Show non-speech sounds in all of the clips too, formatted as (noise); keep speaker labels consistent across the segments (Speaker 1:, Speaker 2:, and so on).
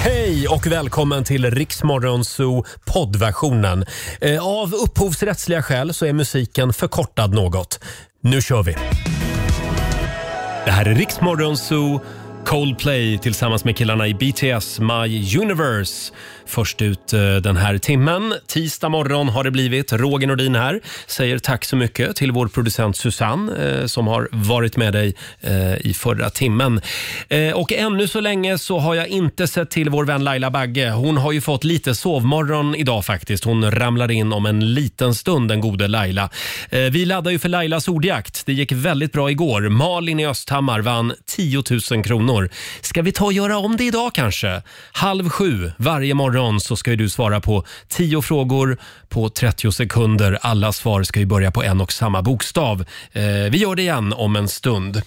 Speaker 1: Hej och välkommen till Riksmorgonzoo poddversionen. Eh, Av upphovsrättsliga skäl så är musiken förkortad något. Nu kör vi! Det här är Riksmorgonzoo Coldplay tillsammans med killarna i BTS My Universe. Först ut eh, den här timmen. Tisdag morgon har det blivit. Roger Nordin här. Säger tack så mycket till vår producent Susanne eh, som har varit med dig eh, i förra timmen. Eh, och ännu så länge så har jag inte sett till vår vän Laila Bagge. Hon har ju fått lite sovmorgon idag faktiskt. Hon ramlar in om en liten stund, den gode Laila. Eh, vi laddar ju för Lailas ordjakt. Det gick väldigt bra igår. Malin i Östhammar vann 10 000 kronor. Ska vi ta och göra om det idag kanske? Halv sju varje morgon så ska ju du svara på 10 frågor på 30 sekunder. Alla svar ska ju börja på en och samma bokstav. Eh, vi gör det igen om en stund.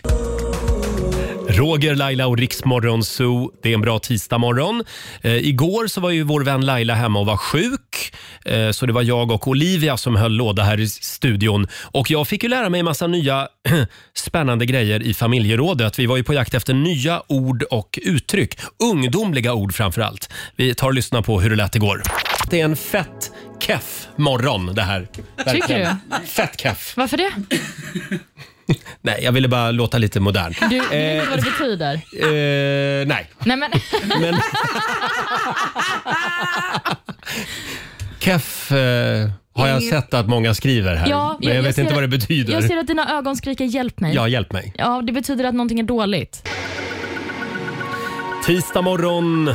Speaker 1: Roger, Laila och Riksmorgon Zoo. Det är en bra tisdagmorgon. Eh, igår så var ju vår vän Laila hemma och var sjuk. Eh, så det var jag och Olivia som höll låda här i studion. Och jag fick ju lära mig en massa nya (clears throat) spännande grejer i familjerådet. Vi var ju på jakt efter nya ord och uttryck. Ungdomliga ord framför allt. Vi tar och lyssnar på hur det lät igår. Det är en fett keff morgon det här. Verkligen. Fett keff.
Speaker 2: Varför det?
Speaker 1: Nej, jag ville bara låta lite modern.
Speaker 2: Du, du vet
Speaker 1: Eh.
Speaker 2: inte vad det betyder.
Speaker 1: Eh, nej.
Speaker 2: Nej, men,
Speaker 1: Men... Keff eh, har jag sett att många skriver här,
Speaker 2: ja,
Speaker 1: men jag, vet
Speaker 2: ser
Speaker 1: inte vad det
Speaker 2: att-
Speaker 1: betyder.
Speaker 2: Jag ser att dina ögon skriker hjälp mig.
Speaker 1: Ja,
Speaker 2: Ja.
Speaker 1: hjälp mig.
Speaker 2: det betyder att någonting är dåligt.
Speaker 1: Tisdag morgon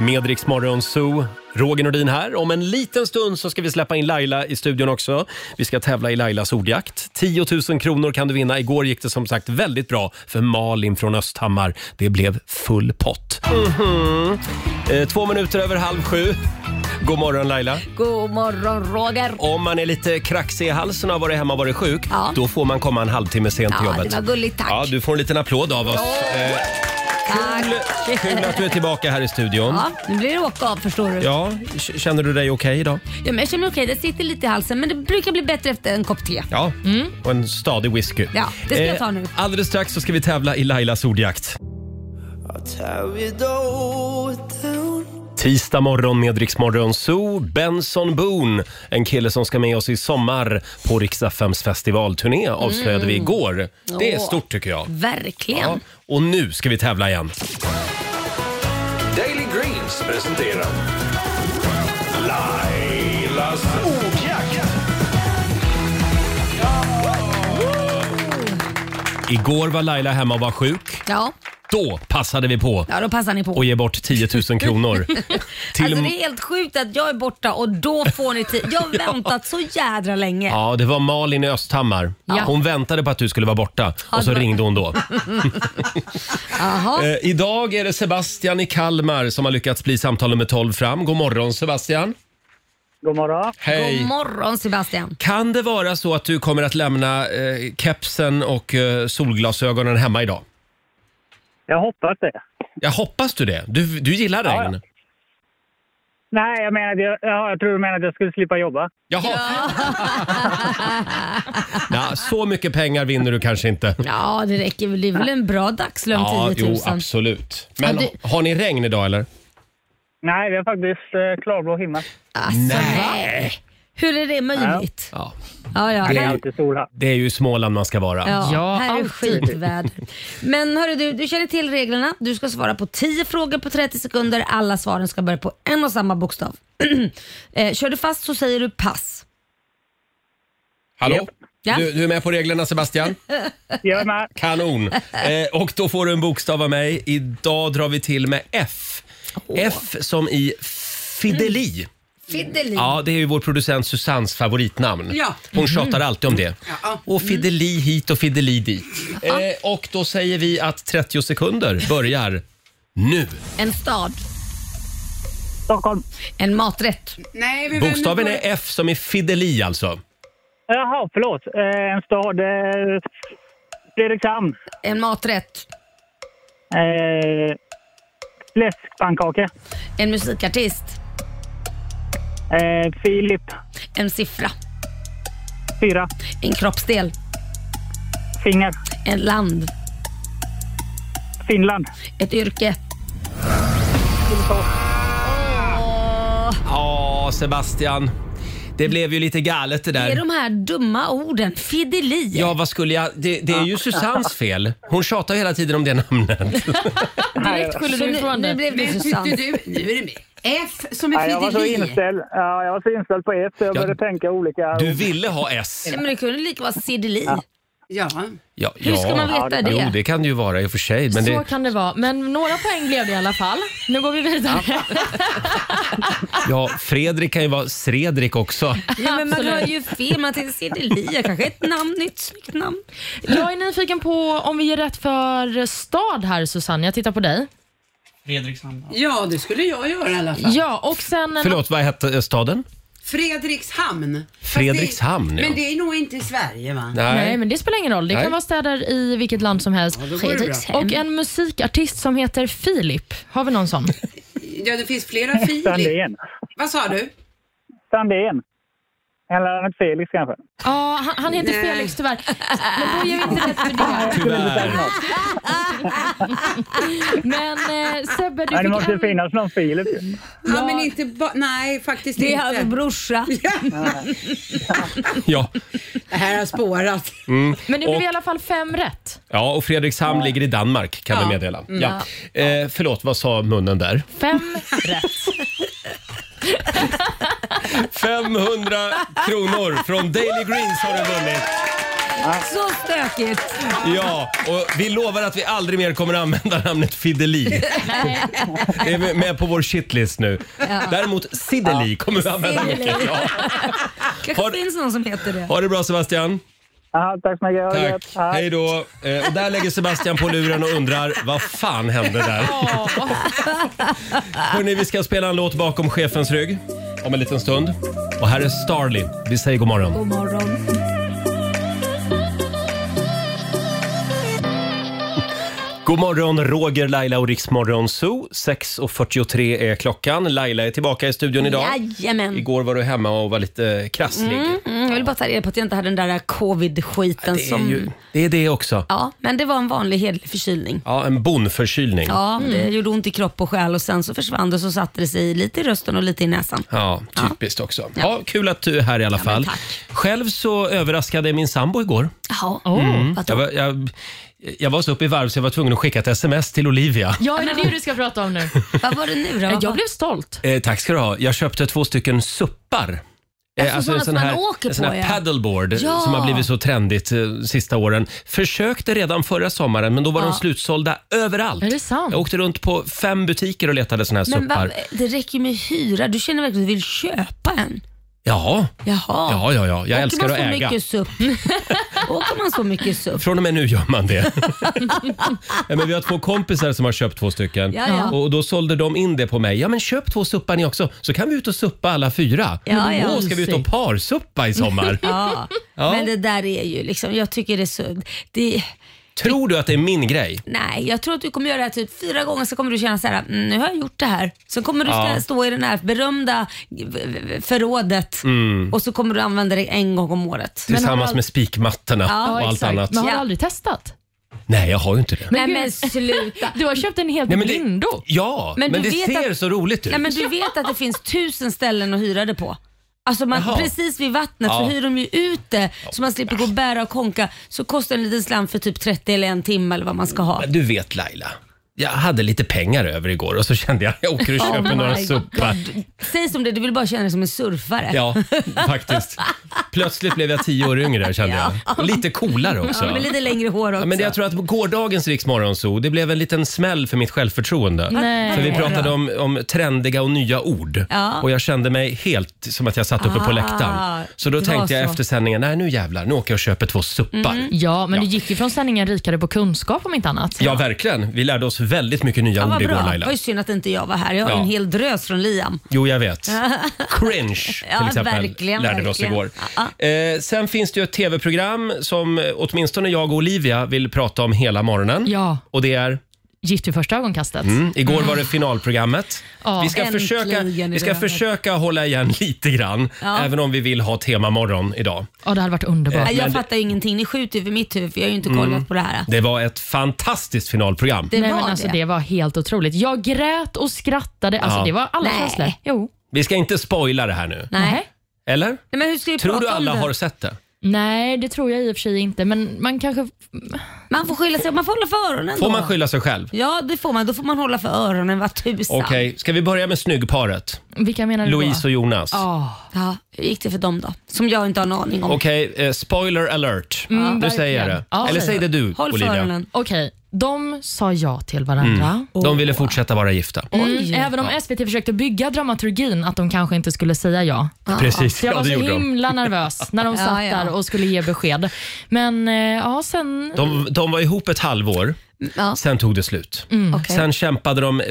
Speaker 1: med Rix Morgon Zoo. Roger Nordin här. Om en liten stund så ska vi släppa in Laila i studion också. Vi ska tävla i Lailas ordjakt. 10 000 kronor kan du vinna. Igår gick det som sagt väldigt bra för Malin från Östhammar. Det blev full pott. Mhm. Eh, två minuter över halv sju. God morgon Laila.
Speaker 3: God morgon Roger.
Speaker 1: Om man är lite kraxig i halsen och har varit hemma och varit sjuk,
Speaker 3: Ja.
Speaker 1: då får man komma en halvtimme sent till
Speaker 3: Ja,
Speaker 1: jobbet.
Speaker 3: det var gulligt. Tack.
Speaker 1: Ja, du får en liten applåd av oss. Eh,
Speaker 3: Tack.
Speaker 1: kul, kul att du är tillbaka här i studion.
Speaker 3: Ja, nu blir det åka av förstår du. Ja.
Speaker 1: Ja, k- känner du dig okej idag?
Speaker 3: men jag känner okej, det sitter lite i halsen men det brukar bli bättre efter en kopp te.
Speaker 1: Ja, och en stadig whisky.
Speaker 3: Mm.
Speaker 1: Eh,
Speaker 3: Ja, det ska jag ta nu.
Speaker 1: Alldeles strax så ska vi tävla i Lailas ordjakt. Tisdag morgon med Rix Morgon Zoo, Benson Boone, en kille som ska med oss i sommar på Rix FMs festivalturné avslöjade vi igår. Det är
Speaker 3: Mm. Åh.
Speaker 1: stort tycker jag.
Speaker 3: Verkligen.
Speaker 1: Ja, och nu ska vi tävla igen.
Speaker 4: Daily Greens presenterar Lailas ordjakt.
Speaker 1: Igår var Laila hemma och var sjuk.
Speaker 3: Ja.
Speaker 1: Då passade vi på
Speaker 3: ja, då passar ni på.
Speaker 1: och ge bort 10 000 kronor. Till
Speaker 3: (laughs) Alltså det är helt sjukt att jag är borta och då får ni tid. Jag
Speaker 1: (laughs)
Speaker 3: har väntat så jädra länge.
Speaker 1: Ja, det var Malin i Östhammar.
Speaker 2: Ja.
Speaker 1: Hon väntade på att du skulle vara borta och så
Speaker 3: det var-
Speaker 1: ringde
Speaker 3: (laughs)
Speaker 1: hon då.
Speaker 3: Jaha.
Speaker 1: Eh, idag är det Sebastian i Kalmar som har lyckats bli samtal nummer 12 fram. God morgon Sebastian.
Speaker 5: God morgon.
Speaker 1: Hej.
Speaker 3: God morgon Sebastian.
Speaker 1: kan det vara så att du kommer att lämna eh, kepsen och eh, solglasögonen hemma idag?
Speaker 5: Jag hoppas det.
Speaker 1: Jag hoppas du det. Du, du gillar
Speaker 5: Ja, ja.
Speaker 1: regn?
Speaker 5: Nej, jag menar jag, ja, jag tror du menar att jag skulle slippa jobba.
Speaker 1: Jaha. (laughs) Ja, så mycket pengar vinner du kanske inte.
Speaker 3: Ja, det räcker väl. Det är väl en bra dagslön,
Speaker 1: Ja,
Speaker 3: 10 000.
Speaker 1: jo, absolut. Men
Speaker 3: Ja, det-
Speaker 1: har ni regn idag eller?
Speaker 5: Nej, vi har faktiskt eh, klarblå himmel.
Speaker 3: Alltså, nej. Hur är det möjligt?
Speaker 1: Ja.
Speaker 3: Ja, ja.
Speaker 5: Det är
Speaker 3: Här,
Speaker 5: alltid sol här.
Speaker 1: Det är ju i Småland man ska vara.
Speaker 3: ja,
Speaker 2: Ja,
Speaker 3: här är
Speaker 2: alltid.
Speaker 3: skitväder. Men hörru du, du känner till reglerna. Du ska svara på 10 frågor på 30 sekunder. Alla svaren ska börja på en och samma bokstav. (clears throat) Eh, Kör du fast så säger du pass.
Speaker 1: Hallå?
Speaker 3: Ja.
Speaker 1: Du, du är med på
Speaker 3: (laughs)
Speaker 1: reglerna Sebastian?
Speaker 5: Jag är med.
Speaker 1: Kanon! Eh, och då får du en bokstav av mig. Idag drar vi till med F. F som i fideli.
Speaker 3: Fiddeli.
Speaker 1: Ja, det är ju vår producent Susannes favoritnamn.
Speaker 6: Ja.
Speaker 1: Hon tjatar
Speaker 3: Mm.
Speaker 1: alltid om det.
Speaker 6: Ja.
Speaker 1: Och fideli hit och fideli dit. Eh, och då säger vi att 30 sekunder börjar nu.
Speaker 3: En stad.
Speaker 5: Stockholm.
Speaker 3: En maträtt.
Speaker 6: Nej, men
Speaker 1: Bokstaven är F som i fideli alltså.
Speaker 5: Jaha, förlåt. Eh, en stad. Eh, Fredrikshamn.
Speaker 3: En maträtt.
Speaker 5: Eh, fläskpannkaka.
Speaker 3: En musikartist.
Speaker 5: Eh, Filip.
Speaker 3: En siffra.
Speaker 5: Fyra.
Speaker 3: En kroppsdel.
Speaker 5: Finger.
Speaker 3: En land.
Speaker 5: Finland.
Speaker 3: Ett yrke.
Speaker 1: Ja, Sebastian. Det blev ju lite galet det
Speaker 3: Det är
Speaker 1: där.
Speaker 3: de här dumma orden. Fideli.
Speaker 1: Ja, vad skulle jag... Det, det är ju Susannes fel. Hon tjatar ju hela tiden om det namnet.
Speaker 2: Direkt skyller
Speaker 3: Så
Speaker 2: du
Speaker 3: nu,
Speaker 2: ifrån
Speaker 3: nu
Speaker 2: det.
Speaker 3: blev det
Speaker 6: Men tyckte
Speaker 2: (laughs)
Speaker 3: Susanne.
Speaker 6: du, nu är det med. F som är
Speaker 5: Nej, jag, var så
Speaker 6: fideli.
Speaker 5: inställd, ja, jag var så inställd på ett så jag
Speaker 1: Ja.
Speaker 5: började tänka olika.
Speaker 1: Du ville ha S.
Speaker 3: Nej, men det kunde lika vara sideli.
Speaker 6: Ja.
Speaker 1: Ja,
Speaker 3: Hur ska
Speaker 1: ja.
Speaker 3: man veta det?
Speaker 1: Jo, det kan det ju vara i och för sig. Men
Speaker 2: Så
Speaker 1: det,
Speaker 2: kan det vara. Men några poäng blev det i alla fall. Nu går vi vidare.
Speaker 1: ja, Fredrik kan ju vara Sredrik också.
Speaker 3: Ja, men man har ju fel. Man tänker sideli. Kanske ett namn, nytt snyggt namn.
Speaker 2: Jag är nyfiken på om vi ger rätt för stad här Susanne. Jag tittar på dig.
Speaker 6: ja, det skulle jag göra i alla fall.
Speaker 2: Ja, och sen...
Speaker 1: Förlåt, vad hette staden?
Speaker 6: Fredrikshamn. Fast
Speaker 1: Fredrikshamn,
Speaker 6: det,
Speaker 1: ja.
Speaker 6: Men det är nog inte i Sverige va?
Speaker 2: Nej, men det spelar ingen roll. Det
Speaker 1: Nej.
Speaker 2: kan vara städer i vilket land som helst.
Speaker 6: Ja, då går det bra.
Speaker 2: och en musikartist som heter Filip. Har vi någon sån?
Speaker 6: Ja, det finns flera Filip.
Speaker 5: Sandén.
Speaker 6: Vad sa du?
Speaker 5: Sandén. Eller en Felix kanske.
Speaker 2: Ja, han, han heter
Speaker 6: Nej.
Speaker 2: Felix tyvärr. Men då ger vi inte rätt för det.
Speaker 1: Tyvärr.
Speaker 2: Men eh, Sebbe, du
Speaker 5: Nej, det
Speaker 2: fick
Speaker 5: måste
Speaker 2: en...
Speaker 5: ju finnas någon Filip ju.
Speaker 6: Ja, men inte ba- Nej, faktiskt
Speaker 3: Det är
Speaker 6: inte.
Speaker 3: hans brorsa.
Speaker 1: Ja.
Speaker 6: Det här har spårat.
Speaker 2: Men det blev
Speaker 1: Och-
Speaker 2: i alla fall fem rätt.
Speaker 1: ja, och Fredrikshamn ligger i Danmark kan vi
Speaker 6: Ja.
Speaker 1: meddela. Ja. Eh, förlåt, vad sa munnen där? (laughs)
Speaker 2: Fem rätt.
Speaker 1: 500 kronor från Daily Greens har du vunnit.
Speaker 3: Så stökigt.
Speaker 1: Ja, och vi lovar att vi aldrig mer kommer använda namnet Fideli. Det är med på vår shitlist nu. Däremot Sideli kommer vi använda mycket. Ja.
Speaker 3: Kanske
Speaker 1: Har-
Speaker 3: finns någon som heter det.
Speaker 1: Ha det bra Sebastian.
Speaker 5: Ja, tack så mycket. Ha det
Speaker 1: Tack.
Speaker 5: gött. Ja.
Speaker 1: Hej då. Eh, och där lägger Sebastian på luren och undrar vad fan hände där? Hörrni, vi ska spela en låt bakom chefens rygg om en liten stund. Och här är Starly. Vi säger god morgon.
Speaker 3: God morgon.
Speaker 1: God morgon, Roger, Laila och Riksmorgon Zoo. 6.43 är klockan. Laila är tillbaka i studion idag. Mm.
Speaker 3: Jajamän.
Speaker 1: Igår var du hemma och var lite krasslig.
Speaker 3: Mm, jag vill bara ta reda på att jag inte hade den där covid-skiten
Speaker 1: Det, är
Speaker 3: som...
Speaker 1: ju, det är det också.
Speaker 3: Ja, men det var en vanlig hederlig förkylning.
Speaker 1: Ja, en bonförkylning. Ja.
Speaker 3: Ja, det gjorde ont i kropp och själ och sen så försvann det och så satte det sig lite i rösten och lite i näsan.
Speaker 1: typiskt också. Ja, kul att du är här i alla fall. Själv så överraskade jag min sambo igår.
Speaker 3: Jaha, vad
Speaker 1: Jag
Speaker 3: tråkigt.
Speaker 1: var, jag, jag var så uppe i varv så jag var tvungen att skicka ett sms till Olivia.
Speaker 2: Ja, är det det du ska prata om
Speaker 1: (laughs)
Speaker 2: nu?
Speaker 3: Vad var det nu då?
Speaker 2: Jag blev stolt.
Speaker 1: Eh, tack ska du ha. Jag köpte två stycken suppar. Eh,
Speaker 3: sådana
Speaker 1: en sån
Speaker 3: som
Speaker 1: här,
Speaker 3: man åker
Speaker 1: en sån
Speaker 3: på,
Speaker 1: här
Speaker 3: ja.
Speaker 1: paddleboard eh,
Speaker 3: Ja.
Speaker 1: som har blivit så trendigt eh, sista åren. Försökte redan förra sommaren men då var de slutsålda överallt.
Speaker 2: Är det sant?
Speaker 1: Jag åkte runt på fem butiker och letade såna här
Speaker 3: men
Speaker 1: suppar.
Speaker 3: vad- det räcker ju med hyra. Du känner verkligen att du vill köpa en.
Speaker 1: Ja.
Speaker 3: Jaha.
Speaker 1: Ja, ja, ja. Jag älskar att
Speaker 3: Åker man så
Speaker 1: äga.
Speaker 3: mycket
Speaker 1: (laughs)
Speaker 3: SUP? Åker man så mycket SUP?
Speaker 1: Från och med nu gör man det. (laughs) Nej, men vi har två kompisar som har köpt två stycken.
Speaker 3: Ja, ja.
Speaker 1: Och då sålde de in det på mig. Ja men köp två suppar ni också så kan vi ut och suppa alla fyra.
Speaker 3: Ja, ja.
Speaker 1: Åh, ska vi ut och parsuppa
Speaker 3: (laughs)
Speaker 1: i sommar?
Speaker 3: Ja.
Speaker 1: Ja.
Speaker 3: men det där är ju liksom, jag tycker det är så... Det,
Speaker 1: Tror du att det är min grej?
Speaker 3: nej, jag tror att du kommer göra det här typ fyra gånger så kommer du känna så här, mm, nu har jag gjort det här. Sen kommer du
Speaker 1: Ja.
Speaker 3: stå i den här berömda förrådet
Speaker 1: Mm.
Speaker 3: och så kommer du använda det en gång om året.
Speaker 1: Tillsammans
Speaker 2: har-
Speaker 1: med spikmattorna
Speaker 3: Ja,
Speaker 1: och allt
Speaker 2: exakt.
Speaker 1: annat.
Speaker 2: Men har du
Speaker 3: Ja.
Speaker 2: aldrig testat?
Speaker 1: Nej, jag har ju inte det.
Speaker 3: Nej
Speaker 2: gud.
Speaker 3: men sluta.
Speaker 2: Du har köpt en helt
Speaker 1: Nej, men det-
Speaker 2: blindo.
Speaker 1: Ja, men,
Speaker 3: Men du
Speaker 1: det
Speaker 3: vet
Speaker 1: ser
Speaker 3: att-
Speaker 1: så roligt ut.
Speaker 3: Nej men du vet att det finns tusen ställen att hyra det på. Alltså man,
Speaker 1: Jaha.
Speaker 3: precis vid vattnet
Speaker 1: Ja.
Speaker 3: så hyr de ju ut det så man slipper gå och bära och konka. Så kostar en liten slant för typ 30 eller en timme eller vad man ska ha.
Speaker 1: Men Du vet Laila, jag hade lite pengar över igår och så kände jag jag åker och
Speaker 3: Oh
Speaker 1: köper några
Speaker 3: my
Speaker 1: suppar.
Speaker 3: Säg som det du vill bara känna dig som en surfare.
Speaker 1: Ja, (laughs)
Speaker 3: (laughs)
Speaker 1: faktiskt. Plötsligt blev jag tio år yngre kände jag. Och lite coolare också.
Speaker 3: Ja, med lite längre hår också.
Speaker 1: Ja, men det, jag tror att gårdagens Riksmorgonzoo, det blev en liten smäll för mitt självförtroende.
Speaker 3: Mm.
Speaker 2: Nej.
Speaker 1: För vi pratade om, om trendiga och nya ord.
Speaker 3: Ja.
Speaker 1: Och jag kände mig helt som att jag satt uppe på
Speaker 3: Ah,
Speaker 1: läktaren. Så då
Speaker 3: det var
Speaker 1: tänkte jag
Speaker 3: så. Mm.
Speaker 1: efter sändningen, nej nu jävlar, nu åker jag och köper två suppar.
Speaker 2: Ja, men du gick ju från sändningen rikare på kunskap om inte annat.
Speaker 1: Ja, verkligen. Vi lärde oss väldigt mycket nya
Speaker 3: Ja,
Speaker 1: ord
Speaker 3: vad
Speaker 1: igår
Speaker 3: bra. Det
Speaker 1: Laila.
Speaker 3: var ju synd att inte jag var här. Jag har
Speaker 1: Ja.
Speaker 3: en hel drös från Liam.
Speaker 1: Jo,
Speaker 3: (laughs)
Speaker 1: jag vet. Cringe till
Speaker 3: Ja,
Speaker 1: exempel
Speaker 3: verkligen,
Speaker 1: lärde vi oss
Speaker 3: verkligen.
Speaker 1: igår.
Speaker 3: Ja,
Speaker 1: Eh, sen finns det ju ett tv-program som eh, åtminstone jag och Olivia vill prata om hela morgonen.
Speaker 2: Ja.
Speaker 1: Och det är?
Speaker 2: Gift vid första ögonkastet.
Speaker 1: Mm, Igår var det finalprogrammet.
Speaker 2: Ja,
Speaker 1: vi ska,
Speaker 3: äntligen
Speaker 1: försöka,
Speaker 3: är
Speaker 1: vi
Speaker 3: det
Speaker 1: ska
Speaker 3: över.
Speaker 1: försöka hålla igen (laughs) lite grann, även om vi vill ha tema morgon idag.
Speaker 2: Ja, det hade varit underbart.
Speaker 3: Nej, jag
Speaker 1: men det- Mm.
Speaker 3: fattar ju ingenting. Ni skjuter över mitt huvud för jag har ju inte kollat på det här.
Speaker 1: Det var ett fantastiskt finalprogram.
Speaker 3: Det
Speaker 2: Nej,
Speaker 3: var
Speaker 2: men alltså,
Speaker 3: det.
Speaker 2: det var helt otroligt. Jag grät och skrattade. Alltså,
Speaker 1: Ja.
Speaker 2: Det var alla
Speaker 3: Nej.
Speaker 2: känslor. Jo.
Speaker 1: Vi ska inte spoila det här nu.
Speaker 3: Nej.
Speaker 1: Eller?
Speaker 3: Nej, men hur ska vi
Speaker 1: Tror
Speaker 3: prata
Speaker 1: du alla
Speaker 3: om det?
Speaker 1: har sett det?
Speaker 2: Nej, det tror jag i och för sig inte, men man kanske...
Speaker 3: Man får skylla sig, man får hålla för öronen
Speaker 1: Får
Speaker 3: då.
Speaker 1: man skylla sig själv?
Speaker 3: Ja, det får man. Då får man hålla för öronen vad tusan.
Speaker 1: Okej, ska vi börja med snyggparet?
Speaker 2: Vilka menar du då?
Speaker 1: Louise och Jonas.
Speaker 3: Ja, hur gick det för dem då? Som jag inte har en aning om.
Speaker 1: Okej, eh, spoiler alert. nu säger jag det.
Speaker 2: Ja,
Speaker 1: Eller
Speaker 2: säg
Speaker 1: säg det du,
Speaker 3: Håll för
Speaker 1: Olivia.
Speaker 3: öronen.
Speaker 2: Okej, de sa ja till varandra.
Speaker 1: De ville fortsätta vara gifta.
Speaker 2: Mm, även om SVT försökte bygga dramaturgin att de kanske inte skulle säga ja.
Speaker 1: Precis,
Speaker 2: Så jag
Speaker 1: ja,
Speaker 2: var
Speaker 1: det
Speaker 2: så
Speaker 1: gjorde de.
Speaker 2: himla nervös när de
Speaker 3: (laughs) Ja,
Speaker 2: satt
Speaker 3: ja.
Speaker 2: där och skulle ge besked. Men eh, ja, sen...
Speaker 1: de. De var ihop ett halvår,
Speaker 3: Ja, Mm,
Speaker 1: sen tog det slut.
Speaker 3: okej.
Speaker 1: Mm. Sen kämpade de eh,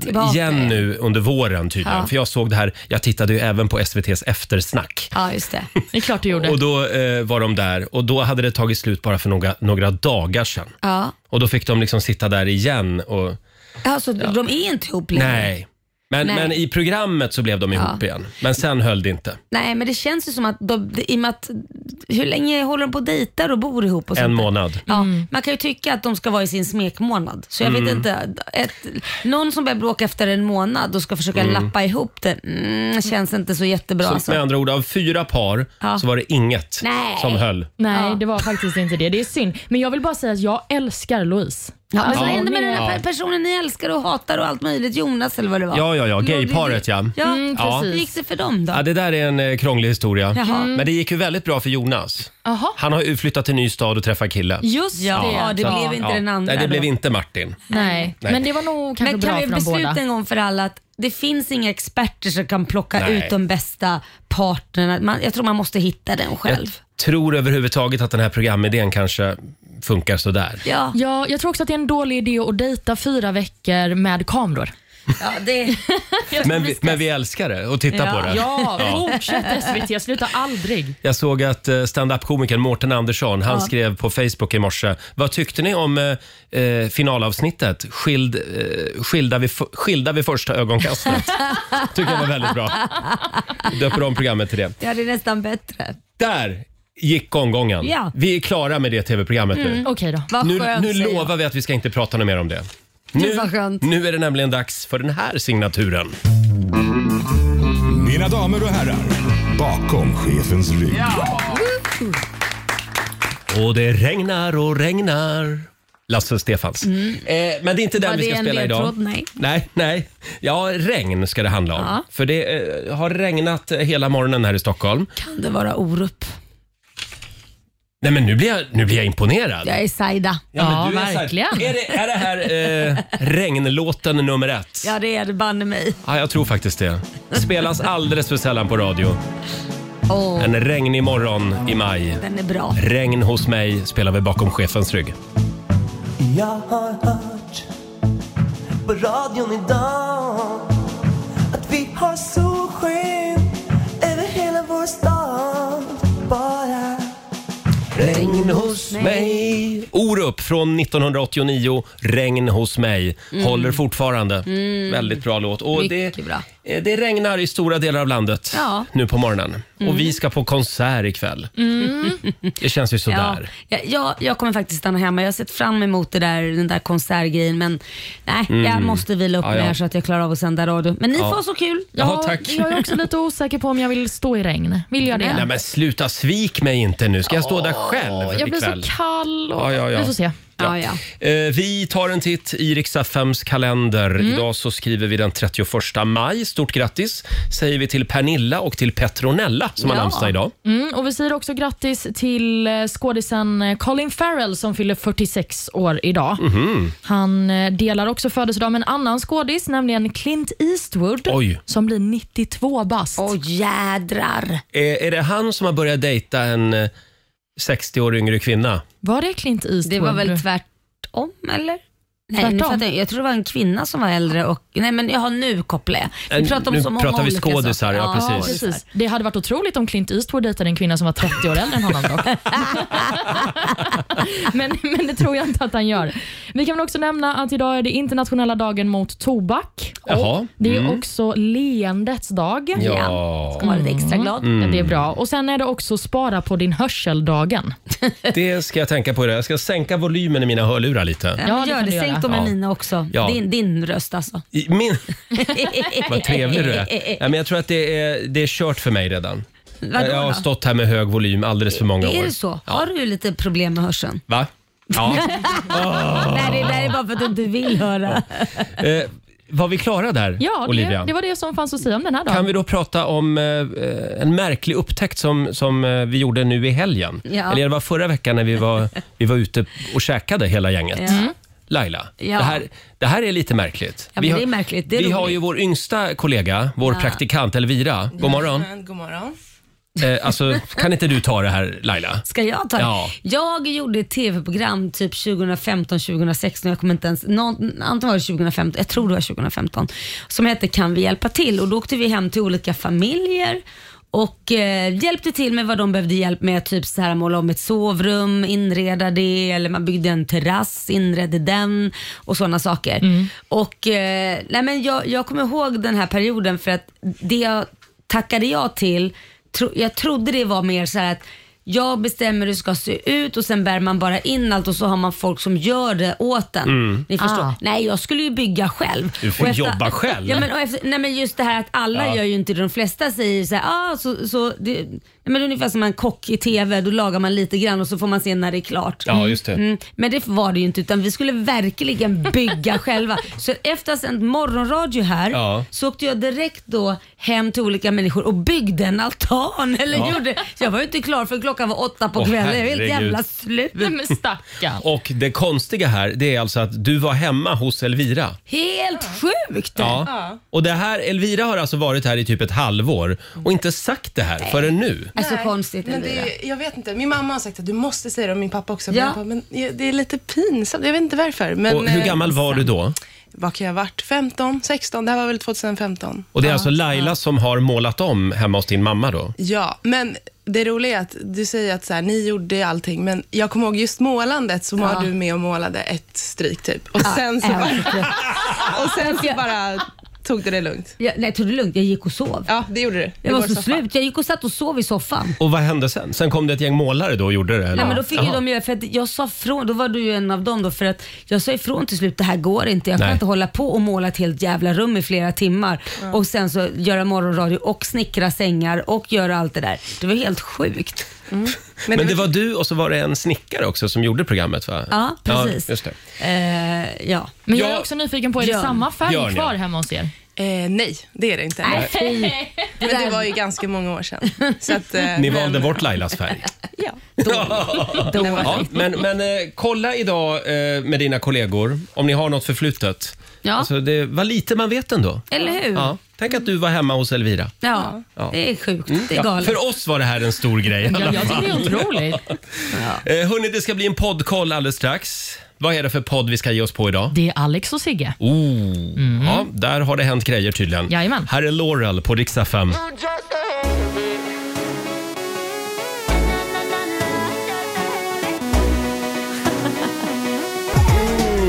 Speaker 3: Tillbaka.
Speaker 1: igen nu under våren tydligen.
Speaker 3: Ja.
Speaker 1: För jag såg det här, jag tittade ju även på SVTs eftersnack.
Speaker 3: ja, just det.
Speaker 2: Det är klart du gjorde.
Speaker 1: Och då eh, var de där och då hade det tagit slut bara för några, några dagar sedan.
Speaker 3: Ja.
Speaker 1: Och då fick de liksom sitta där igen och
Speaker 3: Alltså, de är inte ihop längre.
Speaker 1: nej. Men,
Speaker 3: Nej.
Speaker 1: men i programmet så blev de ihop igen. Men sen höll det inte.
Speaker 3: Nej, men det känns ju som att de, i och med att, hur länge håller de på och dejtar och bor ihop? Och sånt
Speaker 1: En
Speaker 3: där?
Speaker 1: månad.
Speaker 3: Ja,
Speaker 2: Mm.
Speaker 3: Man kan ju tycka att de ska vara i sin smekmånad. Så jag
Speaker 1: Mm.
Speaker 3: vet inte. Ett, någon som börjar bråka efter en månad och ska försöka lappa ihop det, mm, känns inte så jättebra.
Speaker 1: Så
Speaker 3: alltså.
Speaker 1: med andra ord, av fyra par
Speaker 3: Ja.
Speaker 1: så var det inget
Speaker 3: Nej.
Speaker 1: som höll.
Speaker 2: Nej, det var faktiskt inte det. Det är synd. Men jag vill bara säga att jag älskar Louise.
Speaker 3: Ja, men
Speaker 2: Alltså,
Speaker 3: vad händer med
Speaker 2: hon
Speaker 3: den
Speaker 2: är-
Speaker 3: här pe- personen ni älskar och hatar och allt möjligt? Jonas eller vad det var?
Speaker 1: Ja, ja, ja. Gayparet, ja.
Speaker 3: Ja,
Speaker 2: Mm,
Speaker 1: Ja.
Speaker 3: Hur
Speaker 2: precis.
Speaker 3: gick det för dem då?
Speaker 1: Ja, det där är en eh, krånglig historia.
Speaker 3: Jaha. Mm.
Speaker 1: Men det gick ju väldigt bra för Jonas.
Speaker 2: Jaha.
Speaker 1: Han har ju flyttat till en ny stad och träffat kille.
Speaker 2: Just
Speaker 3: Ja, det
Speaker 2: Så-
Speaker 3: blev inte den andra
Speaker 1: Nej, det
Speaker 3: då.
Speaker 1: blev inte Martin.
Speaker 2: Nej.
Speaker 1: Nej.
Speaker 2: men det var nog kanske
Speaker 3: Men kan
Speaker 2: bra
Speaker 3: vi
Speaker 2: för dem
Speaker 3: besluta
Speaker 2: båda.
Speaker 3: en gång för alla att det finns inga experter som kan plocka
Speaker 1: Nej.
Speaker 3: ut de bästa partnerna. Man, jag tror man måste hitta den själv.
Speaker 1: Tror överhuvudtaget att den här programidén kanske funkar sådär.
Speaker 3: Ja,
Speaker 2: Ja, jag tror också att det är en dålig idé att dejta fyra veckor med kameror.
Speaker 3: ja det,
Speaker 1: Men vi, men vi älskar det och tittar
Speaker 3: Ja.
Speaker 1: på det.
Speaker 2: Ja, fortsätt SVT, sluta aldrig.
Speaker 1: Jag såg att eh, standup-komikern Mårten Andersson han skrev på Facebook i morse. Vad tyckte ni om eh, eh, finalavsnittet? Skild, eh, skilda, vid, f- skilda vid första
Speaker 3: (laughs)
Speaker 1: ögonkastet. Tycker jag var väldigt bra. Döper om programmet till det.
Speaker 3: ja, det är nästan bättre.
Speaker 1: Där gick omgången.
Speaker 3: Ja. Mm.
Speaker 1: Vi är klara med det tv-programmet nu.
Speaker 2: Okej då.
Speaker 3: Vad
Speaker 1: Nu,
Speaker 3: skönt
Speaker 1: nu
Speaker 3: säger jag.
Speaker 1: lovar vi att vi ska inte prata något mer om det. Nu,
Speaker 3: vad skönt.
Speaker 1: nu är det nämligen dags för den här signaturen.
Speaker 7: Mina damer och herrar, bakom chefens rygg.
Speaker 1: Och det regnar och regnar. Lasse Stefans. Eh, men det är inte
Speaker 3: Mm.
Speaker 1: den
Speaker 3: Var
Speaker 1: vi
Speaker 3: det
Speaker 1: ska
Speaker 3: en
Speaker 1: spela idag.
Speaker 3: ledtråd? Nej.
Speaker 1: nej, nej. Ja, regn ska det handla om. För det eh, har regnat eh, hela morgonen här i Stockholm.
Speaker 3: Kan det vara Orup?
Speaker 1: Nej, men nu blir jag, nu blir jag imponerad.
Speaker 3: Jag är Saida.
Speaker 2: Ja,
Speaker 1: men du är så här-
Speaker 2: verkligen.
Speaker 1: Är det, är det här eh,
Speaker 3: (laughs)
Speaker 1: regnlåten nummer ett?
Speaker 3: Ja, det är det banne mig.
Speaker 1: Ja, jag tror faktiskt det. Spelas alldeles för sällan på radio.
Speaker 3: Åh,
Speaker 1: En regnig morgon i maj.
Speaker 3: den är bra.
Speaker 1: Regn hos mig spelar vi bakom chefens rygg.
Speaker 8: Jag har hört på radion idag att vi har solsken över hela vår stad. Bara
Speaker 1: Regn hos mig. Orup från 1989, Regn hos mig. Håller fortfarande. Väldigt bra låt. Och det,
Speaker 3: Mm. Mycket bra.
Speaker 1: eh, det regnar i stora delar av landet
Speaker 3: Ja. Mm.
Speaker 1: nu på morgonen. Och vi ska på konsert ikväll. Det känns ju
Speaker 3: Ja,
Speaker 1: sådär.
Speaker 3: jag, jag, jag kommer faktiskt stanna hemma. Jag har sett fram emot det där, den där konsertgrejen men nej, jag måste vila upp
Speaker 1: Mm. Ja, ja.
Speaker 3: mig här så att jag klarar av att sända radio. Men ni får ha så kul.
Speaker 1: Ja, tack.
Speaker 2: Jag är också lite osäker på om jag vill stå i regn. Vill jag det?
Speaker 1: Nej men sluta, svik mig inte nu. Ska jag stå där själv
Speaker 2: jag blir
Speaker 1: ikväll?
Speaker 2: så kall. Och...
Speaker 1: Ja, ja, ja.
Speaker 2: Vi får se.
Speaker 3: Ja, ja. Mm.
Speaker 1: Eh, Vi tar en titt i Riks-FMs kalender. Idag så skriver vi den 31 maj. Stort grattis säger vi till Pernilla och till Petronella som har
Speaker 3: Ja.
Speaker 1: namnsdag idag.
Speaker 2: Mm, och vi säger också grattis till eh, skådisen eh, Colin Farrell som fyller 46 år idag.
Speaker 1: Mhm.
Speaker 2: Han eh, delar också födelsedag med en annan skådis, nämligen Clint Eastwood
Speaker 1: Oj.
Speaker 2: som blir 92 bast.
Speaker 3: Åh jädrar.
Speaker 1: Eh, Är, är det han som har börjat dejta en eh, 60 år yngre kvinna?
Speaker 2: Var det Clint Eastwood?
Speaker 3: Det var väl tvärtom eller? Nej, nu
Speaker 2: Tvärtom.
Speaker 3: fattar jag, jag tror det var en kvinna som var äldre och, nej men jaha nu kopplar jag.
Speaker 1: Eh,
Speaker 3: Vi pratar om
Speaker 1: nu
Speaker 3: så många
Speaker 1: pratar vi
Speaker 3: olika
Speaker 1: skådisar,
Speaker 3: saker.
Speaker 1: ja,
Speaker 2: Ja,
Speaker 1: precis.
Speaker 2: precis. Det hade varit otroligt om Clint Eastwood dejtade en kvinna som var 30 år äldre än honom dock. men, men det tror jag inte att han gör. Vi kan väl också nämna att idag är det internationella dagen mot tobak.
Speaker 1: Jaha. Mm.
Speaker 2: Det är också leendets dag.
Speaker 1: Ja. Mm.
Speaker 3: Ska man vara lite extra glad.
Speaker 2: Ja, Det är bra. Och Sen är det också spara på din hörseldagen.
Speaker 1: Det ska jag tänka på. idag. Jag ska sänka volymen i mina hörlurar lite.
Speaker 3: Ja, men
Speaker 2: det
Speaker 3: gör
Speaker 2: kan
Speaker 3: det.
Speaker 2: du göra.
Speaker 3: Sänk dem med
Speaker 1: Ja.
Speaker 3: mina också.
Speaker 1: Ja.
Speaker 3: Din, din röst alltså.
Speaker 1: I Min... (laughs) Vad trevlig du är. Ja, men jag tror att det är, det är kört för mig redan.
Speaker 3: Vadå
Speaker 1: jag har
Speaker 3: då?
Speaker 1: stått här med hög volym alldeles för många
Speaker 3: Är
Speaker 1: år.
Speaker 3: det så? Har du lite problem med hörseln?
Speaker 1: Va? Ja.
Speaker 3: (laughs)
Speaker 1: Ah.
Speaker 3: Nej, det där är bara för att du inte vill höra.
Speaker 1: Eh, var vi klara där,
Speaker 2: Ja,
Speaker 1: Olivia?
Speaker 2: det, det var det som fanns att säga om den här dagen.
Speaker 1: Kan vi då prata om eh, eh, en märklig upptäckt som, som eh, vi gjorde nu i helgen?
Speaker 3: Ja.
Speaker 1: Eller det var förra veckan när
Speaker 3: (laughs)
Speaker 1: vi var, vi var ute och käkade hela gänget. Laila,
Speaker 3: Ja.
Speaker 1: det, här, det här är lite märkligt.
Speaker 3: men
Speaker 1: vi
Speaker 3: det
Speaker 1: har,
Speaker 3: är märkligt. Det är
Speaker 1: vi har
Speaker 3: roligt.
Speaker 1: ju vår yngsta kollega, vår praktikant Elvira. God morgon.
Speaker 6: God morgon.
Speaker 1: Eh, alltså, kan inte du ta det här Laila?
Speaker 3: Ska jag ta det?
Speaker 1: Ja.
Speaker 3: Jag gjorde ett tv-program typ 2015-2016, jag kommer inte ens, någon, antingen var det 2015, jag tror det var 2015, som hette Kan vi hjälpa till? Och då åkte vi hem till olika familjer och eh, hjälpte till med vad de behövde hjälp med, typ så här måla om ett sovrum, inreda det, eller man byggde en terrass, inredde den och sådana saker. Och eh, nej men jag, jag kommer ihåg den här perioden för att det jag tackade jag till, tro, jag trodde det var mer så här att jag bestämmer hur det ska se ut och sen bär man bara in allt och så har man folk som gör det åt en. Ni förstår.
Speaker 2: Ah.
Speaker 3: Nej, jag skulle ju bygga själv.
Speaker 1: Mm. Du får
Speaker 3: Och
Speaker 1: jobba själv.
Speaker 3: Ja, men, och efter, nej, men just det här att alla
Speaker 1: Ja.
Speaker 3: gör ju inte det. De flesta säger så här, ah, så, så det, nej, men det är ungefär som en kock i TV, då lagar man lite grann och så får man se när det är klart.
Speaker 1: Ja, just det.
Speaker 3: Mm, men det var det ju inte utan vi skulle verkligen
Speaker 1: (laughs)
Speaker 3: bygga själva. Så efter att ha sänt morgonradio här
Speaker 1: Ja.
Speaker 3: så åkte jag direkt då hem till olika människor och byggde en altan. (laughs) Eller
Speaker 1: Ja.
Speaker 3: gjorde, så jag var ju inte klar för klockan var åtta på
Speaker 1: Åh,
Speaker 3: kvällen. Jag är helt
Speaker 1: herregud.
Speaker 3: jävla slut.
Speaker 2: Nej, men stackarn.
Speaker 1: Och det konstiga här, det är alltså att du var hemma hos Elvira.
Speaker 3: Helt sjukt!
Speaker 1: Ja. Och det här, Elvira har alltså varit här i typ ett halvår och inte sagt det här förrän nu.
Speaker 3: Alltså konstigt
Speaker 9: men
Speaker 3: Elvira.
Speaker 9: det, Jag vet inte. Min mamma har sagt att du måste säga det och min pappa också.
Speaker 3: Ja.
Speaker 9: Men, jag bara, men jag- det är lite pinsamt. Jag vet inte varför. Men,
Speaker 1: Och hur
Speaker 9: eh,
Speaker 1: gammal var du då?
Speaker 9: Vad kan jag ha varit? 15, 16? Det här var väl 2015?
Speaker 1: Och det är alltså Laila som har målat om hemma hos din mamma då?
Speaker 9: Ja, men det roliga är att du säger att så här, ni gjorde allting, men jag kommer ihåg just målandet så var du med och målade ett stryk typ. Och sen så, bara, (laughs) och sen så bara tog du det lugnt.
Speaker 3: Jag, nej, tog det lugnt. Jag gick och sov.
Speaker 9: Ja, det gjorde du.
Speaker 3: Jag
Speaker 9: I
Speaker 3: var
Speaker 9: vår
Speaker 3: så
Speaker 9: soffa.
Speaker 3: slut. Jag gick och satt och sov i soffan.
Speaker 1: Och vad hände sen? Sen kom det ett gäng målare då och gjorde det? Eller?
Speaker 3: Nej men då fick ju
Speaker 1: Jaha.
Speaker 3: de göra, för att jag sa från, då var du ju en av dem då, för att jag sa ifrån till slut, det här går inte. Jag kan
Speaker 1: Nej.
Speaker 3: inte hålla på och måla ett helt jävla rum i flera timmar och sen så göra morgonradio och snickra sängar och göra allt det där. Det var helt sjukt.
Speaker 1: men, det var du och så var det en snickare också som gjorde programmet va?
Speaker 3: Ja, precis.
Speaker 1: Ja, just det.
Speaker 3: Eh, ja.
Speaker 2: Men jag
Speaker 1: Ja.
Speaker 2: är också nyfiken på, är det
Speaker 3: Björn.
Speaker 2: samma
Speaker 1: Björn,
Speaker 2: färg
Speaker 1: ja.
Speaker 2: kvar hemma hos er?
Speaker 9: Eh, nej, det är det inte.
Speaker 3: Nej, fy.
Speaker 9: Men det var ju ganska många år sedan. Så att, eh,
Speaker 1: Ni
Speaker 9: men-
Speaker 1: valde bort
Speaker 3: (laughs)
Speaker 1: Lailas färg.
Speaker 9: Ja.
Speaker 1: (laughs) Ja, men men eh, kolla idag eh, med dina kollegor om ni har något förflutet.
Speaker 3: Ja. Eh,
Speaker 1: Alltså, det var lite man vet ändå.
Speaker 3: Eller hur? Ja.
Speaker 1: Ja. Tänk att du var hemma hos Elvira. Ja. Mm.
Speaker 3: det är sjukt. Det är
Speaker 1: Ja,
Speaker 3: galet.
Speaker 1: för oss var det här en stor grej. i alla
Speaker 2: Ja, jag
Speaker 1: fall.
Speaker 2: tycker det är otroligt.
Speaker 1: Eh, hörni, det ska bli en poddkoll alldeles strax. Vad är det för podd vi ska ge oss på idag?
Speaker 2: Det är Alex och Sigge.
Speaker 1: Oh, ja, där har det hänt grejer tydligen.
Speaker 2: Jajamän.
Speaker 1: Här är Laurel på Dix FM.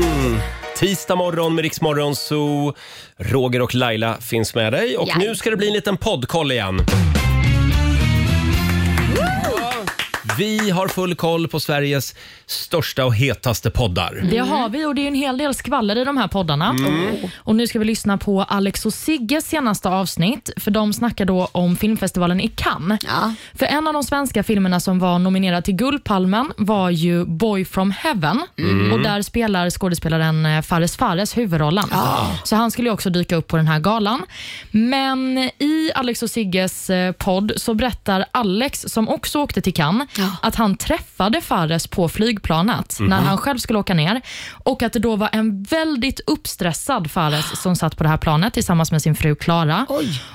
Speaker 1: Mm. Tisdag morgon med Riksmorgon så Roger och Laila finns med dig och nu ska det bli en liten poddkoll igen. Vi har full koll på Sveriges största och hetaste poddar.
Speaker 2: Det har vi och det är en hel del skvaller i de här poddarna. Och Nu ska vi lyssna på Alex och Sigges senaste avsnitt. För De snackar då om filmfestivalen i Cannes.
Speaker 3: Ja.
Speaker 2: För En av de svenska filmerna som var nominerad till Guldpalmen var ju Boy from heaven. Och Där spelar skådespelaren eh, Fares Fares huvudrollen. Så han skulle ju också dyka upp på den här galan. Men i Alex och Sigges eh, podd så berättar Alex, som också åkte till Cannes, att han träffade Fares på flygplanet när han själv skulle åka ner. Och att det då var en väldigt uppstressad Fares som satt på det här planet tillsammans med sin fru Klara.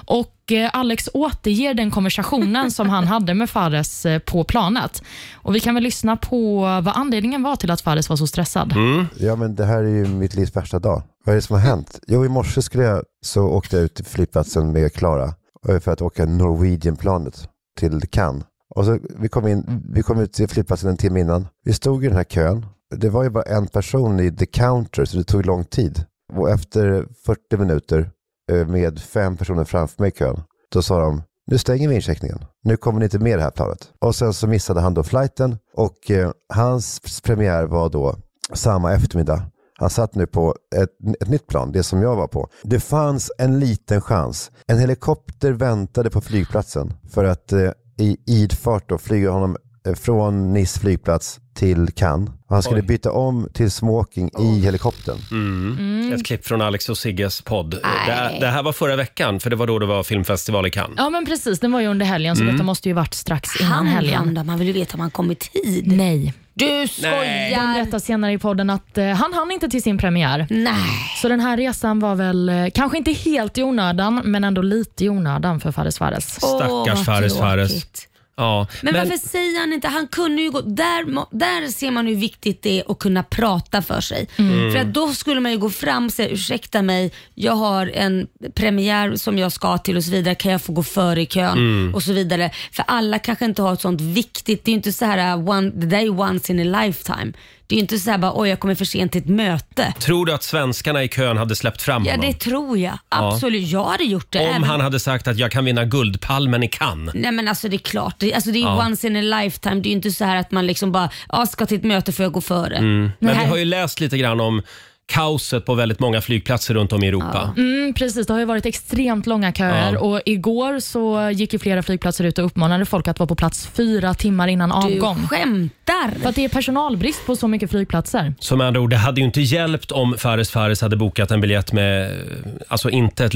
Speaker 2: Och eh, Alex återger den konversationen som han hade med Fares eh, på planet. Och Vi kan väl lyssna på vad anledningen var till att Fares var så stressad.
Speaker 10: Ja men det här är ju mitt livs värsta dag. Vad är det som har hänt? Jo i morse skulle jag, så åkte jag ut till flygplatsen med Klara eh, för att åka Norwegian-planet till Cannes. Och så vi kom, in, vi kom ut till flygplatsen en timme innan. Vi stod i den här kön. Det var ju bara en person i the counter så det tog lång tid. Och efter 40 minuter eh, med fem personer framför mig i kön. Då sa de, nu stänger vi incheckningen. Nu kommer ni inte med det här planet. Och sen så missade han då flighten och eh, hans premiär var då samma eftermiddag. Han satt nu på ett, ett nytt plan, det som jag var på. Det fanns en liten chans. En helikopter väntade på flygplatsen för att eh, i idfart då flyga honom eh, från Nice flygplats till Cannes. Han skulle
Speaker 1: Oj. Oh.
Speaker 10: byta om till smoking i helikoptern.
Speaker 1: Mm. Ett klipp från Alex och Sigges podd. Det, det här var förra veckan, för det var då det var filmfestival i Cannes.
Speaker 2: Ja men precis, den var ju under helgen så
Speaker 1: Mm.
Speaker 2: detta måste ju varit strax innan
Speaker 3: Han
Speaker 2: helgen.
Speaker 3: Vanda, man vill ju veta om han kom i tid.
Speaker 2: Nej.
Speaker 3: Du
Speaker 2: De
Speaker 3: skojar!
Speaker 2: berättar senare i podden att eh, han hann inte till sin premiär.
Speaker 3: Nej.
Speaker 2: Så den här resan var väl eh, kanske inte helt i onödan, men ändå lite i onödan för Fares Fares.
Speaker 1: Stackars Fares Fares. Ja,
Speaker 3: Men, varför säger han inte, han kunde ju gå, där, må- där ser man hur viktigt det är att kunna prata för sig.
Speaker 11: Mm.
Speaker 3: För att då skulle man ju gå fram och säga, ursäkta mig, jag har en premiär som jag ska till och så vidare, kan jag få gå före i kön?
Speaker 11: Mm.
Speaker 3: Och så vidare. För alla kanske inte har ett sånt viktigt, det är ju inte så här, uh, one, det där är once in a lifetime. Det är ju inte så här bara, oj jag kommer för sent till ett möte.
Speaker 1: Tror du att svenskarna i kön hade släppt fram
Speaker 3: Ja
Speaker 1: honom?
Speaker 3: det tror jag,
Speaker 1: Ja.
Speaker 3: absolut. Jag hade gjort det.
Speaker 1: Om
Speaker 3: även-
Speaker 1: han hade sagt att jag kan vinna Guldpalmen i Cannes.
Speaker 3: Nej men alltså det är klart, det, alltså, det är ju
Speaker 1: Ja.
Speaker 3: once in a lifetime. Det är ju inte så här att man liksom bara, ja ska till ett möte får jag gå före.
Speaker 1: Mm. Men
Speaker 3: Nej.
Speaker 1: vi har ju läst lite grann om kaoset på väldigt många flygplatser runt om i Europa.
Speaker 2: Mm, precis, det har ju varit extremt långa köer
Speaker 1: Ja.
Speaker 2: och igår så gick ju flera flygplatser ut och uppmanade folk att vara på plats fyra timmar innan avgång. Du
Speaker 3: skämtar!
Speaker 2: För att det är personalbrist på så mycket flygplatser.
Speaker 1: Så med andra ord, det hade ju inte hjälpt om Fares Fares hade bokat en biljett med, eh, alltså inte ett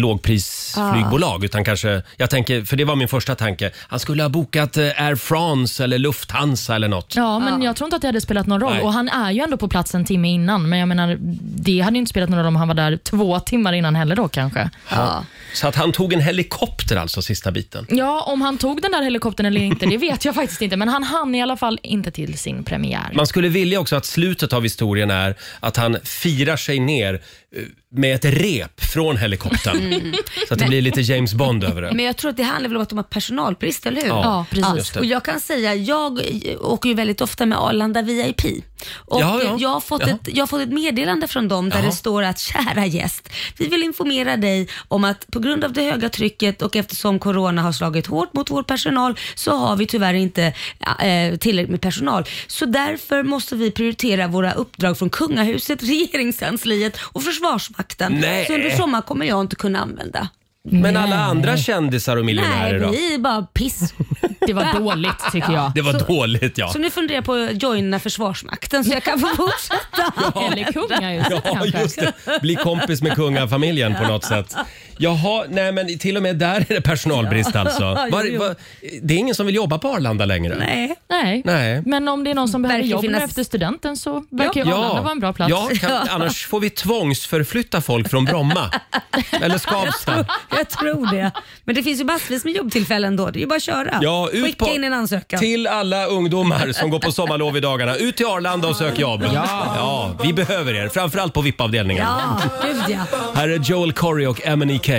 Speaker 1: lågprisflygbolag, utan kanske, jag tänker, för det var min första tanke, han skulle ha bokat eh, Air France eller Lufthansa eller något.
Speaker 2: Ja, men jag tror inte att det hade spelat någon roll.
Speaker 1: Nej.
Speaker 2: Och han är ju ändå på plats en timme innan, men jag menar, det hade ju inte spelat någon roll om han var där två timmar innan heller då kanske.
Speaker 1: Han, så att han tog en helikopter alltså, sista biten.
Speaker 2: Ja, om han tog den där helikoptern eller inte, det vet jag (laughs) faktiskt inte. Men han hann i alla fall inte till sin premiär.
Speaker 1: Man skulle vilja också att slutet av historien är att han firar sig ner eh, med ett rep från helikoptern.
Speaker 3: Mm.
Speaker 1: Så att det
Speaker 3: Men-
Speaker 1: blir lite James Bond över det.
Speaker 3: Men jag tror att det handlar väl om att de har personalbrist, eller hur?
Speaker 1: Ja, Ja, precis. just det.
Speaker 3: Och jag kan säga, jag åker ju väldigt ofta med Arlanda VIP. Och
Speaker 11: Ja, ja.
Speaker 3: Jag, har fått
Speaker 11: Ja.
Speaker 3: ett, jag har fått ett meddelande från dem där
Speaker 11: Jaha.
Speaker 3: det står att kära gäst, vi vill informera dig om att på grund av det höga trycket och eftersom corona har slagit hårt mot vår personal så har vi tyvärr inte eh, tillräckligt med personal. Så därför måste vi prioritera våra uppdrag från kungahuset, (laughs) regeringskansliet och försvarsmakten.
Speaker 1: Nej.
Speaker 3: Så under sommar kommer jag inte kunna använda.
Speaker 1: Men alla andra kändisar och miljonärer då?
Speaker 3: Nej, vi är bara (laughs) piss.
Speaker 2: Det var dåligt tycker jag.
Speaker 1: Det var dåligt ja.
Speaker 3: Så nu funderar jag på att joina Försvarsmakten så jag kan få (laughs) fortsätta.
Speaker 2: Eller (laughs) kungahuset
Speaker 1: Ja, just det. Bli kompis med kungafamiljen på något sätt. Jaha, nej men till och med där är det personalbrist
Speaker 2: Ja.
Speaker 1: alltså.
Speaker 2: Jo,
Speaker 1: Var,
Speaker 2: jo.
Speaker 1: var, det är ingen som vill jobba på Arlanda längre?
Speaker 2: Nej.
Speaker 1: Nej.
Speaker 2: Men om det är någon som behöver
Speaker 3: Verkar
Speaker 2: jobb nu
Speaker 3: finnas-
Speaker 2: efter studenten så verkar ju Arlanda vara en bra plats.
Speaker 1: Ja, kan, annars får vi tvångsförflytta folk från Bromma. Eller Skavsta.
Speaker 3: Jag tror det. Men det finns ju massvis med jobbtillfällen då. Det är ju bara att köra.
Speaker 1: Ja, ut
Speaker 3: Skicka
Speaker 1: på-
Speaker 3: in en ansökan.
Speaker 1: Till alla ungdomar som går på sommarlov i dagarna. Ut till Arlanda och sök jobb.
Speaker 3: Ja.
Speaker 1: ja vi behöver er. Framförallt på VIP-avdelningen.
Speaker 3: Ja, (laughs) gud ja.
Speaker 1: Här är Joel Corey och MNEK.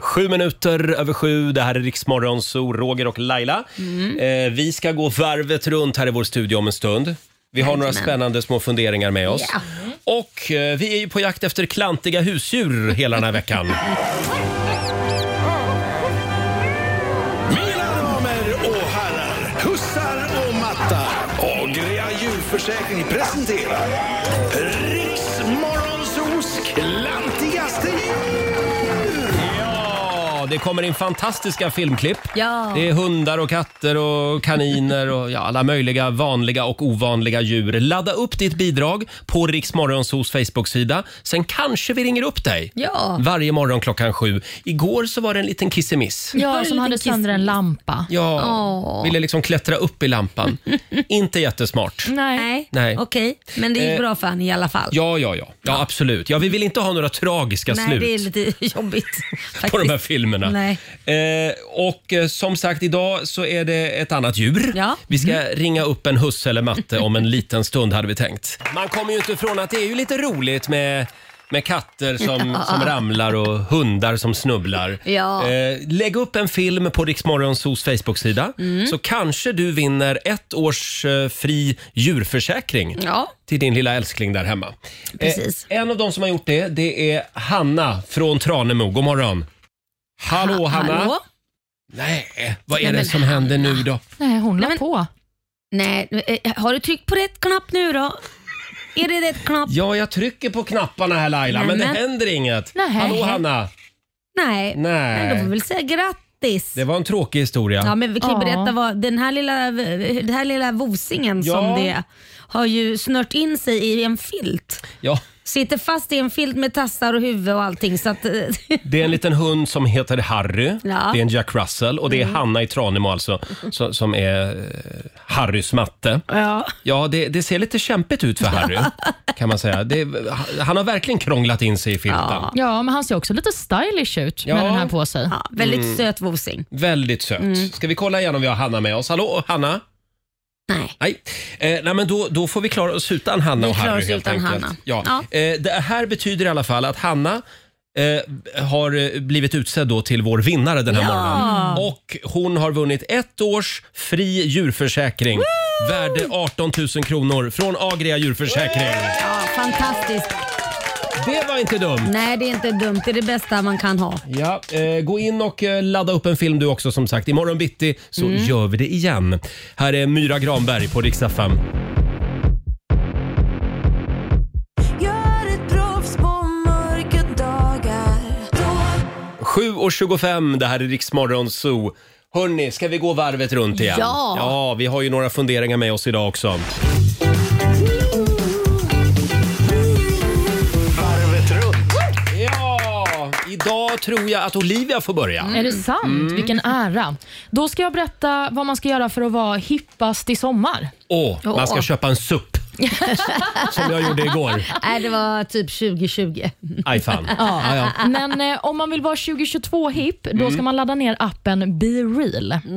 Speaker 1: Sju minuter över sju. Det här är Riksmorgon, så Roger och Laila. Eh, vi ska gå varvet runt här i vår studio om en stund. Vi har några
Speaker 4: Jajamän.
Speaker 1: spännande små funderingar med oss.
Speaker 4: Ja.
Speaker 1: Och eh, vi är ju på jakt efter klantiga husdjur hela den här veckan.
Speaker 4: Mina damer och herrar, hussar och mattar. Agria djurförsäkring presenterar Riksmorgonsos klantigaste djur.
Speaker 1: Ja, det kommer in fantastiska filmklipp.
Speaker 3: Ja.
Speaker 1: Det är hundar och katter och kaniner och ja, alla möjliga vanliga och ovanliga djur. Ladda upp ditt bidrag på Riksmorgonsos Facebook-sida. Sen kanske vi ringer upp dig
Speaker 2: Ja.
Speaker 1: varje morgon klockan sju. Igår så var det en liten kissemiss.
Speaker 2: Ja, som hade sönder en lampa.
Speaker 1: Ja, ville liksom klättra upp
Speaker 3: (laughs)
Speaker 1: i lampan. Inte jättesmart.
Speaker 2: Nej.
Speaker 1: Nej.
Speaker 3: Okej, men det
Speaker 1: Eh,
Speaker 3: gick bra för han i alla fall.
Speaker 1: Ja, ja, ja. Ja, absolut. Ja, vi vill inte ha några tragiska
Speaker 3: Nej,
Speaker 1: slut.
Speaker 3: det är lite (laughs) jobbigt.
Speaker 1: på de här
Speaker 3: faktiskt.
Speaker 1: filmerna.
Speaker 3: Nej.
Speaker 1: Eh, och eh, som sagt, idag så är det ett annat djur.
Speaker 3: Ja. Mm.
Speaker 1: Vi ska ringa upp en husse eller matte om en liten stund hade vi tänkt. Man kommer ju inte ifrån att det är ju lite roligt med Med katter som,
Speaker 3: Ja.
Speaker 1: som ramlar och hundar som snubblar.
Speaker 3: Ja.
Speaker 1: Eh, lägg upp en film på Riksmorgonsos Facebook-sida
Speaker 3: Mm.
Speaker 1: så kanske du vinner ett års eh, fri djurförsäkring
Speaker 3: Ja.
Speaker 1: till din lilla älskling där hemma. Eh,
Speaker 3: Precis.
Speaker 1: en av de som har gjort det, det är Hanna från Tranemo. God morgon. Hallå Hanna!
Speaker 3: Hallå?
Speaker 1: Nej, vad är
Speaker 3: Nej,
Speaker 1: det
Speaker 3: men
Speaker 1: som händer nu då?
Speaker 2: Nej, hon la på.
Speaker 3: Nej, eh, har du tryckt på rätt knapp nu då? Är det rätt knapp?
Speaker 1: Ja, jag trycker på knapparna här Laila, men,
Speaker 3: Nämen.
Speaker 1: det händer inget.
Speaker 3: Nej.
Speaker 1: Hallå Hanna!
Speaker 3: Nej.
Speaker 1: Nej.
Speaker 3: Men då får vi väl säga grattis.
Speaker 1: Det var en tråkig historia.
Speaker 3: Ja, men vi kan ju
Speaker 1: Ja.
Speaker 3: berätta vad den här lilla, den här lilla vosingen
Speaker 1: Ja.
Speaker 3: som det är, har ju snört in sig i en filt.
Speaker 1: Ja,
Speaker 3: Sitter fast i en filt med tassar och huvud och allting. Så att, (laughs)
Speaker 1: det är en liten hund som heter Harry.
Speaker 3: Ja. Mm.
Speaker 1: Det är en Jack Russell och det är Hanna i Tranemo alltså som, som är eh, Harrys matte.
Speaker 3: ja.
Speaker 1: Ja, det, det ser lite kämpigt ut
Speaker 3: (laughs)
Speaker 1: för Harry kan man säga. Det, han har verkligen krånglat in sig i filten.
Speaker 2: Ja, men han ser också lite stylish ut
Speaker 1: Ja.
Speaker 2: med den här på sig.
Speaker 1: väldigt Mm. söt
Speaker 3: vosing.
Speaker 1: Väldigt söt.
Speaker 2: Mm.
Speaker 1: Ska vi kolla igen om vi har Hanna med oss? Hallå, Hanna?
Speaker 3: Nej.
Speaker 1: Nej, eh, nej men då, då får vi klara oss utan Hanna
Speaker 3: Vi
Speaker 1: och Harry.
Speaker 3: klarar oss
Speaker 1: helt
Speaker 3: utan
Speaker 1: enkelt.
Speaker 3: Hanna.
Speaker 1: Ja. Eh, det här betyder i alla fall att Hanna eh, har eh, blivit utsedd då till vår vinnare den här
Speaker 4: Ja.
Speaker 1: morgonen. Och hon har vunnit ett års fri djurförsäkring. Värde 18 000 kronor från Agria djurförsäkring.
Speaker 3: ja, fantastiskt.
Speaker 1: Det var inte dumt.
Speaker 3: Nej, det är inte dumt. Det är det bästa man kan ha.
Speaker 1: Ja, eh, gå in och eh, ladda upp en film du också som sagt. Imorgon bitti så
Speaker 3: Mm.
Speaker 1: gör vi det igen. Här är Myra Granberg på Rix FM.
Speaker 8: Gör ett proffs på mörka dagar. Då
Speaker 1: 7.25, det här är Rix Morgon Zoo. Hörni, ska vi gå varvet runt igen?
Speaker 8: Ja.
Speaker 1: ja! Vi har ju några funderingar med oss idag också.
Speaker 4: Varvet runt.
Speaker 1: Ja! Idag tror jag att Olivia får börja.
Speaker 2: Är det sant?
Speaker 1: Mm.
Speaker 2: Vilken ära. Då ska jag berätta vad man ska göra för att vara hippast i sommar.
Speaker 1: Åh, man ska
Speaker 2: Åh.
Speaker 1: köpa en SUP som jag gjorde igår.
Speaker 3: Nej, det var typ 2020.
Speaker 1: Aj fan. Ja, ja.
Speaker 2: (laughs) Men eh, om man vill vara 2022-hipp, då
Speaker 1: Mm.
Speaker 2: ska man ladda ner appen Be Real. För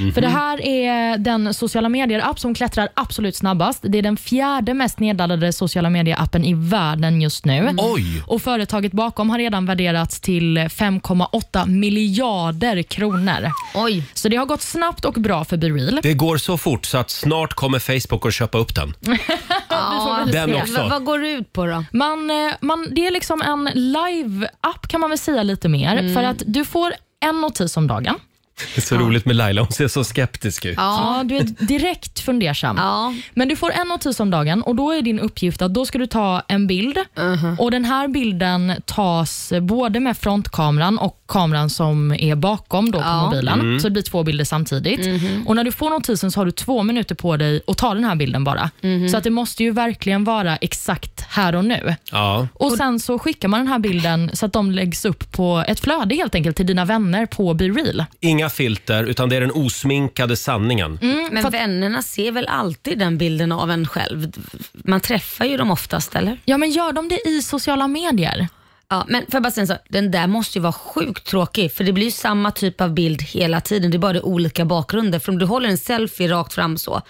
Speaker 1: Mhm.
Speaker 2: det här är den sociala medier-app som klättrar absolut snabbast. Det är den fjärde mest nedladdade sociala medier-appen i världen just nu.
Speaker 8: Mm. Oj.
Speaker 2: Och Företaget bakom har redan värderats till 5,8 miljarder kronor.
Speaker 3: Oj.
Speaker 2: Så det har gått snabbt och bra för Be Real.
Speaker 1: Det går så fort så att snart kommer Facebook att köpa upp den.
Speaker 2: Ja,
Speaker 1: Den se. också.
Speaker 3: Vad, vad går det ut på då?
Speaker 2: Man, eh, man, det är liksom en live-app kan man väl säga lite mer.
Speaker 3: Mm.
Speaker 2: För att du får en notis om dagen.
Speaker 1: Det är så roligt med Laila, hon ser så skeptisk ut.
Speaker 2: Ja. du är direkt fundersam. Men du får en notis om dagen och då är din uppgift att då ska du ta en bild och den här bilden tas både med frontkameran och kameran som är bakom då på
Speaker 3: Ja.
Speaker 2: mobilen.
Speaker 3: Mm.
Speaker 2: Så det blir två bilder samtidigt.
Speaker 3: Mhm.
Speaker 2: Och När du får notisen så har du två minuter på dig att ta den här bilden bara.
Speaker 3: Mhm.
Speaker 2: Så att det måste ju verkligen vara exakt här och nu.
Speaker 1: Ja.
Speaker 2: Och Sen så skickar man den här bilden så att de läggs upp på ett flöde helt enkelt till dina vänner på Be Real.
Speaker 1: Inga filter, utan det är den osminkade sanningen.
Speaker 3: Men vännerna ser väl alltid den bilden av en själv? Man träffar ju dem oftast, eller?
Speaker 2: Ja, men gör de det i sociala medier?
Speaker 3: Ja, men för bara säga en sak. Den där måste ju vara sjukt tråkig, för det blir ju samma typ av bild hela tiden. Det är bara det olika bakgrunder. För om du håller en selfie rakt fram så,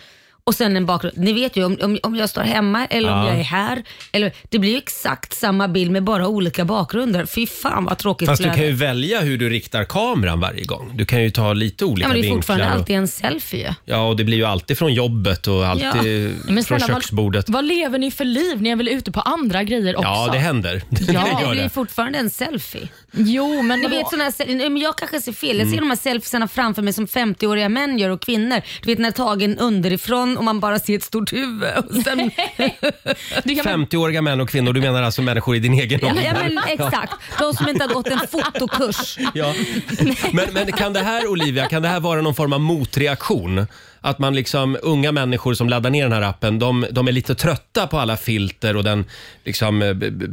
Speaker 3: och sen en bakgrund. Ni vet ju om, om, om jag står hemma eller om
Speaker 1: Ja.
Speaker 3: jag är här. Eller, det blir ju exakt samma bild med bara olika bakgrunder. Fy fan vad tråkigt
Speaker 1: Fast du
Speaker 3: flöde.
Speaker 1: kan ju välja hur du riktar kameran varje gång. Du kan ju ta lite olika
Speaker 3: Ja, men det är fortfarande
Speaker 1: vinklar. Och,
Speaker 3: alltid en selfie ju.
Speaker 1: ja, och det blir ju alltid från jobbet och alltid
Speaker 2: Ja. Men
Speaker 1: från
Speaker 2: snälla, vad-
Speaker 1: köksbordet.
Speaker 2: Vad lever ni för liv? Ni är väl ute på andra grejer också?
Speaker 1: Ja, det händer. (laughs)
Speaker 3: Ja,
Speaker 1: det
Speaker 3: det
Speaker 1: gör
Speaker 3: blir
Speaker 1: det.
Speaker 3: fortfarande en selfie.
Speaker 2: Jo, men
Speaker 3: ni vet såna här, sel- nej, men jag kanske ser fel. Jag ser
Speaker 1: Mm.
Speaker 3: de här selfiesarna framför mig som 50-åriga män gör och kvinnor. Du vet när tagen underifrån och man bara ser ett stort huvud. Och sen,
Speaker 2: du
Speaker 1: 50-åriga män och kvinnor, du menar alltså människor i din egen
Speaker 3: ja,
Speaker 1: ålder?
Speaker 3: ja,
Speaker 1: (laughs)
Speaker 3: men exakt. De som inte har gått en fotokurs.
Speaker 1: Ja. Men, men kan det här, Olivia, kan det här vara någon form av motreaktion? Att man liksom, unga människor som laddar ner den här appen, de, de är lite trötta på alla filter och den liksom, eh, b- b-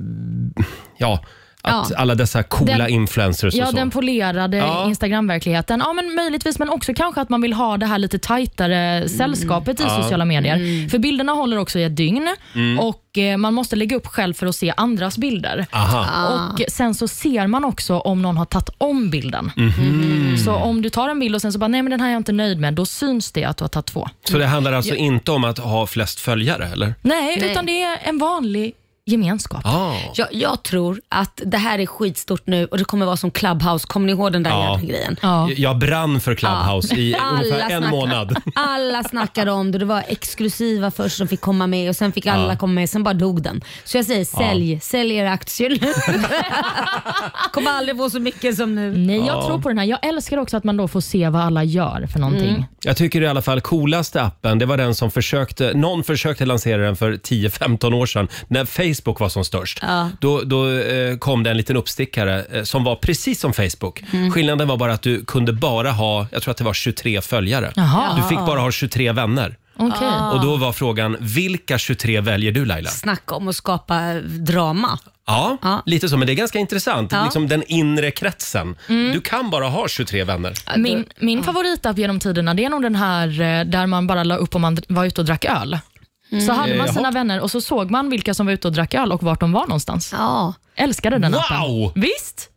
Speaker 1: ja, att
Speaker 2: Ja.
Speaker 1: alla dessa coola
Speaker 2: Den-
Speaker 1: influencers och
Speaker 2: Ja,
Speaker 1: så.
Speaker 2: den polerade
Speaker 1: Ja.
Speaker 2: Instagram-verkligheten. Ja, men möjligtvis, men också kanske att man vill ha det här lite tajtare sällskapet i
Speaker 1: Ja.
Speaker 2: sociala medier.
Speaker 1: Mm.
Speaker 2: För bilderna håller också i ett dygn
Speaker 1: Mm.
Speaker 2: och eh, man måste lägga upp själv för att se andras bilder.
Speaker 1: Aha.
Speaker 2: Och Sen så ser man också om någon har tagit om bilden.
Speaker 3: Mm.
Speaker 1: Mhm.
Speaker 2: Så om du tar en bild och sen så bara, nej men den här är jag inte nöjd med, då syns det att du har tagit två.
Speaker 1: Så det handlar alltså
Speaker 2: Ja.
Speaker 1: inte om att ha flest följare, eller?
Speaker 2: Nej, utan det är en vanlig gemenskap.
Speaker 3: Jag, jag tror att det här är skitstort nu och det kommer vara som Clubhouse. Kommer ni ihåg den där jävla grejen?
Speaker 1: Jag- Jag brann för Clubhouse i
Speaker 3: Alla
Speaker 1: ungefär en
Speaker 3: snackar-
Speaker 1: månad.
Speaker 3: (laughs) Alla snackade om det. Det var exklusiva först som fick komma med och sen fick alla
Speaker 1: Ja.
Speaker 3: komma med. Sen bara dog den. Så jag säger
Speaker 1: Ja.
Speaker 3: sälj. Sälj era aktier (laughs) Kommer aldrig få så mycket som nu.
Speaker 2: Nej, jag
Speaker 1: Ja.
Speaker 2: tror på den här. Jag älskar också att man då får se vad alla gör för någonting.
Speaker 1: Jag tycker i alla fall coolaste appen, det var den som försökte, någon försökte lansera den för 10-15 år sedan när Facebook var som störst.
Speaker 3: Ja.
Speaker 1: Då, då eh, kom det en liten uppstickare eh, som var precis som Facebook.
Speaker 3: Mm.
Speaker 1: Skillnaden var bara att du kunde bara ha, jag tror att det var 23 följare.
Speaker 3: Jaha.
Speaker 1: Du fick bara ha 23 vänner.
Speaker 3: Okej. Ah.
Speaker 1: Och då var frågan, vilka 23 väljer du Laila?
Speaker 3: Snacka om att skapa drama.
Speaker 1: Ja, lite så. Men det är ganska intressant.
Speaker 2: Ja.
Speaker 1: Liksom den inre kretsen.
Speaker 2: Mm.
Speaker 1: Du kan bara ha 23 vänner.
Speaker 2: Min, min favoritapp genom tiderna det är nog den här eh, där man bara la upp om man dr- var ute och drack öl. Så
Speaker 1: Mm.
Speaker 2: hade man
Speaker 1: Eh,
Speaker 2: sina
Speaker 1: jaha.
Speaker 2: vänner och så såg man vilka som var ute och drack öl och vart de var någonstans.
Speaker 3: Ja.
Speaker 2: Älskade den
Speaker 1: Wow!
Speaker 2: appen. Visst?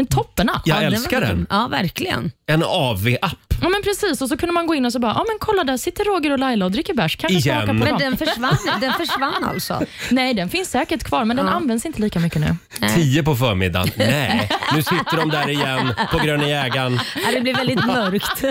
Speaker 2: En toppenapp.
Speaker 1: Jag Ja, den var älskar grym. den.
Speaker 3: Ja, verkligen.
Speaker 1: En AV-app.
Speaker 2: Ja men precis och så kunde man gå in och så bara, ja men kolla där sitter Roger och Laila och dricker bärs. Kanske
Speaker 1: Igen.
Speaker 2: smaka på
Speaker 1: Men
Speaker 2: dem.
Speaker 3: den (laughs) försvann- den försvann alltså?
Speaker 2: Nej den finns säkert kvar men den används inte lika mycket
Speaker 1: (laughs)
Speaker 2: nu. (laughs)
Speaker 1: 10
Speaker 3: (laughs)
Speaker 1: på förmiddagen. Nej, nu sitter de där igen på Gröna Jägaren.
Speaker 3: Ja, det blir väldigt mörkt.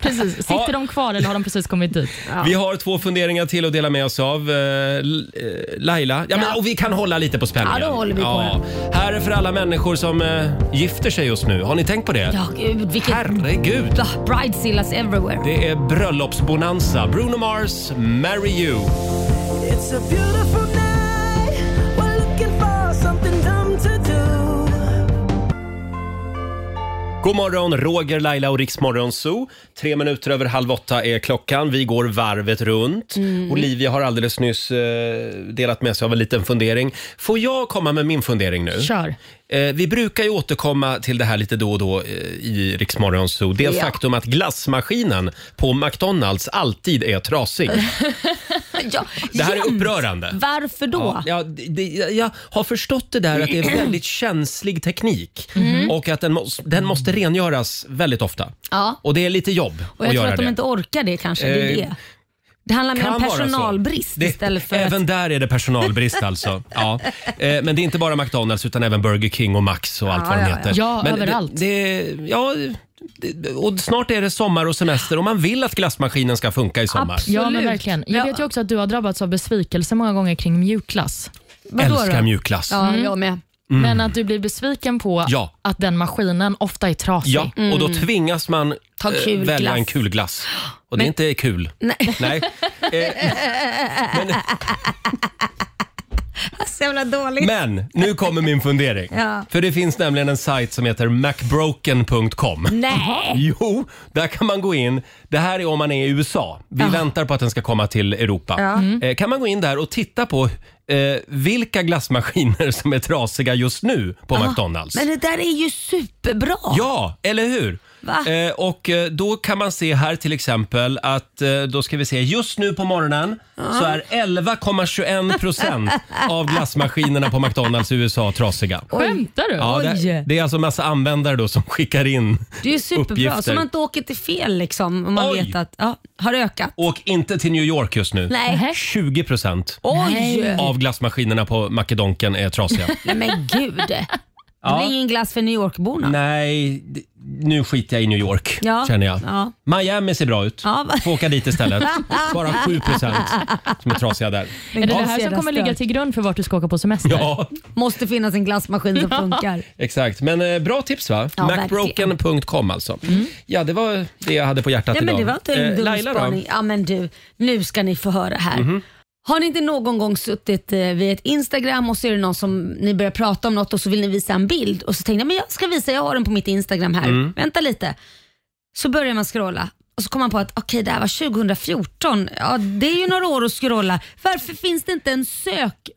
Speaker 2: precis. Sitter de kvar eller har de precis kommit dit?
Speaker 1: Vi har två funderingar till att dela med oss av. Eh, L- eh, Laila, ja, men, och vi kan hålla lite på spänningen.
Speaker 3: Ja, då håller vi på
Speaker 1: Här är för alla människor som eh, gifter sig just nu. Har ni tänkt på det?
Speaker 3: Ja, gud, vilket...
Speaker 1: Herregud.
Speaker 3: Ah, Bridezillas everywhere.
Speaker 1: Det är bröllopsbonanza. Bruno Mars, Marry You.
Speaker 8: It's a beautiful night. We're looking for something dumb to do.
Speaker 1: God morgon, Roger, Laila och Riksmorgon Zoo. Tre minuter över halv åtta är klockan. Vi går varvet runt.
Speaker 4: Mm.
Speaker 1: Olivia har alldeles nyss eh, delat med sig av en liten fundering. Får jag komma med min fundering nu?
Speaker 2: Kör.
Speaker 1: Eh, vi brukar ju återkomma till det här lite då och då eh, i Riksmorgon Zoo. Det
Speaker 4: Ja.
Speaker 1: faktum att glassmaskinen på McDonalds alltid är trasig.
Speaker 3: ja,
Speaker 1: Det här är
Speaker 3: jämt.
Speaker 1: upprörande.
Speaker 3: Varför då?
Speaker 1: Ja, ja, det, det, jag- jag har förstått det där att det är väldigt känslig teknik
Speaker 3: Mhm.
Speaker 1: och att den, mås- den måste rengöras väldigt ofta.
Speaker 3: Ja.
Speaker 1: Och det är lite jobb
Speaker 3: Och
Speaker 1: att
Speaker 3: jag tror
Speaker 1: göra
Speaker 3: att de
Speaker 1: det.
Speaker 3: inte orkar det kanske. Det är
Speaker 1: Eh,
Speaker 3: det. Det handlar mer om
Speaker 1: Kan vara så.
Speaker 3: personalbrist
Speaker 1: Det-
Speaker 3: istället för
Speaker 1: Även
Speaker 3: att...
Speaker 1: där är det
Speaker 3: (laughs)
Speaker 1: personalbrist alltså. Ja. Eh, Men det är inte bara McDonalds utan även Burger King och Max och allt vad de heter.
Speaker 2: Ja,
Speaker 1: Men det-
Speaker 2: överallt.
Speaker 1: Det, ja, det, och snart är det sommar och semester och man vill att glassmaskinen ska funka i sommar.
Speaker 2: Ja men verkligen. Jag vet ju också att du har drabbats av besvikelse många gånger kring mjukglass.
Speaker 1: Älskar mjukglass.
Speaker 2: Ja,
Speaker 1: Mm.
Speaker 2: jag
Speaker 3: med.
Speaker 1: Mm.
Speaker 2: Men att du blir besviken på
Speaker 1: Ja.
Speaker 2: att den maskinen ofta är trasig.
Speaker 1: Ja, och
Speaker 3: Mm.
Speaker 1: då tvingas man
Speaker 2: Ta
Speaker 1: eh,
Speaker 2: kul
Speaker 1: välja
Speaker 2: glass.
Speaker 1: en kulglass. Och det
Speaker 2: Men-
Speaker 1: inte är kul.
Speaker 3: Nej.
Speaker 1: Nej.
Speaker 3: Så jävla dåligt.
Speaker 1: Men nu kommer min fundering.
Speaker 3: Ja.
Speaker 1: För det finns nämligen en sajt som heter macbroken.com.
Speaker 3: Nej.
Speaker 1: Jo, där kan man gå in. Det här är om man är i USA. Vi väntar på att den ska komma till Europa.
Speaker 4: Ja. Mm.
Speaker 1: Eh, Kan man gå in där och titta på eh, vilka glassmaskiner som är trasiga just nu på
Speaker 3: Ja,
Speaker 1: McDonalds?
Speaker 3: Men det där är ju superbra.
Speaker 1: Ja, eller hur?
Speaker 3: Va?
Speaker 1: Eh, och eh, då kan man se här till exempel att eh, då ska vi se just nu på morgonen så är 11,21 procent av glassmaskinerna på McDonalds i USA trasiga.
Speaker 2: Skämtar du?
Speaker 1: Ja, det, det är alltså massa användare då som skickar in
Speaker 3: Det är ju superbra, så
Speaker 1: uppgifter.
Speaker 3: man inte åker till fel liksom. Om man vet att, ja, har ökat.
Speaker 1: Åk inte till New York just nu.
Speaker 3: Nej.
Speaker 1: 20 procent
Speaker 3: Oj!
Speaker 1: av glassmaskinerna på Macedonken
Speaker 3: (laughs)
Speaker 1: är trasiga.
Speaker 3: Nej men gud. Det
Speaker 1: (laughs) Ja.
Speaker 3: blir ingen glass för New York-borna.
Speaker 1: Nej, d- nu skiter jag i New York
Speaker 3: Ja.
Speaker 1: känner jag.
Speaker 3: Ja.
Speaker 1: Miami ser bra ut.
Speaker 3: Ja, va-
Speaker 1: Får åka
Speaker 3: (laughs)
Speaker 1: dit istället. Bara 7 procent som är trasiga där.
Speaker 2: Är det
Speaker 1: Ja,
Speaker 2: det här som kommer ligga till grund för vart du ska åka på semester?
Speaker 1: Ja.
Speaker 3: Måste finnas en glassmaskin som funkar.
Speaker 1: Exakt, men eh, bra tips va?
Speaker 3: Ja, Mm.
Speaker 1: Macbroken.com alltså. Ja, det var det jag hade på hjärtat
Speaker 3: Nej, men
Speaker 1: idag.
Speaker 3: det var inte en
Speaker 1: Eh,
Speaker 3: dum
Speaker 1: Laila då?
Speaker 3: spaning. Ja, men du, nu ska ni få höra här.
Speaker 1: Mhm.
Speaker 3: Har ni inte någon gång suttit eh, vid ett Instagram och så är det någon som ni börjar prata om något och så vill ni visa en bild och så tänkte jag men jag ska visa, jag har den på mitt Instagram här.
Speaker 8: Mm.
Speaker 3: Vänta lite. Så börjar man scrolla och så kommer man på att okej det här var 2014. Ja, det är ju några år att scrolla. Varför finns det inte en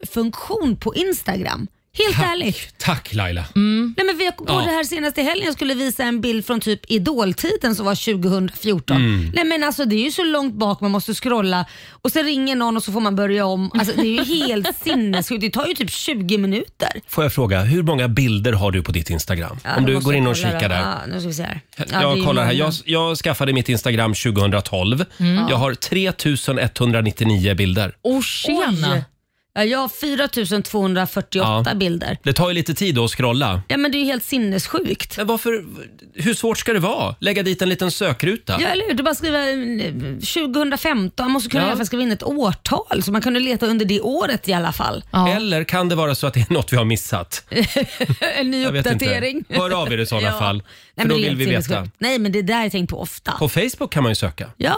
Speaker 3: sökfunktion på Instagram? Helt ärligt.
Speaker 1: Tack Laila.
Speaker 3: Nej, men vi jag kom på
Speaker 1: Ja.
Speaker 3: det här senaste helgen, jag skulle visa en bild från typ idoltiden som var 2014.
Speaker 1: Mm.
Speaker 3: Nej men alltså det är ju så långt bak man måste scrolla och sen ringer någon och så får man börja om. Alltså det är ju
Speaker 1: (laughs)
Speaker 3: helt sinnessjukt, det tar ju typ 20 minuter.
Speaker 1: Får jag fråga, hur många bilder har du på ditt Instagram?
Speaker 3: Ja,
Speaker 1: Om
Speaker 3: då
Speaker 1: du
Speaker 3: måste
Speaker 1: går
Speaker 3: jag
Speaker 1: in och
Speaker 3: kolla
Speaker 1: kikar
Speaker 3: då.
Speaker 1: där.
Speaker 3: Ja, nu ska vi se här. Ja, det är
Speaker 1: jag
Speaker 3: ju
Speaker 1: kollar här.
Speaker 3: många.
Speaker 1: Jag, jag skaffade mitt Instagram 2012.
Speaker 3: Mm.
Speaker 1: Jag har 3199 bilder.
Speaker 2: Oh, tjena.
Speaker 3: Ja, jag har 4248 bilder.
Speaker 1: Det tar ju lite tid att scrolla.
Speaker 3: Ja, men det är ju helt sinnessjukt.
Speaker 1: Men varför? Hur svårt ska det vara? Lägga dit en liten sökruta?
Speaker 3: Ja, eller hur? Du bara skriva eh, 2015. Man måste kunna
Speaker 1: Ja.
Speaker 3: i alla fall skriva in ett årtal, så man kunde leta under det året i alla fall.
Speaker 1: Eller kan det vara så att det är (laughs) något vi har missat?
Speaker 3: en ny
Speaker 1: Jag vet inte.
Speaker 3: uppdatering.
Speaker 1: Hör av er
Speaker 3: (laughs)
Speaker 1: i sådana fall, för
Speaker 3: men
Speaker 1: då
Speaker 3: det är
Speaker 1: vill vi
Speaker 3: helt
Speaker 1: veta.
Speaker 3: sinnessjukt. Nej, men det där har jag tänkt på ofta.
Speaker 1: På Facebook kan man ju söka.
Speaker 3: Ja.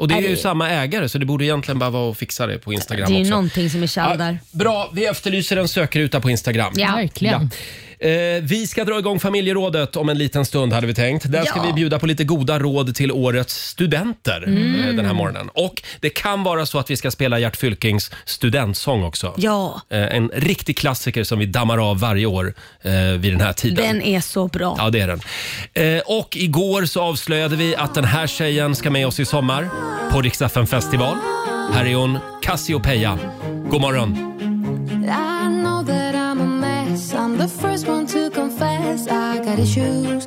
Speaker 1: Och det är
Speaker 3: Nej,
Speaker 1: ju samma ägare, så det borde egentligen bara vara att fixa det på
Speaker 3: Det
Speaker 1: Instagram
Speaker 3: är ju
Speaker 1: också.
Speaker 3: någonting som är tjall där.
Speaker 1: Bra, vi efterlyser en sökruta på Instagram.
Speaker 3: Ja. Verkligen.
Speaker 1: Ja. Eh, vi ska dra igång familjerådet om en liten stund hade vi tänkt. Där ska
Speaker 3: Ja.
Speaker 1: vi bjuda på lite goda råd till årets studenter
Speaker 3: Mm.
Speaker 1: eh, den här morgonen. Och det kan vara så att vi ska spela Gert Fylkings studentsång också.
Speaker 3: Ja,
Speaker 1: Eh, en riktig klassiker som vi dammar av varje år eh, vid den här tiden.
Speaker 3: den är så bra.
Speaker 1: Ja, det är den. Eh, och igår så avslöjade vi att den här tjejen ska med oss i sommar på Riksdagen festival. Här är hon, Cassiopeia. God morgon!
Speaker 8: I know that I'm a mess. I'm the first one to confess. I got issues.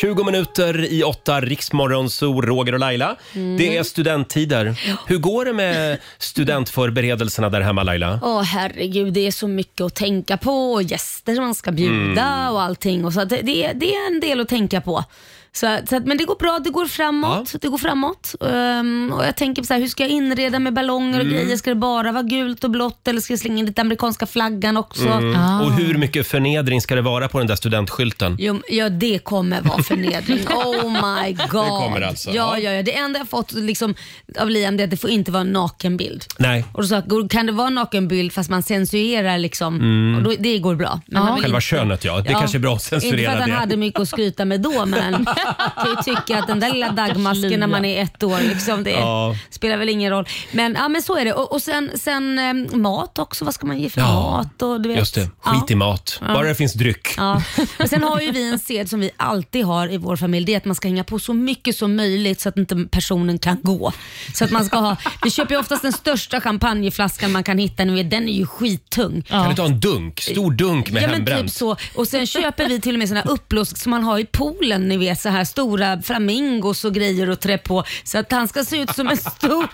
Speaker 1: 20 minuter i åtta, Riksmorgon, så Roger och Laila. Det är studenttider. Hur går det med studentförberedelserna där hemma, Laila?
Speaker 3: Åh herregud, det är så mycket att tänka på och gäster man ska bjuda
Speaker 1: Mm.
Speaker 3: och allting. Och så att det, det, är- det är en del att tänka på. Så, att- så att, men det går bra, det går framåt. Det går framåt. Ehm, och jag tänker på så här, hur ska jag inreda med ballonger och
Speaker 1: Mm.
Speaker 3: grejer? Ska det bara vara gult och blått eller ska jag slänga in lite amerikanska flaggan också?
Speaker 1: Mm. Och hur mycket förnedring ska det vara på den där studentskylten?
Speaker 3: Jo, ja, det kommer vara
Speaker 1: (laughs)
Speaker 3: förnedring. Oh my god.
Speaker 1: Det kommer alltså,
Speaker 3: Ja, ja, ja. Det enda jag fått liksom, av Liam det är att det får inte vara en nakenbild.
Speaker 1: Nej.
Speaker 3: Och då sa jag, kan det vara en nakenbild fast man censurerar liksom?
Speaker 1: Mm.
Speaker 3: Och då, det går bra. Men han vill
Speaker 1: Själva
Speaker 3: inte-
Speaker 1: könet, ja. Det
Speaker 3: Ja.
Speaker 1: kanske är bra att
Speaker 3: Inte för
Speaker 1: censurera
Speaker 3: att han
Speaker 1: det.
Speaker 3: hade mycket att skryta med då, men
Speaker 1: (laughs)
Speaker 3: jag kan ju tycka att den där lilla dagmasken när man är ett år, liksom, det
Speaker 1: Ja.
Speaker 3: spelar väl ingen roll. Men, ja, men så är det. Och, och sen, sen eh, mat också, vad ska man ge för
Speaker 1: Ja,
Speaker 3: mat? Och, du vet.
Speaker 1: Just det, skit i mat.
Speaker 3: Ja.
Speaker 1: Bara det finns dryck.
Speaker 3: Ja. Men sen har ju vi en sed som vi alltid har i vår familj. Det är att man ska hänga på så mycket som möjligt så att inte personen kan gå. Så att man ska ha, vi köper ju oftast den största champagneflaskan man kan hitta. Ni vet, Den är ju skittung.
Speaker 1: Kan du ta en dunk? Stor dunk med
Speaker 3: Ja men
Speaker 1: hembränt?
Speaker 3: typ så. Och sen köper vi till och med såna här uppblås som man har i poolen, ni vet så här stora flamingos och grejer och trä på. Så att han ska se ut som en
Speaker 1: (laughs)
Speaker 3: stor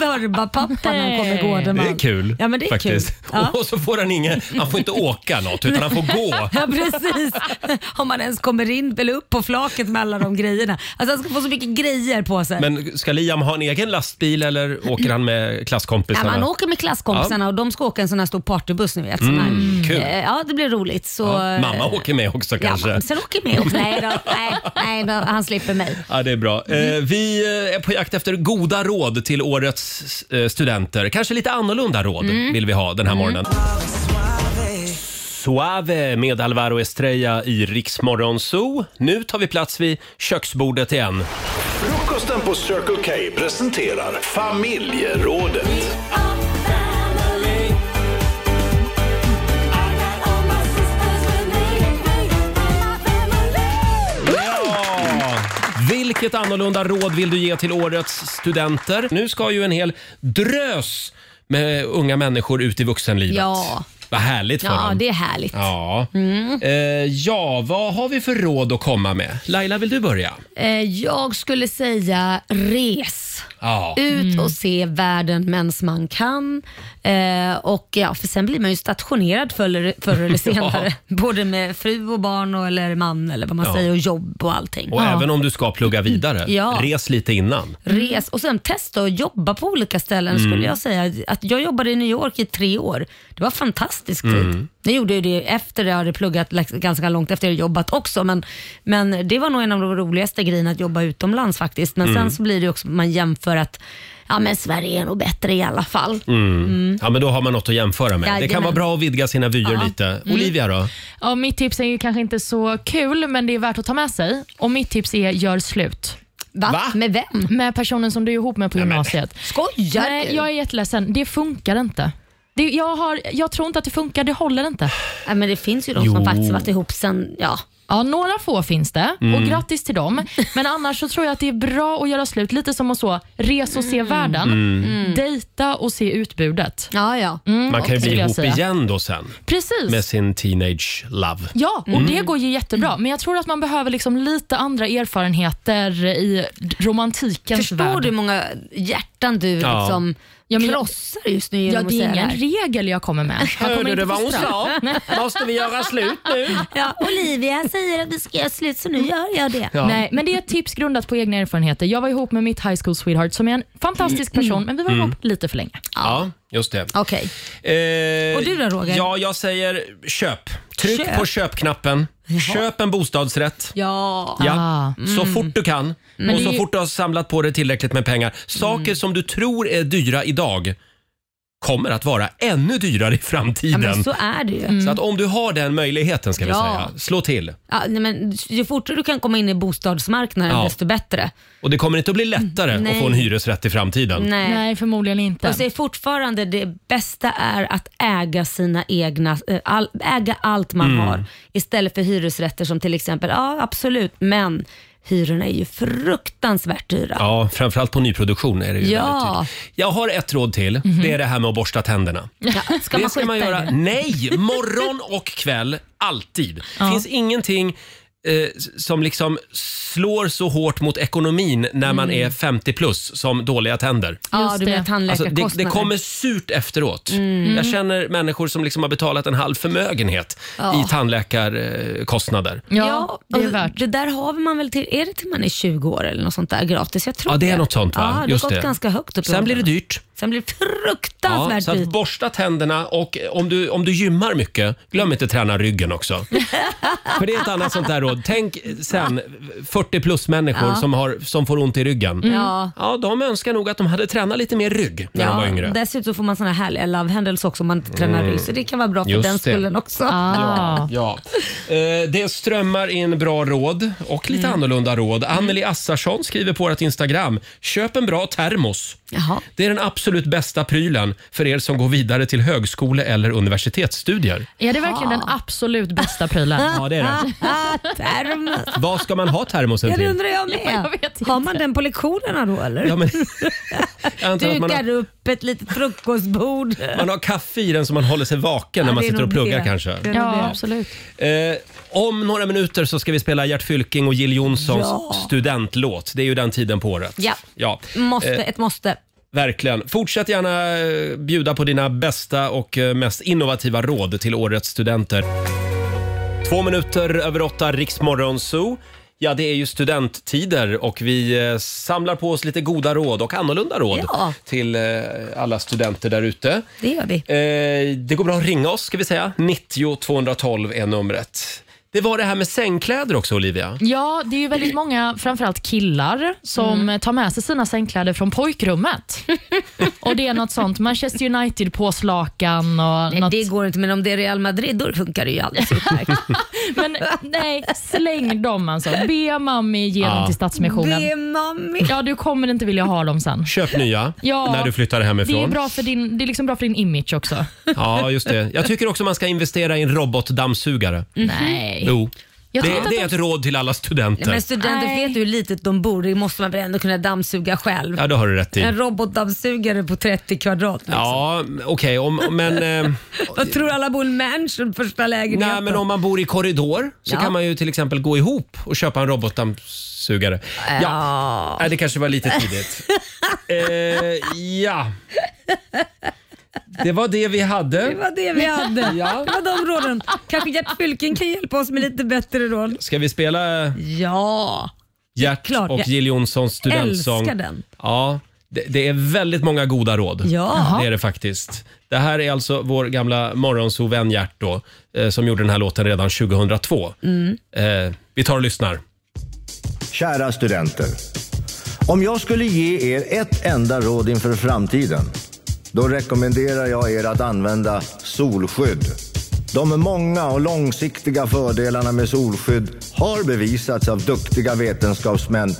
Speaker 3: dörbapappa när han kommer gående
Speaker 1: Det
Speaker 3: med
Speaker 1: är
Speaker 3: allt.
Speaker 1: kul.
Speaker 3: Ja men det är
Speaker 1: faktiskt.
Speaker 3: kul. Ja.
Speaker 1: (laughs) Och så får han ingen, han får inte åka något utan han får gå.
Speaker 3: (laughs) Ja precis. Om man ens kommer in eller upp på flaket med alla de grejerna. Alltså han ska få så mycket grejer på sig.
Speaker 1: Men ska Liam ha en egen lastbil eller åker han med
Speaker 3: Ja,
Speaker 1: klasskompisarna?
Speaker 3: man åker med klasskompisarna och de ska åka en sån här stor partybuss nu. Vet, sån här.
Speaker 1: Mm, kul.
Speaker 3: Eh, Ja, det blir roligt. Så, eh,
Speaker 1: Ja, mamma åker med också kanske.
Speaker 3: Ja, sen åker med också. Nej,
Speaker 1: (laughs)
Speaker 3: då, nej, nej då, han slipper mig.
Speaker 1: Ja, det är bra.
Speaker 3: Mm.
Speaker 1: Eh, vi eh, är på jakt efter goda råd till årets eh, studenter. Kanske lite annorlunda råd
Speaker 8: Mm.
Speaker 1: vill vi ha den här morgonen. Suave med Alvaro Estrella i Riksmorgon Zoo. Nu tar vi plats vid köksbordet igen.
Speaker 4: Frukosten på Circle K presenterar familjerådet.
Speaker 1: Vilket annorlunda råd vill du ge till årets studenter? Nu ska ju en hel drös med unga människor ut i vuxenlivet.
Speaker 3: Ja.
Speaker 1: Vad härligt för
Speaker 3: Ja,
Speaker 1: dem.
Speaker 3: det är härligt.
Speaker 1: Ja.
Speaker 3: Mm.
Speaker 1: Eh, ja, vad har vi för råd att komma med? Laila, vill du börja?
Speaker 3: Eh, Jag skulle säga res.
Speaker 1: Ja.
Speaker 3: Ut och se världen medan man kan. Eh, och ja, för sen blir man ju stationerad förr, förr
Speaker 1: (laughs)
Speaker 3: eller senare. Både med fru och barn och, eller man eller vad man
Speaker 1: Ja.
Speaker 3: säger och jobb och allting.
Speaker 1: Och
Speaker 3: Ja.
Speaker 1: även om du ska plugga vidare,
Speaker 3: Ja.
Speaker 1: res lite innan.
Speaker 3: Res och sen testa att jobba på olika ställen
Speaker 1: Mm.
Speaker 3: skulle jag säga. Att jag jobbade i New York i tre år. Det var fantastisk tid.
Speaker 1: Mm.
Speaker 3: Jag gjorde ju det efter jag hade pluggat like, ganska långt efter jag jobbat också. Men, men det var nog en av de roligaste grejerna att jobba utomlands faktiskt. Men
Speaker 1: Mm.
Speaker 3: sen så blir det ju också man jämför att ja, men Sverige är nog bättre i alla fall.
Speaker 1: Mm.
Speaker 3: Mm.
Speaker 1: Ja, men då har man något att jämföra med. Det kan
Speaker 2: Jajamän.
Speaker 1: vara bra att vidga sina vyer
Speaker 2: Ja.
Speaker 1: lite.
Speaker 2: Mm.
Speaker 1: Olivia då?
Speaker 2: Ja, mitt tips är ju kanske inte så kul, men det är värt att ta med sig. Och Mitt tips är gör slut.
Speaker 3: Va? Med vem?
Speaker 2: Med personen som du är ihop med på gymnasiet.
Speaker 3: Skojar
Speaker 2: Nej,
Speaker 3: du?
Speaker 2: jag är jätteledsen. Det funkar inte. Det, jag, har, jag tror inte att det funkar. Det håller inte.
Speaker 3: Nej, men det finns ju de
Speaker 2: Jo.
Speaker 3: som faktiskt varit ihop sen, ja.
Speaker 2: Ja, några få finns det och
Speaker 11: Mm.
Speaker 2: grattis till dem. Men annars så tror jag att det är bra att göra slut lite som att så, res och se världen.
Speaker 1: Mm.
Speaker 2: Mm. Dejta och se utbudet.
Speaker 3: Ja, ja.
Speaker 1: Man kan ju bli ihop igen då sen.
Speaker 2: Precis.
Speaker 1: Med sin teenage love.
Speaker 2: Ja, och
Speaker 1: Mm.
Speaker 2: det går ju jättebra. Men jag tror att man behöver liksom lite andra erfarenheter i romantikens värld.
Speaker 3: Förstår du hur många hjärtan du
Speaker 2: Ja.
Speaker 3: liksom
Speaker 2: Ja, men jag-
Speaker 3: krossar just nu
Speaker 2: Ja,
Speaker 3: genom
Speaker 2: det är
Speaker 3: att säga
Speaker 2: ingen
Speaker 3: det här?
Speaker 2: regel jag kommer med. Jag kommer inte få straff. (laughs)
Speaker 1: Måste vi göra slut nu?
Speaker 3: Ja, (laughs) Mm. Olivia säger att vi ska göra slut så nu gör jag det.
Speaker 1: Ja.
Speaker 2: Nej, men det är ett tips grundat på egna erfarenheter. Jag var ihop med mitt high school sweetheart som är en fantastisk person, men vi var
Speaker 1: Mm.
Speaker 2: ihop lite för länge.
Speaker 1: Ja, just det.
Speaker 3: Okej.
Speaker 1: Eh,
Speaker 2: Och du då, Roger?
Speaker 1: Ja, jag säger köp. Tryck
Speaker 2: Köp.
Speaker 1: på köpknappen. Köp en bostadsrätt.
Speaker 3: Ja.
Speaker 1: Ja,
Speaker 3: Mm.
Speaker 1: så fort du kan
Speaker 3: Men
Speaker 1: och
Speaker 3: det
Speaker 1: så
Speaker 3: är ju- Mm.
Speaker 1: fort du har samlat på dig tillräckligt med pengar. Saker som du tror är dyra idag kommer att vara ännu dyrare i
Speaker 3: Ja,
Speaker 1: framtiden.
Speaker 3: men så är det ju.
Speaker 1: Så att om du har den möjligheten ska vi
Speaker 3: Ja.
Speaker 1: säga, slå till.
Speaker 3: Ja, nej, men ju fortare du kan komma in i bostadsmarknaden
Speaker 1: Ja.
Speaker 3: desto bättre.
Speaker 1: Och det kommer inte att bli lättare
Speaker 3: Mm.
Speaker 1: att få en
Speaker 3: Nej.
Speaker 1: hyresrätt i framtiden.
Speaker 3: Nej.
Speaker 2: förmodligen inte.
Speaker 3: Och så är fortfarande det bästa är att äga sina egna, eh, all, äga allt man
Speaker 1: Mm.
Speaker 3: har istället för hyresrätter som till exempel, ja absolut, men hyrorna är ju fruktansvärt dyra.
Speaker 1: Ja, framförallt på nyproduktion är det ju väldigt dyrt.
Speaker 3: Ja, Mhm.
Speaker 1: Jag har ett råd till. Det är det här med att borsta tänderna.
Speaker 3: ja.
Speaker 1: det ska man göra. Nej, morgon och kväll. Alltid. Det
Speaker 3: Ja.
Speaker 1: finns ingenting eh, s- som liksom slår så hårt mot ekonomin när man
Speaker 3: Mm.
Speaker 1: är 50 plus som dåliga tänder. Alltså,
Speaker 3: Ja, Just du menar det. tandläkarkostnader.
Speaker 1: det, det kommer surt efteråt.
Speaker 3: Mm.
Speaker 1: Jag känner människor som liksom har betalat en halv förmögenhet
Speaker 3: Ja.
Speaker 1: i tandläkarkostnader.
Speaker 3: Ja, det är värt. Det där har man väl till, är det till man är 20 år eller något sånt där gratis? Jag tror
Speaker 1: Ja, det är något sånt, va?
Speaker 3: Ja, det
Speaker 1: Just
Speaker 3: har gått
Speaker 1: det.
Speaker 3: ganska högt upp i
Speaker 1: Sen blir det
Speaker 3: åldrarna.
Speaker 1: dyrt.
Speaker 3: Sen blir det fruktansvärt
Speaker 1: så att
Speaker 3: dyrt.
Speaker 1: borsta tänderna och eh, om du, om du gymmar mycket, glöm inte att träna ryggen (laughs) också. För det är ett annat sånt där råd. Tänk sen 40 plus människor
Speaker 3: Ja.
Speaker 1: som, har, som får ont i ryggen.
Speaker 3: Mm. Ja.
Speaker 1: ja, de önskar nog att de hade tränat lite mer rygg när de var yngre.
Speaker 3: Dessutom får man såna härliga love handles också om man inte tränar
Speaker 1: Mm.
Speaker 3: rygg. Så det kan vara bra för
Speaker 1: Just
Speaker 3: den
Speaker 1: det.
Speaker 3: skullen också.
Speaker 1: Ja, ja. Eh, Det strömmar in bra råd och lite annorlunda råd. Anneli Assarsson skriver på vårt Instagram. Köp en bra termos. Det är den absolut bästa prylen för er som går vidare till högskole eller universitetsstudier.
Speaker 2: Är det verkligen den absolut bästa
Speaker 3: (laughs)
Speaker 2: prylen?
Speaker 1: Ja, det är det. Vad ska man ha termosen
Speaker 3: Ja, det
Speaker 1: till?
Speaker 3: undrar Ah, jag med. har man den på lektionerna då eller? (laughs)
Speaker 1: Ja, men, jag antar att man
Speaker 3: Dukar
Speaker 1: har,
Speaker 3: upp ett litet frukostbord.
Speaker 1: man har kaffe i den så man håller sig vaken när
Speaker 3: Ja,
Speaker 1: man
Speaker 3: det är
Speaker 1: sitter och
Speaker 3: nog
Speaker 1: pluggar
Speaker 3: det.
Speaker 1: kanske.
Speaker 3: Det är nog det.
Speaker 2: absolut.
Speaker 1: Eh, om några minuter så ska vi spela Gert Fylking och Jill Johnsons
Speaker 3: Ja.
Speaker 1: studentlåt. Det är ju den tiden på året.
Speaker 3: Ja.
Speaker 1: ja.
Speaker 3: Måste,
Speaker 1: Eh,
Speaker 3: ett måste.
Speaker 1: Verkligen. Fortsätt gärna eh, bjuda på dina bästa och eh, mest innovativa råd till årets studenter. Två minuter över åtta, Riksmorgon Zoo. Ja, det är ju studenttider och vi eh, samlar på oss lite goda råd och annorlunda råd
Speaker 3: Ja.
Speaker 1: till eh, alla studenter där ute.
Speaker 3: Det gör vi.
Speaker 1: Eh, det går bra att ringa oss, ska vi säga. 90 212 är numret. Det var det här med sängkläder också, Olivia.
Speaker 2: Ja, det är ju väldigt många, framförallt killar, som
Speaker 3: Mm.
Speaker 2: tar med sig sina sängkläder från
Speaker 3: (laughs)
Speaker 2: pojkrummet. och Det är något sånt Manchester United-påslakan
Speaker 1: Eh,
Speaker 2: och något...
Speaker 3: Det går inte, men om det är Real Madrid då funkar det ju alldeles
Speaker 1: (laughs)
Speaker 3: utmärkt.
Speaker 2: Men nej, släng dem alltså. Be mammi ge
Speaker 1: Ja.
Speaker 2: dem till Stadsmissionen.
Speaker 3: Be mammi.
Speaker 2: Ja, du kommer inte vilja ha dem sen.
Speaker 1: Köp nya
Speaker 2: Ja,
Speaker 1: när du flyttar hemifrån.
Speaker 2: Det är, bra för din, det är liksom bra för din image också.
Speaker 3: (laughs)
Speaker 1: Ja, just det. Jag tycker också man ska investera i en robotdammsugare.
Speaker 2: Nej.
Speaker 1: Jo. Det,
Speaker 3: Mhm. Jag tror inte
Speaker 1: det är
Speaker 3: att
Speaker 1: ett råd till alla studenter.
Speaker 3: Men studenter vet ju hur litet de bor i, måste man väl ändå kunna dammsuga själv.
Speaker 1: Ja, det har du rätt i.
Speaker 3: En robotdammsugare på 30 kvadrat.
Speaker 1: Ja, okej, om-
Speaker 3: (laughs)
Speaker 1: men... Eh,
Speaker 3: Jag tror alla bor i en mansion, första lägenheten.
Speaker 1: nej, men om man bor i korridor så
Speaker 3: Ja.
Speaker 1: kan man ju till exempel gå ihop och köpa en robotdammsugare. Ja. Nej, det kanske var lite
Speaker 3: (laughs)
Speaker 1: tidigt. eh, ja. Det var det vi hade.
Speaker 3: Det var det vi hade.
Speaker 1: Ja.
Speaker 3: Det var de råden. Kanske Gert Fylking kan hjälpa oss med lite bättre råd.
Speaker 1: Ska vi spela eh,
Speaker 3: Ja,
Speaker 1: Gert
Speaker 3: klart.
Speaker 1: och
Speaker 3: Jag
Speaker 1: Jill Johnsons studentsång?
Speaker 3: älskar den.
Speaker 1: Ja, det, det är väldigt många goda råd.
Speaker 3: Ja.
Speaker 1: Det är det faktiskt. Det här är alltså vår gamla morgonsovän Gert då, eh, som gjorde den här låten redan 2002.
Speaker 12: Mm.
Speaker 1: Eh, vi tar och lyssnar.
Speaker 12: Kära studenter. Om jag skulle ge er ett enda råd inför framtiden, då rekommenderar jag er att använda solskydd. De många och långsiktiga fördelarna med solskydd har bevisats av duktiga vetenskapsmän,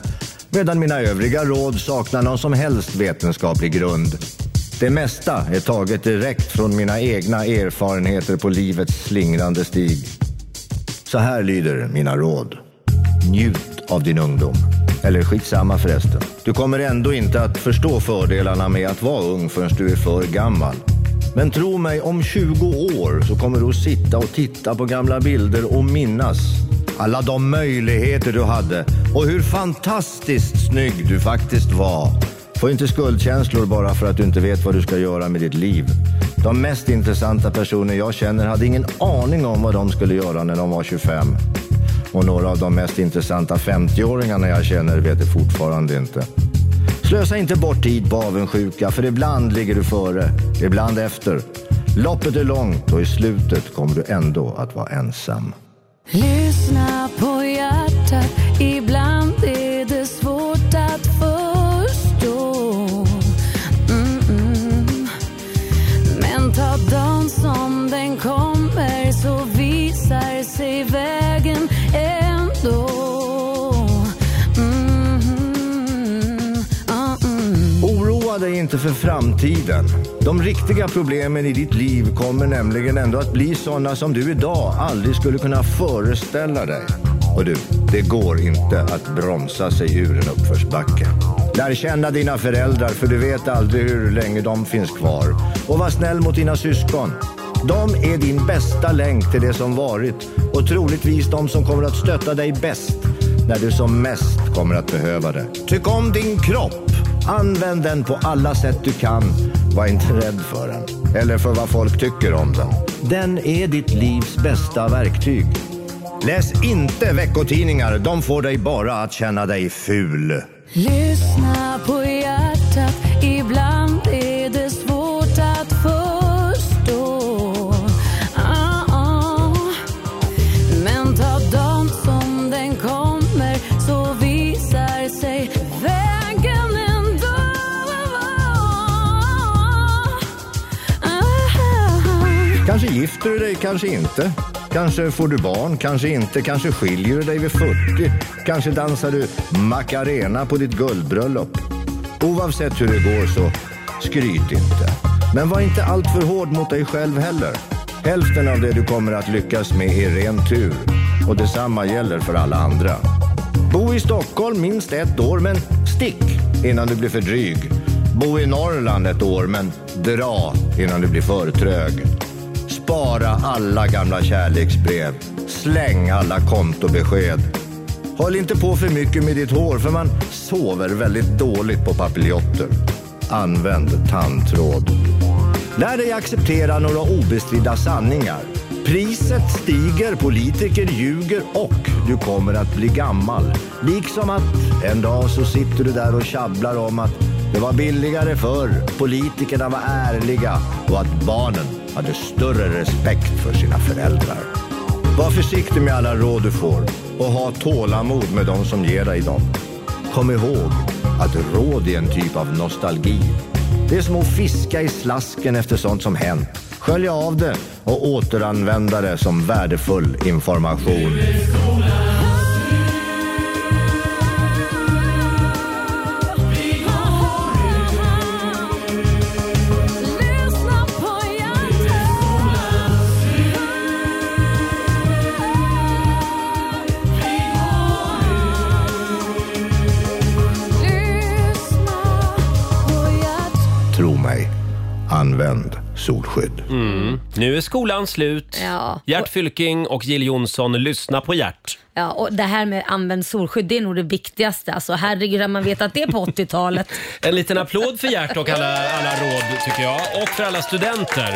Speaker 12: medan mina övriga råd saknar någon som helst vetenskaplig grund. Det mesta är taget direkt från mina egna erfarenheter på livets slingrande stig. Så här lyder mina råd. Njut av din ungdom. Eller skitsamma förresten. Du kommer ändå inte att förstå fördelarna med att vara ung förrän du är för gammal. Men tro mig, om 20 år så kommer du att sitta och titta på gamla bilder och minnas alla de möjligheter du hade och hur fantastiskt snygg du faktiskt var. Få inte skuldkänslor bara för att du inte vet vad du ska göra med ditt liv. De mest intressanta personer jag känner hade ingen aning om vad de skulle göra när de var 25. Och några av de mest intressanta 50-åringarna jag känner vet det fortfarande inte. Slösa inte bort tid på avundsjuka, för ibland ligger du före, ibland efter. Loppet är långt och i slutet kommer du ändå att vara ensam.
Speaker 11: Lyssna på hjärtat, ibland är det svårt att förstå. Mm, mm. Men ta dagen som den kommer så visar sig vägen ändå. Mm, ah, mm.
Speaker 12: Oroa dig inte för framtiden. De riktiga problemen i ditt liv kommer nämligen ändå att bli sådana som du idag aldrig skulle kunna föreställa dig. Och du, det går inte att bromsa sig ur en uppförsbacke. Lär känna dina föräldrar för du vet aldrig hur länge de finns kvar. Och var snäll mot dina syskon. De är din bästa länk till det som varit och troligtvis de som kommer att stötta dig bäst när du som mest kommer att behöva det. Tyck om din kropp. Använd den på alla sätt du kan. Var inte rädd för den. Eller för vad folk tycker om den. Den är ditt livs bästa verktyg. Läs inte veckotidningar. De får dig bara att känna dig ful.
Speaker 11: Lyssna på hjärtat, ibland är det svårt att förstå. Ah, ah. Men ta dagen som den kommer så visar sig vägen ändå. Ah.
Speaker 12: Kanske gifter du dig, kanske inte. Kanske får du barn, kanske inte. Kanske skiljer du dig vid 40. Kanske dansar du Macarena på ditt guldbröllop. Oavsett hur det går så skryt inte. Men var inte alltför hård mot dig själv heller. Hälften av det du kommer att lyckas med är ren tur. Och detsamma gäller för alla andra. Bo i Stockholm minst ett år, men stick innan du blir för dryg. Bo i Norrland ett år, men dra innan du blir för trög. Spara alla gamla kärleksbrev. Släng alla kontobesked. Håll inte på för mycket med ditt hår för man sover väldigt dåligt på papiljotter. Använd tandtråd. Lär dig acceptera några obestridda sanningar. Priset stiger, politiker ljuger och du kommer att bli gammal. Liksom att en dag så sitter du där och tjabblar om att det var billigare förr, politikerna var ärliga och att barnen hade större respekt för sina föräldrar. Var försiktig med alla råd du får och ha tålamod med de som ger dig dem. Kom ihåg att råd är en typ av nostalgi. Det är som att fiska i slasken efter sånt som hänt. Skölja av det och återanvända det som värdefull information. Tro mig, använd solskydd.
Speaker 1: Mm. Nu är skolan slut.
Speaker 3: Ja.
Speaker 1: Gert Fylking och Jill Johnson lyssna på Gert.
Speaker 3: Ja, och det här med använd solskydd, det är nog det viktigaste. Alltså, herregud, hade man vetat det på 80-talet.
Speaker 1: En liten applåd för Gert och alla, alla råd tycker jag. Och för alla studenter.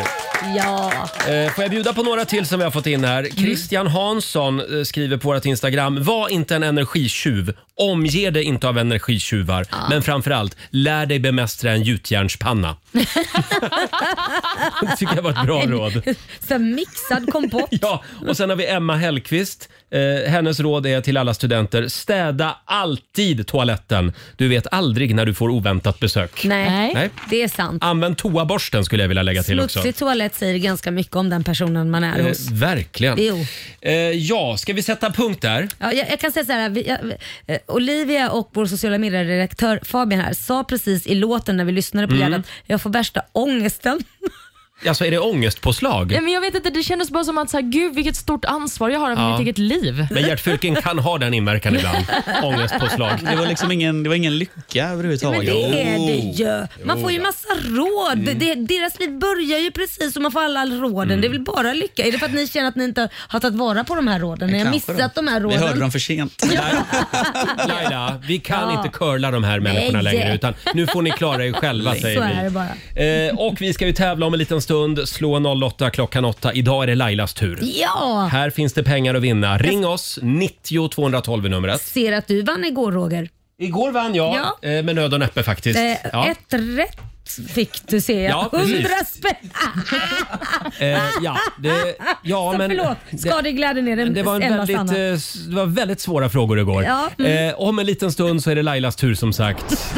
Speaker 3: Ja.
Speaker 1: Eh, får jag bjuda på några till som vi har fått in här? Christian Hansson eh, skriver på vårt Instagram. Var inte en energitjuv. Omge dig inte av energitjuvar. Men framförallt, lär dig bemästra en gjutjärnspanna. det tycker jag var ett bra råd.
Speaker 3: Så mixad kompott.
Speaker 1: Ja, och sen har vi Emma Hellqvist. Eh, hennes råd är till alla studenter, städa alltid toaletten. Du vet aldrig när du får oväntat besök.
Speaker 3: Nej, det är sant.
Speaker 1: Använd toaborsten skulle jag vilja lägga till också.
Speaker 3: Smutsig toalett säger ganska mycket om den personen man är
Speaker 1: Eh,
Speaker 3: hos.
Speaker 1: verkligen.
Speaker 3: Jo.
Speaker 1: Eh, ja, ska vi sätta punkt där?
Speaker 3: Ja, jag, jag kan säga så här, vi, jag, eh, Olivia och vår sociala medieredaktör Fabian här sa precis i låten när vi lyssnade på
Speaker 1: Mm.
Speaker 3: mm. att jag får värsta ångesten.
Speaker 1: Alltså är det ångestpåslag?
Speaker 2: Nej, men jag vet inte, det kändes bara som att så här, gud vilket stort ansvar jag har över
Speaker 1: Ja.
Speaker 2: mitt eget liv.
Speaker 1: Men Gert Fylking kan ha den
Speaker 3: (laughs)
Speaker 1: inverkan ibland. Ångestpåslag.
Speaker 13: Det var liksom ingen, det var ingen lycka
Speaker 3: Men
Speaker 13: överhuvudtaget.
Speaker 3: det är det ju.
Speaker 13: Jo.
Speaker 3: Man får ju massa råd.
Speaker 13: Mm.
Speaker 3: Det, deras liv börjar ju precis som man får alla råden.
Speaker 1: Mm.
Speaker 3: Det är väl bara lycka. Är det för att ni känner att ni inte har tagit vara på de här råden? Ni har
Speaker 1: Kanske
Speaker 3: missat de här
Speaker 1: Vi
Speaker 3: råden?
Speaker 1: hörde dem
Speaker 13: för sent.
Speaker 1: Laila, vi
Speaker 3: Ja.
Speaker 1: kan inte curla de här människorna
Speaker 3: Nej.
Speaker 1: längre utan nu får ni klara er själva
Speaker 3: Så är
Speaker 1: säger
Speaker 3: det bara.
Speaker 1: vi. Eh, och vi ska ju tävla om en liten stund. Slå 08 klockan 8. Idag är det Lailas tur.
Speaker 3: Ja!
Speaker 1: Här finns det pengar att vinna. Ring oss, 90 212 är numret.
Speaker 3: Ser att du vann igår Roger.
Speaker 1: Igår vann jag.
Speaker 3: Ja.
Speaker 1: Eh, med nöd och näppe faktiskt.
Speaker 3: Eh,
Speaker 1: Ja.
Speaker 3: Ett rätt fick du se.
Speaker 1: Ja, precis.
Speaker 3: Hundra spänn.
Speaker 1: Eh, ja, det, ja
Speaker 3: (laughs) Så
Speaker 2: Alltså,
Speaker 1: men...
Speaker 3: förlåt, skadeglädjen är den
Speaker 1: Det var, en
Speaker 3: enda
Speaker 1: väldigt,
Speaker 3: sanna.
Speaker 1: eh, s- det var väldigt svåra frågor igår.
Speaker 3: Ja, mm.
Speaker 1: Eh, om en liten stund så är det Lailas tur
Speaker 3: (laughs)
Speaker 1: som sagt.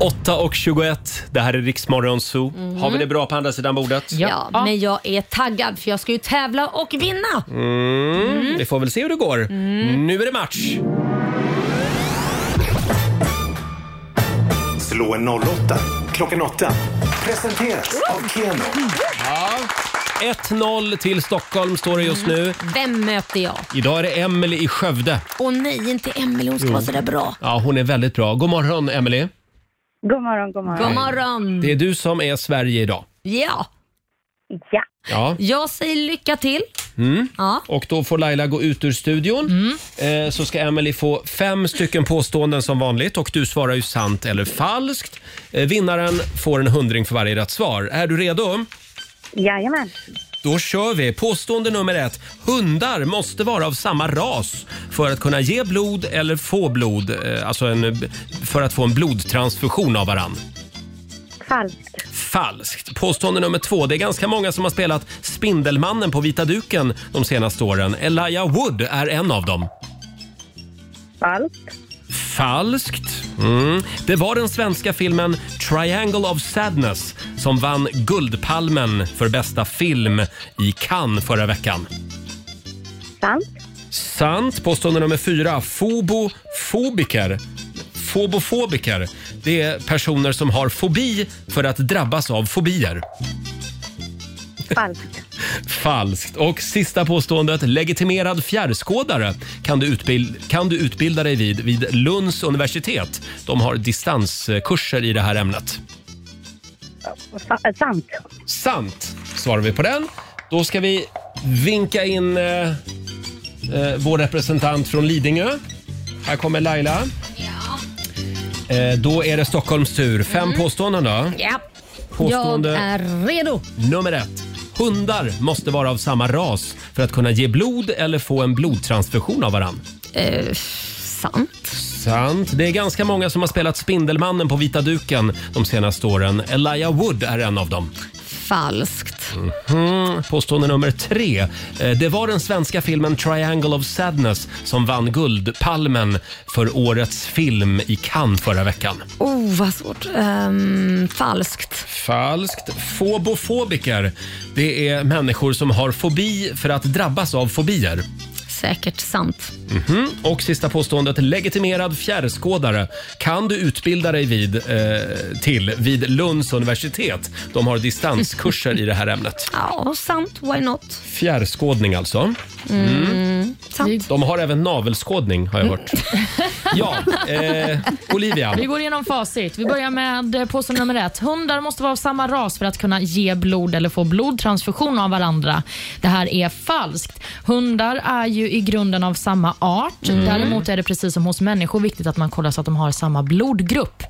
Speaker 1: 8 och 21, det här är Riksmorgon Zoo.
Speaker 3: Mhm.
Speaker 1: Har vi det bra på andra sidan bordet?
Speaker 3: Ja, men jag är taggad för jag ska ju tävla och vinna.
Speaker 1: Mm,
Speaker 3: Mm.
Speaker 1: Vi får väl se hur det går.
Speaker 3: Mm.
Speaker 1: Nu är det match!
Speaker 4: Slå en 08 klockan 8. Presenteras av Keno.
Speaker 1: Ja. 1-0 till Stockholm står det
Speaker 3: Mm.
Speaker 1: just nu.
Speaker 3: Vem möter jag?
Speaker 1: Idag är det Emily i Skövde.
Speaker 3: Åh nej, inte Emelie. Hon ska
Speaker 1: Jo.
Speaker 3: vara sådär bra.
Speaker 1: Ja, hon är väldigt bra. God morgon Emily.
Speaker 3: God morgon, god morgon. God morgon.
Speaker 1: Det är du som är Sverige idag.
Speaker 3: Ja. Ja.
Speaker 1: Ja.
Speaker 3: Jag säger lycka till.
Speaker 1: Mm.
Speaker 3: Ja.
Speaker 1: Och då får Laila gå ut ur studion. Eh, så ska Emily få fem stycken påståenden som vanligt och du svarar ju sant eller falskt. Eh, vinnaren får en hundring för varje rätt svar. Är du redo?
Speaker 14: Jajamän.
Speaker 1: Då kör vi! Påstående nummer ett. Hundar måste vara av samma ras för att kunna ge blod eller få blod, eh, alltså en, för att få en blodtransfusion av varann.
Speaker 14: Falskt.
Speaker 1: Falskt. Påstående nummer två. Det är ganska många som har spelat Spindelmannen på vita duken de senaste åren. Elijah Wood är en av dem.
Speaker 14: Falskt.
Speaker 1: Falskt. Mm. Det var den svenska filmen Triangle of Sadness som vann Guldpalmen för bästa film i Cannes förra veckan.
Speaker 14: Sant.
Speaker 1: Sant. Påstående nummer fyra. Fobofobiker. Fobofobiker. Det är personer som har fobi för att drabbas av fobier.
Speaker 14: Falskt.
Speaker 1: (laughs) Falskt. Och sista påståendet. Legitimerad fjärrskådare kan du, utbil- kan du utbilda dig vid vid Lunds universitet. De har distanskurser i det här ämnet.
Speaker 5: eh,
Speaker 14: Fa- sant.
Speaker 1: Sant svarar vi på den. Då ska vi vinka in eh, eh, vår representant från Lidingö. Här kommer Laila. Eh, då är det Stockholms tur. Fem påståenden då.
Speaker 3: Mm. Ja.
Speaker 1: Påstående-
Speaker 3: Jag eh, är redo.
Speaker 1: Nummer ett. Hundar måste vara av samma ras för att kunna ge blod eller få en blodtransfusion av varann.
Speaker 3: Eh, sant.
Speaker 1: Sant. Det är ganska många som har spelat Spindelmannen på vita duken de senaste åren. Elijah Wood är en av dem.
Speaker 3: Falskt.
Speaker 1: Mhm. Påstående nummer tre. Eh, Det var den svenska filmen Triangle of Sadness som vann Guldpalmen för årets film i Cannes förra veckan.
Speaker 3: Oh, vad svårt. Ehm, falskt.
Speaker 1: Falskt. Fobofobiker. Det är människor som har fobi för att drabbas av fobier.
Speaker 3: Säkert sant.
Speaker 1: Mhm. Och sista påståendet. Legitimerad fjärrskådare kan du utbilda dig vid, eh, till vid Lunds universitet. De har distanskurser i det här ämnet.
Speaker 3: Ja, sant. Why not?
Speaker 1: Fjärrskådning alltså.
Speaker 3: Mm. Sant.
Speaker 1: De har även navelskådning har jag hört. Ja, eh, Olivia.
Speaker 2: Vi går igenom facit. Vi börjar med eh, påstående nummer ett. Hundar måste vara av samma ras för att kunna ge blod eller få blodtransfusion av varandra. Det här är falskt. Hundar är ju i grunden av samma art.
Speaker 11: Mm.
Speaker 2: Däremot är det precis som hos människor viktigt att man kollar så att de har samma blodgrupp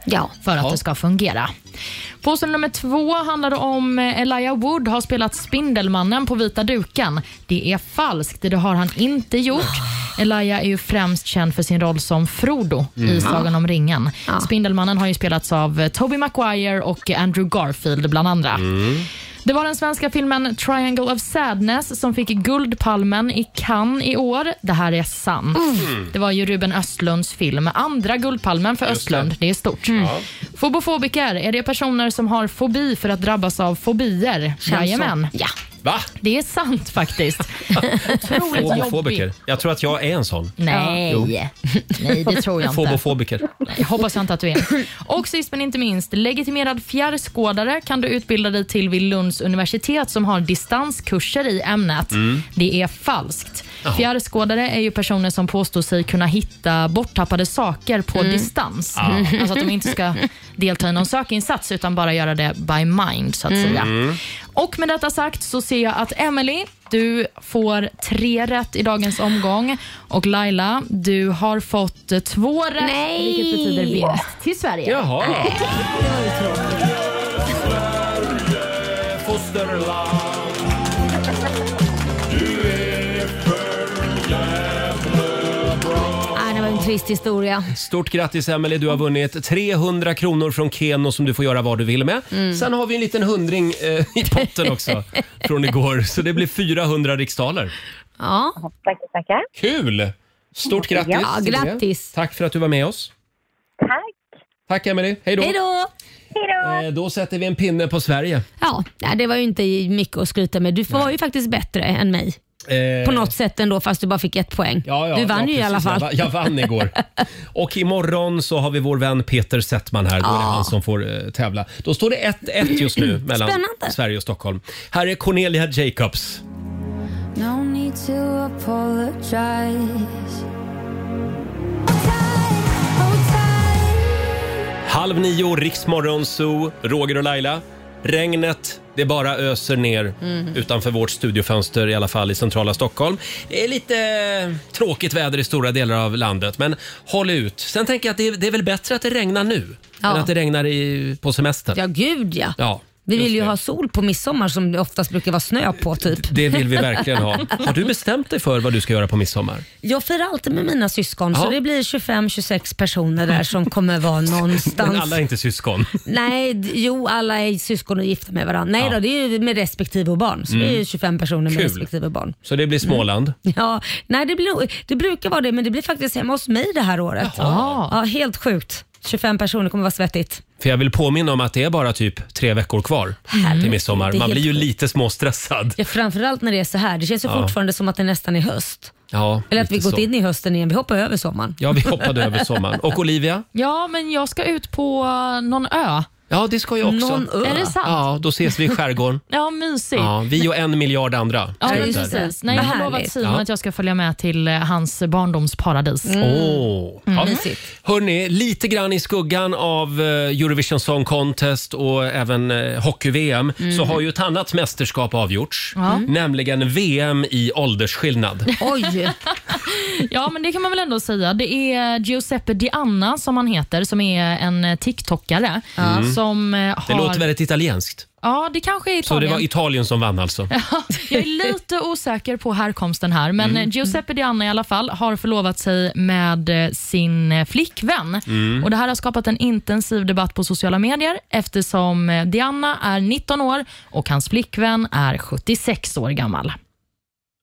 Speaker 2: för att
Speaker 11: Ja.
Speaker 2: det ska fungera. Påstående nummer två handlade om eh, Elijah Wood har spelat Spindelmannen på vita duken. Det är falskt. Det har han inte gjort. Elijah är ju främst känd för sin roll som Frodo i
Speaker 11: Mm.
Speaker 2: Sagan
Speaker 11: Ja.
Speaker 2: om ringen.
Speaker 11: Ja.
Speaker 2: Spindelmannen har ju spelats av eh, Tobey Maguire och eh, Andrew Garfield bland andra.
Speaker 11: Mm.
Speaker 2: Det var den svenska filmen Triangle of Sadness som fick Guldpalmen i Cannes i år. Det här är sant.
Speaker 11: Mm.
Speaker 2: Det var ju Ruben Östlunds film. Andra Guldpalmen för Östlund. Det. är stort. Fobofobiker, är det personer som har fobi för att drabbas av fobier?
Speaker 3: Känns så.
Speaker 2: Jajamän.
Speaker 3: Ja.
Speaker 1: Va?
Speaker 2: Det är sant faktiskt. Otroligt
Speaker 1: Fobofobiker.
Speaker 2: jobbigt.
Speaker 1: Jag tror att jag är en sån.
Speaker 3: Mm.
Speaker 2: Nej.
Speaker 1: Jo.
Speaker 2: Nej, det tror jag inte.
Speaker 1: Fobofobiker.
Speaker 2: Jag hoppas jag inte att du är Och sist men inte minst, legitimerad fjärrskådare kan du utbilda dig till vid Lunds universitet som har distanskurser i ämnet.
Speaker 11: Mm.
Speaker 2: Det är falskt.
Speaker 11: Jaha.
Speaker 2: Fjärrskådare är ju personer som påstår sig kunna hitta borttappade saker på
Speaker 11: Mm.
Speaker 2: distans.
Speaker 11: Ah.
Speaker 2: Alltså att de inte ska delta i någon sökinsats utan bara göra det by mind så att säga. Och med detta sagt så ser jag att Emily, du får tre rätt i dagens omgång. Och Laila, du har fått eh, två rätt,
Speaker 11: Nej!
Speaker 2: vilket betyder vinst till Sverige.
Speaker 1: Jaha.
Speaker 2: Nej.
Speaker 3: Nej, det var en trist historia.
Speaker 1: Stort grattis Emelie, du har vunnit 300 kronor från Keno som du får göra vad du vill med.
Speaker 3: Mm.
Speaker 1: Sen har vi en liten hundring eh, i
Speaker 3: (laughs)
Speaker 1: potten också från igår, så det blir 400 riksdaler.
Speaker 3: Ja. Tackar, tackar.
Speaker 1: Kul! Stort grattis!
Speaker 3: Ja,
Speaker 1: till det.
Speaker 3: grattis.
Speaker 1: Tack för att du var med oss. Tack! Tack Emelie, hej då!
Speaker 3: Hej då!
Speaker 1: Eh, då sätter vi en pinne på Sverige.
Speaker 3: Ja, nej, det var ju inte mycket att skryta med. Du var ju faktiskt bättre än mig.
Speaker 1: Eh,
Speaker 3: På något sätt ändå, fast du bara fick ett poäng.
Speaker 1: Ja, ja,
Speaker 3: du vann
Speaker 1: ja,
Speaker 3: ju i
Speaker 1: precis.
Speaker 3: alla fall.
Speaker 1: Jag, va- jag
Speaker 3: (laughs)
Speaker 1: vann igår. Och imorgon så har vi vår vän Peter Settman här. Då är det
Speaker 3: Ja.
Speaker 1: han som får eh, tävla. Då står det 1-1
Speaker 3: (clears throat)
Speaker 1: just nu mellan
Speaker 11: Spännande.
Speaker 1: Sverige och Stockholm. Här är Cornelia Jacobs.
Speaker 11: No need to apologize.
Speaker 1: Halv nio, Riksmorgon Zoo, Roger och Laila. Regnet, det bara öser ner
Speaker 3: Mhm.
Speaker 11: Mm.
Speaker 1: utanför vårt studiofönster, i alla fall i centrala Stockholm. Det är lite eh, tråkigt väder i stora delar av landet, men håll ut. Sen tänker jag att det är, det är väl bättre att det regnar nu
Speaker 3: Ja.
Speaker 1: än att det regnar i, på semestern.
Speaker 3: Ja, gud ja.
Speaker 1: Ja,
Speaker 3: Vi vill ju ha sol på midsommar som det oftast brukar vara snö
Speaker 1: (laughs)
Speaker 3: på typ.
Speaker 1: det
Speaker 3: (laughs)
Speaker 1: vill vi verkligen ha. Har du bestämt dig för vad du ska göra på midsommar?
Speaker 3: Jag firar alltid med mina syskon
Speaker 1: Ja.
Speaker 3: så det blir 25-26 personer där som kommer vara någonstans.
Speaker 1: (laughs) Men alla är inte syskon.
Speaker 3: Nej, d- jo alla är syskon och gifta med varandra. Nej
Speaker 1: Ja.
Speaker 3: då, det är ju med respektive barn. Så
Speaker 1: Mm.
Speaker 3: det är ju 25 personer med
Speaker 1: Kul.
Speaker 3: respektive barn.
Speaker 1: Så det blir
Speaker 3: Mm.
Speaker 1: Småland.
Speaker 3: (laughs) Ja, nej det, blir, nog- det brukar vara det men det blir faktiskt hemma hos mig det här året.
Speaker 1: Jaha.
Speaker 3: Ja, helt sjukt. 25 personer kommer vara svettigt.
Speaker 1: För jag vill påminna om att det är bara typ tre veckor kvar till
Speaker 3: Herregud,
Speaker 1: midsommar.
Speaker 3: det är
Speaker 1: Man
Speaker 3: helt
Speaker 1: blir ju
Speaker 3: sjukt.
Speaker 1: lite småstressad.
Speaker 3: Ja, framförallt när det är så här. Det känns ju
Speaker 1: Ja.
Speaker 3: fortfarande som att det nästan är höst.
Speaker 1: Ja,
Speaker 3: Eller att vi
Speaker 1: lite
Speaker 3: gått
Speaker 1: så.
Speaker 3: in i hösten igen. Vi hoppar över sommaren.
Speaker 1: Ja, vi hoppade över sommaren. Och Olivia?
Speaker 2: Ja, men jag ska ut på eh, någon ö.
Speaker 1: Ja, det ska jag också.
Speaker 2: Någon ö. Är det sant?
Speaker 1: Ja, då ses vi i skärgården.
Speaker 2: Ja, mysigt.
Speaker 1: Ja, vi och en miljard andra.
Speaker 2: Ja,
Speaker 1: ska
Speaker 2: men
Speaker 1: ut där.
Speaker 2: precis. Nej, jag har lovat Simon
Speaker 1: Ja. Mm.
Speaker 2: att jag ska följa med till eh, hans barndomsparadis.
Speaker 1: Åh. Ja. Hörni, lite grann i skuggan av eh, Eurovision Song Contest och även eh, hockey-VM så
Speaker 11: Mm.
Speaker 1: har ju ett annat mästerskap avgjorts.
Speaker 2: Ja.
Speaker 1: Nämligen VM i åldersskillnad.
Speaker 3: (laughs) Oj!
Speaker 2: ja, men det kan man väl ändå säga. Det är Giuseppe Dianna som han heter, som är en eh, TikTokare.
Speaker 1: Mm.
Speaker 2: Som eh, har...
Speaker 1: Det låter väldigt italienskt.
Speaker 2: Ja, det kanske är
Speaker 1: Så det
Speaker 2: Italien.
Speaker 1: var Italien som vann alltså.
Speaker 2: Ja, (laughs) jag är lite osäker på härkomsten här, men
Speaker 1: Mm.
Speaker 2: Giuseppe Dianna i alla fall har förlovat sig med eh, sin eh, flickvän.
Speaker 11: Mm.
Speaker 2: Och Det här har skapat en intensiv debatt på sociala medier eftersom eh, Dianna är 19 år och hans flickvän är 76 år gammal.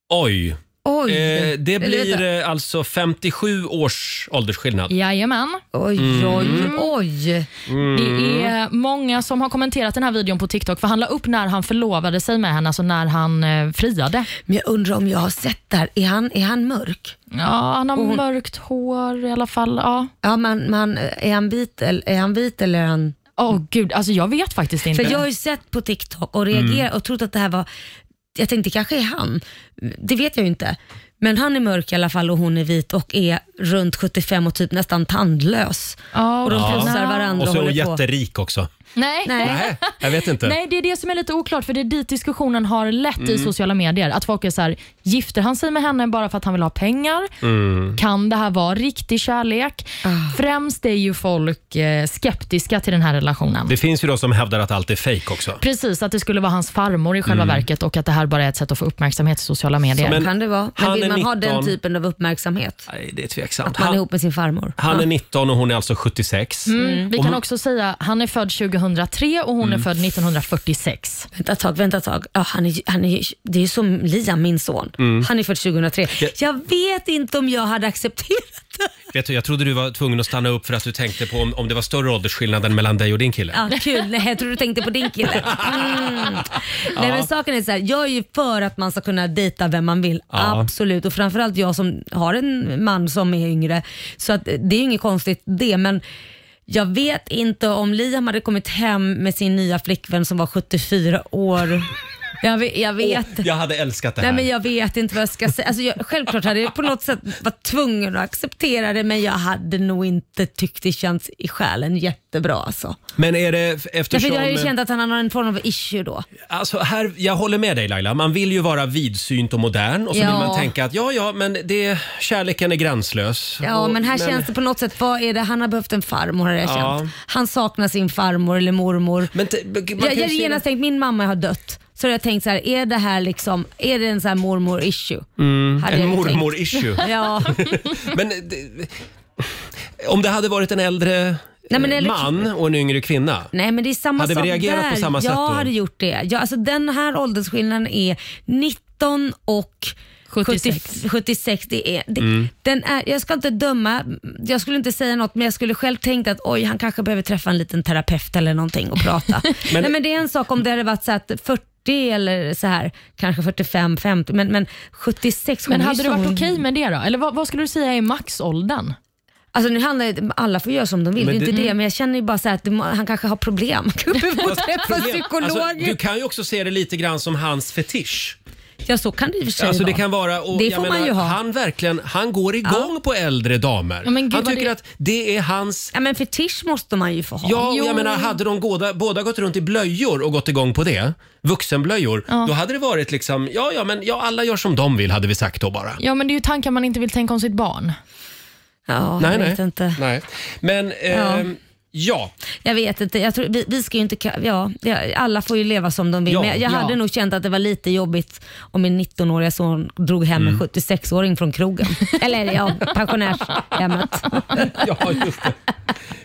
Speaker 1: Oj!
Speaker 3: Oj.
Speaker 1: Eh, det
Speaker 2: Eller
Speaker 1: blir
Speaker 2: vänta.
Speaker 1: eh, alltså 57 års åldersskillnad.
Speaker 2: Jajamän.
Speaker 1: Oj, oj, Mm.
Speaker 3: oj.
Speaker 1: Mm.
Speaker 2: Det är många som har kommenterat den här videon på TikTok, för han la upp när han förlovade sig med henne, alltså när han eh, friade.
Speaker 3: Men jag undrar om jag har sett det här. Är han, är han mörk?
Speaker 2: Ja, han har
Speaker 3: Och hon-
Speaker 2: mörkt hår i alla fall. Ja,
Speaker 3: ja men, men är, han vit, eller- är han vit eller är han...
Speaker 2: Åh gud, alltså jag vet faktiskt inte.
Speaker 3: För jag har ju sett på TikTok och reagerat
Speaker 2: Mm.
Speaker 3: och trott att det här var... Jag tänkte kanske är han. Det vet jag ju inte. Men han är mörk i alla fall och hon är vit och är runt 75 och typ nästan tandlös. och de pussar varandra
Speaker 1: Och så är hon
Speaker 3: håller på.
Speaker 1: jätterik också.
Speaker 2: Nej.
Speaker 1: Nej, jag vet inte.
Speaker 2: Nej, det är det som är lite oklart, för det är dit diskussionen har lett i
Speaker 1: Mm.
Speaker 2: sociala medier. Att folk är så här, gifter han sig med henne bara för att han vill ha pengar?
Speaker 1: Mm.
Speaker 2: Kan det här vara riktig kärlek?
Speaker 3: Ah.
Speaker 2: Främst är ju folk eh, skeptiska till den här relationen.
Speaker 1: Det finns ju de som hävdar att allt är fejk också.
Speaker 2: Precis, att det skulle vara hans farmor i själva
Speaker 1: Mm.
Speaker 2: verket och att det här bara är ett sätt att få uppmärksamhet i sociala medier.
Speaker 1: Men-
Speaker 3: Kan det vara? Men
Speaker 1: Han
Speaker 3: vill
Speaker 1: är
Speaker 3: man ha den
Speaker 1: 19.
Speaker 3: typen av uppmärksamhet?
Speaker 1: Nej, det är tveksamt.
Speaker 3: Att man är ihop med sin farmor?
Speaker 1: Han
Speaker 3: Ja.
Speaker 1: är 19 och hon är alltså 76.
Speaker 2: Mm. Vi
Speaker 1: Och
Speaker 2: kan
Speaker 1: ma-
Speaker 2: också säga han är född 2003 och hon
Speaker 1: Mm.
Speaker 2: är född 1946.
Speaker 3: Vänta ett tag, vänta ett tag. Ja, han är, ju- han är, ju- det är ju som Liam, min son.
Speaker 1: Mm.
Speaker 3: Han är född 2003.
Speaker 1: Ja.
Speaker 3: Jag vet inte om jag hade accepterat
Speaker 1: Vet du, jag trodde du var tvungen att stanna upp för att du tänkte på om, om det var större åldersskillnaden mellan dig och din kille.
Speaker 3: Ja, kul. Nej, jag tror du tänkte på din
Speaker 1: (laughs)
Speaker 3: kille. Mm. Nej,
Speaker 1: Ja.
Speaker 3: men saken är så här, jag är ju för att man ska kunna dejta vem man vill.
Speaker 1: Ja.
Speaker 3: Absolut. Och framförallt jag som har en man som är yngre. Så att, eh, det är ju inget konstigt det. Men jag vet inte om Liam hade kommit hem med sin nya flickvän som var 74
Speaker 1: (laughs)
Speaker 3: år. Jag vet, jag vet
Speaker 1: Åh, jag hade älskat det här.
Speaker 3: Nej men jag vet inte vad jag ska säga. Alltså, jag, självklart hade jag på något sätt varit tvungen att acceptera det men jag hade nog inte tyckt det känns i själen jättebra alltså.
Speaker 1: Men är det f-
Speaker 3: Därför
Speaker 1: eftersom...
Speaker 3: jag har ju känt att han har en form av issue då.
Speaker 1: Alltså här, jag håller med dig Laila, man vill ju vara vidsynt och modern och så vill
Speaker 3: Ja.
Speaker 1: man tänka att ja, ja, men det, kärleken är gränslös.
Speaker 3: Ja
Speaker 1: och,
Speaker 3: men här känns det på något sätt, vad är det? Han har behövt en farmor har jag
Speaker 1: Ja.
Speaker 3: känt. Han saknar sin farmor eller mormor.
Speaker 1: Men
Speaker 3: jag jag
Speaker 1: ju
Speaker 3: har
Speaker 1: se-
Speaker 3: genast tänkt, min mamma har dött. Så har jag tänkt så här, är det här liksom, är det en så här mormor issue?
Speaker 1: Mm,
Speaker 3: Hade
Speaker 1: en
Speaker 3: jag ju tänkt. (laughs)
Speaker 1: mormor-issue.
Speaker 3: ja.
Speaker 1: (laughs) Men det, om det hade varit en äldre
Speaker 3: Nej, men
Speaker 1: eh,
Speaker 3: eller-
Speaker 1: man och en yngre kvinna.
Speaker 3: Nej men det är samma
Speaker 1: Hade vi
Speaker 3: sak
Speaker 1: reagerat
Speaker 3: där.
Speaker 1: på samma sätt
Speaker 3: jag
Speaker 1: då?
Speaker 3: hade gjort det. Ja, alltså den här åldersskillnaden är 19 och 76. 76 det är, det,
Speaker 1: Mm.
Speaker 3: den är, jag ska inte döma, jag skulle inte säga något men jag skulle själv tänka att oj han kanske behöver träffa en liten terapeut eller någonting och
Speaker 1: (laughs)
Speaker 3: prata.
Speaker 14: Men-
Speaker 3: Nej men det är en sak om det hade varit så att 40 eller så här, kanske 45, 50 men, men 76. hon
Speaker 2: Men
Speaker 3: är ju
Speaker 2: hade du
Speaker 3: så-
Speaker 2: varit okej med det då? Eller vad, vad skulle du säga är maxåldern?
Speaker 3: Alltså nu handlar det, alla får göra som de vill,
Speaker 1: Men
Speaker 3: det är
Speaker 1: det- Mm.
Speaker 3: inte det men jag känner ju bara så här att det må- han kanske har problem. (laughs) Han kanske behöver
Speaker 1: (laughs) Fast
Speaker 3: träffa
Speaker 1: problem-
Speaker 3: psykolog.
Speaker 1: Alltså, du kan ju också se det lite grann som hans fetisch.
Speaker 3: Ja, så kan det i och för sig
Speaker 1: Alltså
Speaker 3: vara.
Speaker 1: det kan vara, och
Speaker 3: det
Speaker 1: jag
Speaker 3: får man
Speaker 1: menar,
Speaker 3: ju ha.
Speaker 1: han verkligen, han går igång på äldre damer.
Speaker 3: Ja, men gud,
Speaker 1: han
Speaker 3: vad
Speaker 1: tycker
Speaker 3: det-
Speaker 1: att det är hans...
Speaker 3: Ja, men fetisch måste man ju få ha.
Speaker 1: Ja, och jag menar hade de båda, båda gått runt i blöjor och gått igång på det, vuxenblöjor,
Speaker 2: Ja.
Speaker 1: då hade det varit liksom, ja ja men ja, alla gör som de vill hade vi sagt då bara.
Speaker 2: Ja, men det är ju tankar man inte vill tänka om sitt barn.
Speaker 3: Ja, jag vet inte.
Speaker 1: Nej. Men, ehm, ja.
Speaker 3: Jag vet inte, jag tror, vi, vi ska ju inte, ka- ja, ja, alla får ju leva som de vill.
Speaker 1: Ja,
Speaker 3: men jag, jag
Speaker 1: ja.
Speaker 3: hade nog känt att det var lite jobbigt om min 19-åriga son drog hem
Speaker 1: Mm.
Speaker 3: en 76-åring från
Speaker 1: (laughs)
Speaker 3: krogen. Eller ja, pensionärshemmet.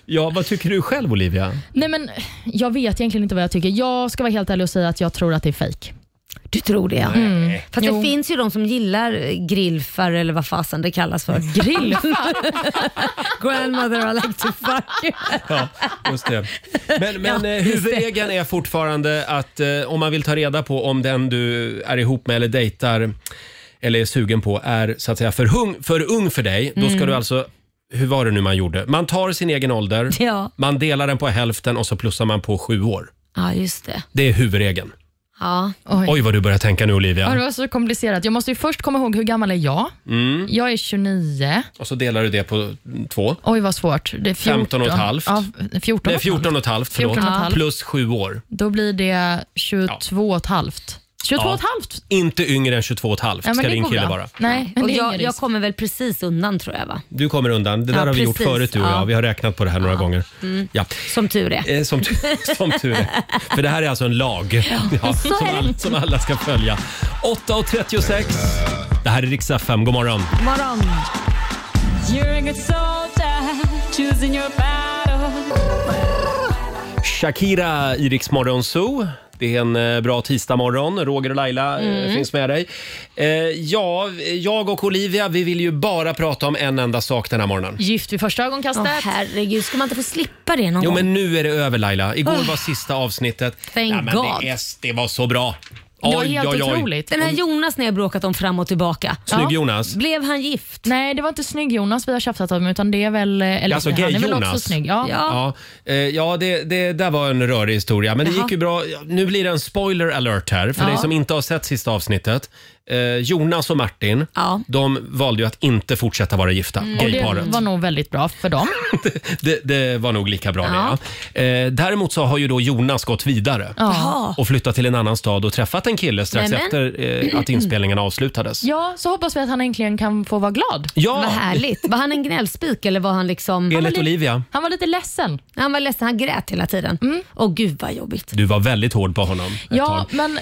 Speaker 1: Ja, vad tycker du själv Olivia?
Speaker 2: Nej, men jag vet egentligen inte vad jag tycker. Jag ska vara helt ärlig och säga att jag tror att det är fejk.
Speaker 3: Du tror det?
Speaker 2: Mm.
Speaker 3: Fast
Speaker 2: Jo.
Speaker 3: det finns ju de som gillar grillfar eller vad fasen det kallas
Speaker 1: (laughs)
Speaker 3: för.
Speaker 2: Grillfar?
Speaker 3: (laughs) Grandmother I like to fuck.
Speaker 1: Ja, just det. Men, men
Speaker 3: Ja,
Speaker 1: eh,
Speaker 3: just det.
Speaker 1: huvudregeln är fortfarande att eh, om man vill ta reda på om den du är ihop med eller dejtar eller är sugen på är så att säga för, hung, för ung för dig, då ska
Speaker 3: Mm.
Speaker 1: du alltså hur var det nu man gjorde? Man tar sin egen ålder,
Speaker 3: Ja.
Speaker 1: man delar den på hälften och så plussar man på sju år.
Speaker 3: Ja, just det.
Speaker 1: Det är huvudregeln.
Speaker 3: Ja.
Speaker 1: Oj, vad du börjar tänka nu
Speaker 2: Ja, det
Speaker 1: Olivia.
Speaker 2: var så komplicerat. Jag måste ju först komma ihåg hur gammal är jag?
Speaker 1: Mm.
Speaker 2: Jag är 29.
Speaker 1: Och så delar du det på två.
Speaker 2: Oj, vad svårt. Det är 14.
Speaker 1: 15 och ett halvt.
Speaker 2: Ja, 14
Speaker 1: Nej,
Speaker 2: och ett halvt.
Speaker 1: 14 och ett halvt, förlåt.
Speaker 2: 14 och ett halvt.
Speaker 1: Plus sju år.
Speaker 2: Då blir det 22 och ett halvt. 22 och ett
Speaker 1: Ja.
Speaker 2: halvt?
Speaker 1: Inte yngre än 22 och ett halvt
Speaker 2: Ja, men
Speaker 1: ska
Speaker 2: det
Speaker 1: din
Speaker 2: går
Speaker 1: kille
Speaker 2: bra.
Speaker 1: vara.
Speaker 2: Nej, men
Speaker 3: Och
Speaker 2: det är
Speaker 3: jag,
Speaker 2: ingen
Speaker 3: jag
Speaker 2: risk.
Speaker 3: kommer väl precis undan tror jag va?
Speaker 1: Du kommer undan. Det där
Speaker 3: Ja,
Speaker 1: har vi gjort
Speaker 3: precis.
Speaker 1: förut du och
Speaker 3: Ja.
Speaker 1: jag. Vi har räknat på det här några gånger.
Speaker 3: Mm.
Speaker 1: Ja.
Speaker 3: Som tur är.
Speaker 1: Eh, Som, tu- (laughs) som tur är. För det här är alltså en lag ja,
Speaker 3: så
Speaker 1: som,
Speaker 3: är det.
Speaker 1: all, som alla ska följa. 8.36. Det här är riksdag 5. God morgon.
Speaker 3: Morgon.
Speaker 8: You're a good soldier, choosing your battle.
Speaker 1: Shakira i Rix Morgon Zoo. Det är en eh, bra tisdagmorgon. Roger och Laila eh,
Speaker 15: Mm.
Speaker 1: finns med dig. Eh, ja, jag och Olivia vi vill ju bara prata om en enda sak den här morgonen.
Speaker 2: Gift vid första ögonkastet.
Speaker 3: herregud, ska man inte få slippa det någon
Speaker 1: Jo,
Speaker 3: gång?
Speaker 1: men nu är det över Laila. Igår
Speaker 2: Ah.
Speaker 3: Oh.
Speaker 1: var sista avsnittet.
Speaker 3: Thank
Speaker 1: ja, men
Speaker 3: God.
Speaker 1: det, är, det var så bra. Oj, oj, oj.
Speaker 3: Den här Jonas ni har bråkat om fram och tillbaka.
Speaker 1: Snygg Jonas.
Speaker 3: Blev han gift?
Speaker 2: Nej, det var inte snygg-Jonas vi har tjafsat om, utan det är väl... Eller,
Speaker 1: alltså
Speaker 2: han är väl
Speaker 1: gay-Jonas.
Speaker 2: också snygg. Ja.
Speaker 1: ja. eh, ja det, det där var en rörig historia. Men det
Speaker 2: Jaha.
Speaker 1: gick ju bra. Nu blir det en spoiler alert här för
Speaker 2: Ja.
Speaker 1: dig som inte har sett sista avsnittet. Eh, Jonas och Martin, de valde ju att inte fortsätta vara gifta,
Speaker 2: Mm. Och det
Speaker 1: gayparet.
Speaker 2: var nog väldigt bra för dem.
Speaker 1: Det, det var nog lika bra det. Ja. Eh, däremot så har ju då Jonas gått vidare
Speaker 2: Jaha.
Speaker 1: och flyttat till en annan stad och träffat en kille strax
Speaker 2: Nämen.
Speaker 1: efter eh, att inspelningarna avslutades.
Speaker 2: Ja, så hoppas vi att han äntligen kan få vara glad.
Speaker 1: Ja.
Speaker 3: Vad härligt. Var han en gnällspik eller var han liksom...
Speaker 1: Enligt
Speaker 3: han var lite-
Speaker 1: Olivia.
Speaker 2: Han var lite ledsen.
Speaker 3: Han var ledsen, han grät hela tiden.
Speaker 1: Mm.
Speaker 3: Åh gud vad jobbigt.
Speaker 1: Du var väldigt hård på honom ett tag.
Speaker 2: men...
Speaker 3: Ja, men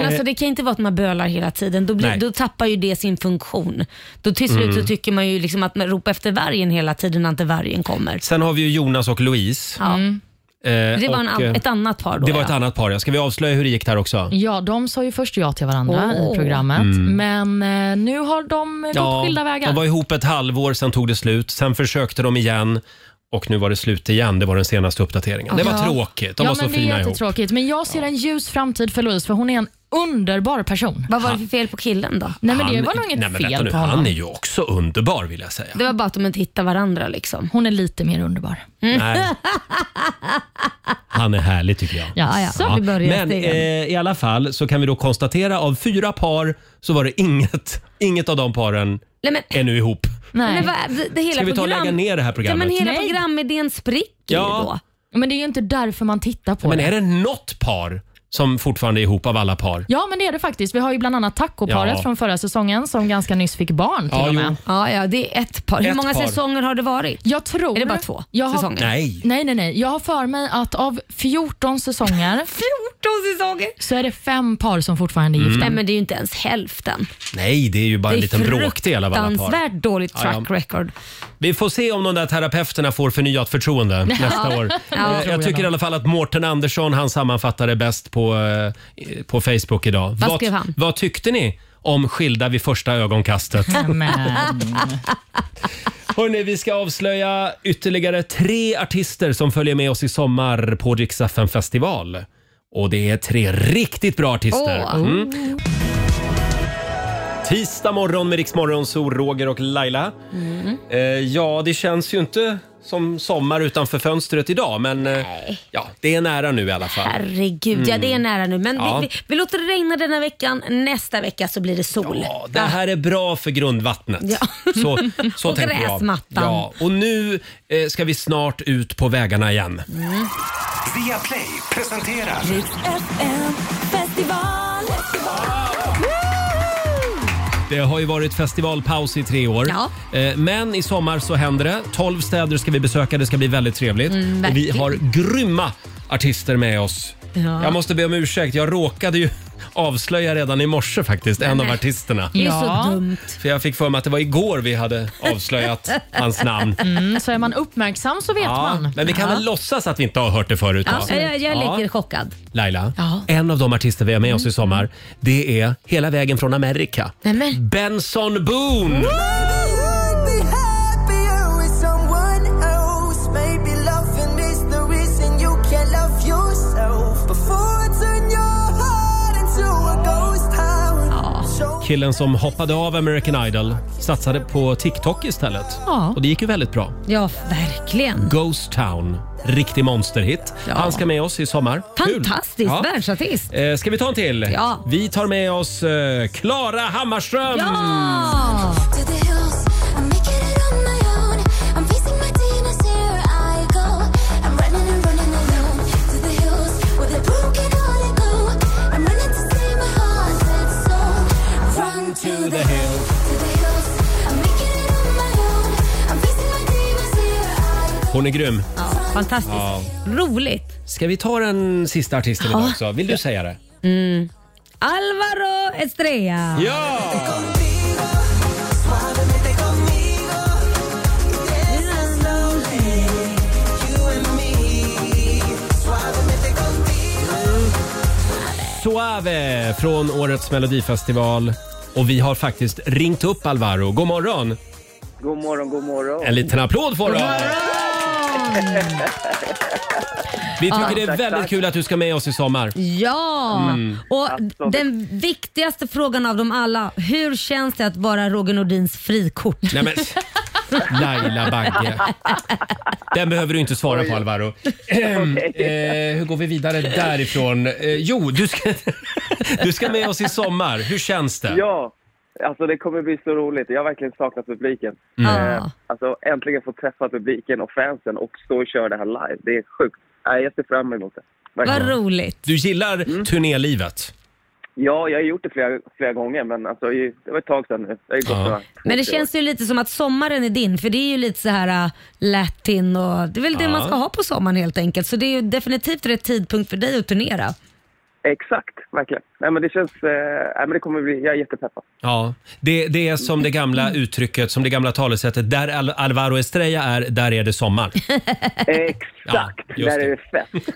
Speaker 1: Ja.
Speaker 3: alltså, det kan inte vara att man bölar hela tiden. Då, blir,
Speaker 1: eh- Nej.
Speaker 3: då tappar ju det sin funktion. Då till slut
Speaker 1: Mm.
Speaker 3: så tycker man ju liksom att man ropar efter vargen hela tiden när inte vargen kommer.
Speaker 1: Sen har vi ju Jonas och Louise.
Speaker 3: Ja. Det var en,
Speaker 1: och, eh,
Speaker 3: an- ett annat par då.
Speaker 1: Det var
Speaker 3: ja.
Speaker 1: ett annat par, ja. Ska vi avslöja hur det gick där också?
Speaker 2: Ja, de sa ju först ja till varandra
Speaker 1: Åh.
Speaker 2: i programmet,
Speaker 1: Mm.
Speaker 2: men eh, nu har de eh, gått skilda vägar.
Speaker 1: de var ihop ett halvår, sen tog det slut. Sen försökte de igen och nu var det slut igen. Det var den senaste uppdateringen. Det var
Speaker 2: Ja.
Speaker 1: tråkigt. De
Speaker 2: ja,
Speaker 1: var så
Speaker 2: men det är
Speaker 1: fina ihop.
Speaker 2: jättetråkigt. Men jag ser en ljus framtid för Louise, för hon är en underbar person.
Speaker 3: Vad var det för fel på killen då?
Speaker 2: Nej, men det
Speaker 1: Han-
Speaker 2: var nog
Speaker 1: nej,
Speaker 2: inget
Speaker 1: men vänta
Speaker 2: fel
Speaker 1: nu,
Speaker 2: på honom.
Speaker 1: Han är ju också underbar vill jag säga.
Speaker 3: Det var bara att de inte hittade varandra liksom.
Speaker 2: Hon är lite mer underbar.
Speaker 1: Nej.
Speaker 2: Mm.
Speaker 1: Han är härlig tycker jag.
Speaker 2: Ja, ja. Så vi börjar
Speaker 1: Men
Speaker 2: stegen.
Speaker 1: eh, i alla fall så kan vi då konstatera av fyra par så var det inget, inget av de paren
Speaker 3: Nej, men-
Speaker 1: är nu ihop.
Speaker 3: Nej. Men vad- det, det hela
Speaker 1: Eh, Ska vi ta och
Speaker 3: program...
Speaker 1: lägga ner det här
Speaker 3: Ja,
Speaker 1: programmet?
Speaker 3: men hela programidén spricker ju då.
Speaker 1: Ja.
Speaker 2: Men det är ju inte därför man tittar på
Speaker 1: Men
Speaker 2: det.
Speaker 1: är det något par som fortfarande är ihop av alla par?
Speaker 2: Ja, men det är det faktiskt. Vi har ju bland annat tacoparet
Speaker 1: Ja.
Speaker 2: från förra säsongen som ganska nyss fick barn till
Speaker 1: Ja,
Speaker 2: och
Speaker 1: jo.
Speaker 2: med.
Speaker 3: Ja, ja, det är ett par. Hur
Speaker 1: Ett
Speaker 3: många
Speaker 1: par.
Speaker 3: säsonger har det varit?
Speaker 2: Jag tror...
Speaker 3: Är det bara två
Speaker 2: jag har-
Speaker 3: säsonger?
Speaker 1: Nej.
Speaker 2: Nej, nej, nej. Jag har för mig att av 14 säsonger 14
Speaker 3: (laughs) säsonger?
Speaker 2: så är det fem par som fortfarande är
Speaker 1: Mm.
Speaker 2: gifta.
Speaker 1: Nej, men
Speaker 3: det är ju inte ens hälften.
Speaker 1: Nej, det är ju bara en liten bråkdel av alla par.
Speaker 3: fruktansvärt dåligt track
Speaker 1: Ja, ja.
Speaker 3: record.
Speaker 1: Vi får se om de där terapeuterna får förnyat förtroende
Speaker 3: (laughs) Ja.
Speaker 1: nästa år.
Speaker 3: Ja,
Speaker 1: Eh,
Speaker 3: tror
Speaker 1: jag,
Speaker 3: jag
Speaker 1: tycker
Speaker 3: nog.
Speaker 1: i alla fall att Mårten Andersson han sammanfattade bäst på, eh, på Facebook idag.
Speaker 3: Vad skrev han?
Speaker 1: vad tyckte ni om Skilda vid första ögonkastet?
Speaker 2: Mm.
Speaker 1: Hörrni, vi ska avslöja ytterligare tre artister som följer med oss i sommar på Rix FM festival. Och det är tre riktigt bra artister.
Speaker 8: Åh.
Speaker 1: Mm. Tisdag morgon med Rix Morgon, så Roger och Laila.
Speaker 3: Mm.
Speaker 1: Eh, ja, det känns ju inte som sommar utanför fönstret idag, men eh, ja, det är nära nu i alla fall.
Speaker 3: Herregud, ja
Speaker 1: Mm.
Speaker 3: det är nära nu. Men
Speaker 1: Ja.
Speaker 3: vi, vi, vi låter det regna denna veckan. Nästa vecka så blir det sol.
Speaker 1: Det här är bra för grundvattnet.
Speaker 3: Ja.
Speaker 1: Så,
Speaker 3: (laughs)
Speaker 1: så
Speaker 3: Och
Speaker 1: tänker jag.
Speaker 3: gräsmattan.
Speaker 1: Ja, och nu eh, ska vi snart ut på vägarna igen.
Speaker 4: Via Play presenterar...
Speaker 8: Festival.
Speaker 1: Det har ju varit festivalpaus i tre år. Eh, Men i sommar så händer det. 12 städer ska vi besöka. Det ska bli väldigt trevligt.
Speaker 8: Mm,
Speaker 1: och vi
Speaker 8: verkligen.
Speaker 1: har grymma artister med oss.
Speaker 8: Ja.
Speaker 1: Jag måste be om ursäkt. Jag råkade ju (laughs) avslöja redan i morse faktiskt, en
Speaker 8: Nej.
Speaker 1: av artisterna.
Speaker 2: Det är ju så (laughs) Ja. dumt.
Speaker 1: För jag fick för mig att det var igår vi hade avslöjat hans namn.
Speaker 2: Mm, så är man uppmärksam så vet
Speaker 1: Ja,
Speaker 2: man.
Speaker 1: men vi kan
Speaker 2: Ja.
Speaker 1: väl låtsas att vi inte har hört det förut. va?
Speaker 3: Ja, jag, jag ligger chockad.
Speaker 1: Laila,
Speaker 3: Ja.
Speaker 1: en av de artister vi har med oss i sommar, det är hela vägen från Amerika.
Speaker 3: Nej, men.
Speaker 1: Benson Boone! Killen som hoppade av American Idol satsade på TikTok istället.
Speaker 3: Ja.
Speaker 1: Och det gick ju väldigt bra.
Speaker 3: Ja, verkligen.
Speaker 1: Ghost Town, riktig monsterhit. Han ska med oss i sommar. Kul.
Speaker 3: Fantastiskt,
Speaker 1: Ja.
Speaker 3: världsartist.
Speaker 1: Eh, Ska vi ta en till?
Speaker 3: Ja.
Speaker 1: Vi tar med oss eh, Klara Hammarström!
Speaker 8: Ja!
Speaker 1: Hon är grym.
Speaker 3: Fantastiskt.
Speaker 1: Ja.
Speaker 3: Roligt.
Speaker 1: Ska vi ta den sista artisten idag
Speaker 3: Ja.
Speaker 1: också? Vill du säga det?
Speaker 3: Mm. Alvaro Estrella.
Speaker 1: Ja! Suave från årets melodifestival. Och vi har faktiskt ringt upp Alvaro. God morgon!
Speaker 15: God morgon, god morgon.
Speaker 1: En liten applåd får du! Vi tycker
Speaker 3: Ja.
Speaker 1: det är
Speaker 3: Tack,
Speaker 1: väldigt
Speaker 3: tack.
Speaker 1: kul att du ska med oss i sommar.
Speaker 3: Ja!
Speaker 1: Mm.
Speaker 3: Och den viktigaste frågan av dem alla. Hur känns det att vara Roger Nordins frikort?
Speaker 1: Nej, men- Laila Bagge. Den behöver du inte svara på
Speaker 3: (laughs)
Speaker 1: Alvaro. Ehm, eh, hur går vi vidare därifrån? Eh, jo, du ska, (laughs) du ska med oss i sommar. Hur känns det?
Speaker 15: Ja, alltså det kommer bli så roligt. Jag har verkligen saknat publiken.
Speaker 1: Mm.
Speaker 15: Eh, Alltså äntligen få träffa publiken och fansen och stå och köra det här live. Det är sjukt. Nej, jag ser fram emot det. Verkligen.
Speaker 3: roligt.
Speaker 1: Du gillar
Speaker 3: Mm.
Speaker 1: turnélivet?
Speaker 15: Ja, jag har gjort det flera, flera gånger, men alltså, ju- det var ett tag sedan nu. Det har ju gått några...
Speaker 3: Men det känns ju lite som att sommaren är din, för det är ju lite så här äh, latin och det är väl det
Speaker 15: Ja.
Speaker 3: man ska ha på sommaren helt enkelt. Så det är ju definitivt rätt tidpunkt för dig att turnera.
Speaker 15: Exakt, verkligen. Nej, men det känns... Eh, nej, men det kommer bli... Jag är
Speaker 3: (laughs)
Speaker 15: jättepeppad.
Speaker 1: Ja, det, det är som det gamla
Speaker 3: Mm.
Speaker 1: uttrycket, som det gamla talesättet. Där Al- Alvaro Estrella är, där är
Speaker 3: (laughs)
Speaker 1: det sommar. Exakt,
Speaker 3: där är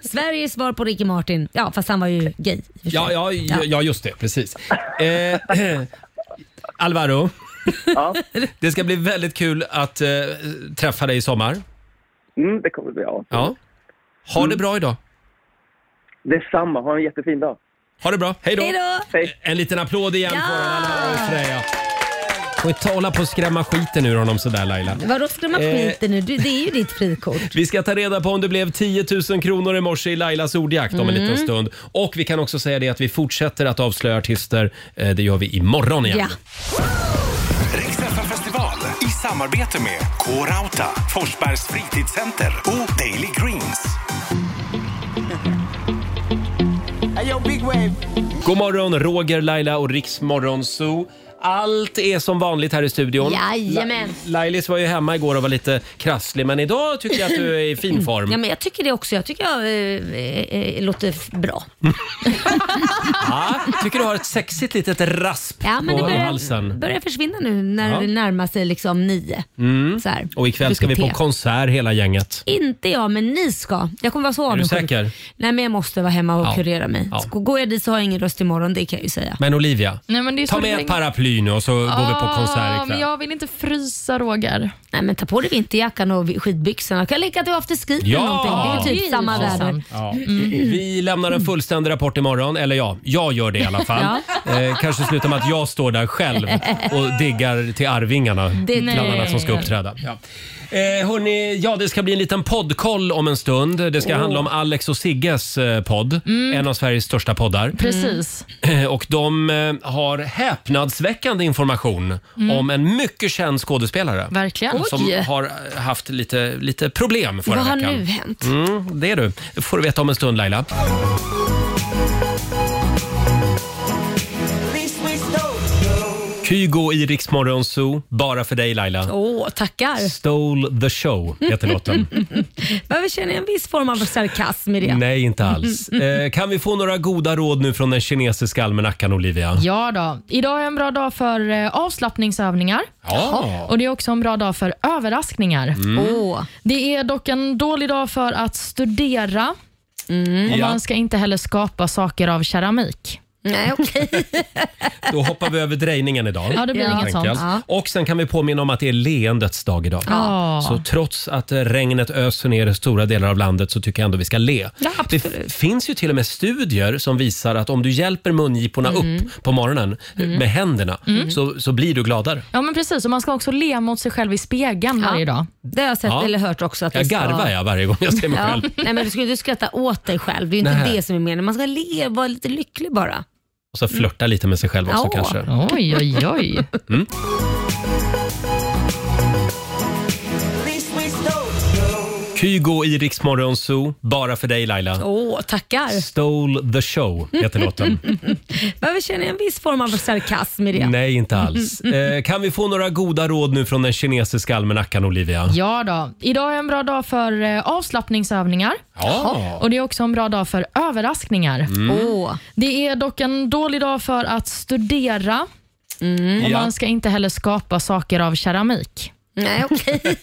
Speaker 3: Sveriges svar på Ricky Martin. Ja, fast han var ju gay.
Speaker 1: Ja, ja, ja. ja, just det. Precis. Eh, (clears throat) Alvaro, (laughs) det ska bli väldigt kul att eh, träffa dig i sommar.
Speaker 15: Mm, det kommer bli av.
Speaker 1: Ja. Ha det bra idag.
Speaker 15: Detsamma. Ha en jättefin dag.
Speaker 1: Ha det bra. Hej då!
Speaker 15: Hej
Speaker 1: En liten applåd igen på den, Alvaro Estrella. Får inte hålla på och skrämma skiten ur honom sådär Laila.
Speaker 3: Vadå ska man
Speaker 1: Eh.
Speaker 3: skiten nu? Du, det är ju ditt frikort.
Speaker 1: Vi ska ta reda på om det blev 10 000 kronor i morse i Lailas ordjakt om en
Speaker 3: Mm.
Speaker 1: liten stund. Och vi kan också säga det att vi fortsätter att avslöja artister. Eh, Det gör vi imorgon igen.
Speaker 7: festival i samarbete med K-Rauta, Forsbergs fritidscenter och Daily Greens.
Speaker 1: God morgon Roger, Laila och Riksmorgon Zoo. Allt är som vanligt här i studion.
Speaker 3: Jajamän.
Speaker 1: La- Lailis var ju hemma igår och var lite krasslig men idag tycker jag att du är i fin form.
Speaker 3: Mm. Ja, men jag tycker det också. Jag tycker jag eh, eh, eh, låter f- bra.
Speaker 1: Mm. Ja, Ah, tycker du har ett sexigt litet rasp
Speaker 3: Ja, men
Speaker 1: på
Speaker 3: det börjar,
Speaker 1: halsen.
Speaker 3: börjar försvinna nu när
Speaker 1: Ja.
Speaker 3: det närmar sig liksom nio.
Speaker 1: Mm.
Speaker 3: Så här.
Speaker 1: Och ikväll ska vi på
Speaker 3: Diskutera.
Speaker 1: konsert hela gänget.
Speaker 3: Inte jag, men ni ska. Jag kommer vara så
Speaker 1: Är du
Speaker 3: avundsjuk.
Speaker 1: säker?
Speaker 3: Nej, men jag måste vara hemma och
Speaker 1: Ja.
Speaker 3: kurera mig.
Speaker 1: Ja.
Speaker 3: Så Går jag dit så har jag ingen röst imorgon, det kan jag ju säga.
Speaker 1: Men Olivia,
Speaker 2: Nej, men det är
Speaker 1: ta
Speaker 2: så
Speaker 1: med
Speaker 2: länge-
Speaker 1: ett paraply nu och så går vi på konsert
Speaker 2: Ah, men
Speaker 1: ikväll.
Speaker 2: jag vill inte frysa Roger.
Speaker 3: Nej, men ta på dig vinterjackan och skidbyxorna. Kan lika att du har afterski eller
Speaker 1: Ja!
Speaker 3: någonting. Det är väl
Speaker 2: Ja,
Speaker 3: typ samma
Speaker 2: det är
Speaker 3: väder.
Speaker 2: sant.
Speaker 1: Ja. Vi lämnar en fullständig rapport imorgon, eller ja, jag gör det i alla fall. eh, kanske slutar med att jag står där själv och diggar till Arvingarna,
Speaker 3: Det-
Speaker 1: bland annat,
Speaker 3: Nej.
Speaker 1: som ska uppträda. Ja. Eh, hörni, ja, det ska bli en liten poddkoll om en stund. Det ska
Speaker 2: Åh.
Speaker 1: handla om Alex och Sigges eh, podd,
Speaker 2: Mm.
Speaker 1: en av Sveriges största poddar. (laughs)
Speaker 2: Precis.
Speaker 1: Eh, Och de eh, har häpnadsväckande information
Speaker 2: Mm.
Speaker 1: om en mycket känd skådespelare.
Speaker 2: Verkligen.
Speaker 1: Som
Speaker 2: Oj.
Speaker 1: har eh, haft lite, lite problem förra
Speaker 2: Vad har
Speaker 1: veckan.
Speaker 2: nu hänt?
Speaker 1: Mm, det är du. Det får du veta om en stund Laila. Kygo i Rix Morgon Zoo, bara för dig Laila.
Speaker 3: Åh, tackar.
Speaker 1: Stole the show heter
Speaker 2: (laughs)
Speaker 1: låten.
Speaker 3: Varför känner jag en viss form av sarkasm i det?
Speaker 1: Nej, inte
Speaker 2: (laughs)
Speaker 1: alls. Eh, kan vi få några goda råd nu från den kinesiska almanackan Olivia?
Speaker 2: Ja då. Idag är en bra dag för eh, avslappningsövningar.
Speaker 1: Ja.
Speaker 2: Och Det är också en bra dag för överraskningar.
Speaker 1: Mm. Åh.
Speaker 2: Det är dock en dålig dag för att studera. Och
Speaker 1: Ja.
Speaker 2: Mm. Man ska inte heller skapa saker av keramik.
Speaker 3: Nej, okej.
Speaker 1: Då hoppar vi över drejningen idag.
Speaker 2: Ja, det blir
Speaker 1: helt
Speaker 2: inget sånt.
Speaker 1: enkelt.
Speaker 2: Ja.
Speaker 1: Och sen kan vi påminna om att det är leendets dag idag.
Speaker 2: Ja.
Speaker 1: Så trots att eh, regnet öser ner i stora delar av landet så tycker jag ändå vi ska le. det f- finns ju till och med studier som visar att om du hjälper mungiporna
Speaker 2: Mm.
Speaker 1: upp på morgonen eh,
Speaker 2: Mm.
Speaker 1: med händerna
Speaker 2: Mm.
Speaker 1: så, så blir du gladare.
Speaker 2: Ja, men precis. Och man ska också le mot sig själv i spegeln varje dag.
Speaker 3: Det har jag sett
Speaker 1: Ja.
Speaker 3: eller hört också. Att
Speaker 1: Jag
Speaker 3: det ska...
Speaker 1: garvar jag varje gång jag ser mig
Speaker 3: Ja.
Speaker 1: själv.
Speaker 3: Nej, men du ska ju inte skratta åt dig själv. Det är ju inte
Speaker 1: Nej.
Speaker 3: det som är meningen. Man ska le vara lite lycklig bara.
Speaker 1: Och så flörta lite med sig själv också
Speaker 3: Ja.
Speaker 1: kanske.
Speaker 3: Oj, oj, oj.
Speaker 1: Mm. Kygo i Rix Morgon Zoo, bara för dig Laila.
Speaker 3: Åh, tackar.
Speaker 1: Stole the show
Speaker 2: (laughs)
Speaker 1: heter låten.
Speaker 3: Varför känner jag en viss form av sarkasm i det?
Speaker 1: Nej,
Speaker 2: (laughs)
Speaker 1: inte alls. Eh, kan vi få några goda råd nu från den kinesiska almanackan Olivia?
Speaker 2: Ja då. Idag är en bra dag för eh, avslappningsövningar.
Speaker 1: Ja.
Speaker 2: Och Det är också en bra dag för överraskningar.
Speaker 1: Mm. Åh.
Speaker 2: Det är dock en dålig dag för att studera. Och
Speaker 1: Ja.
Speaker 2: Mm. Man ska inte heller skapa saker av keramik.
Speaker 3: Nej, okej.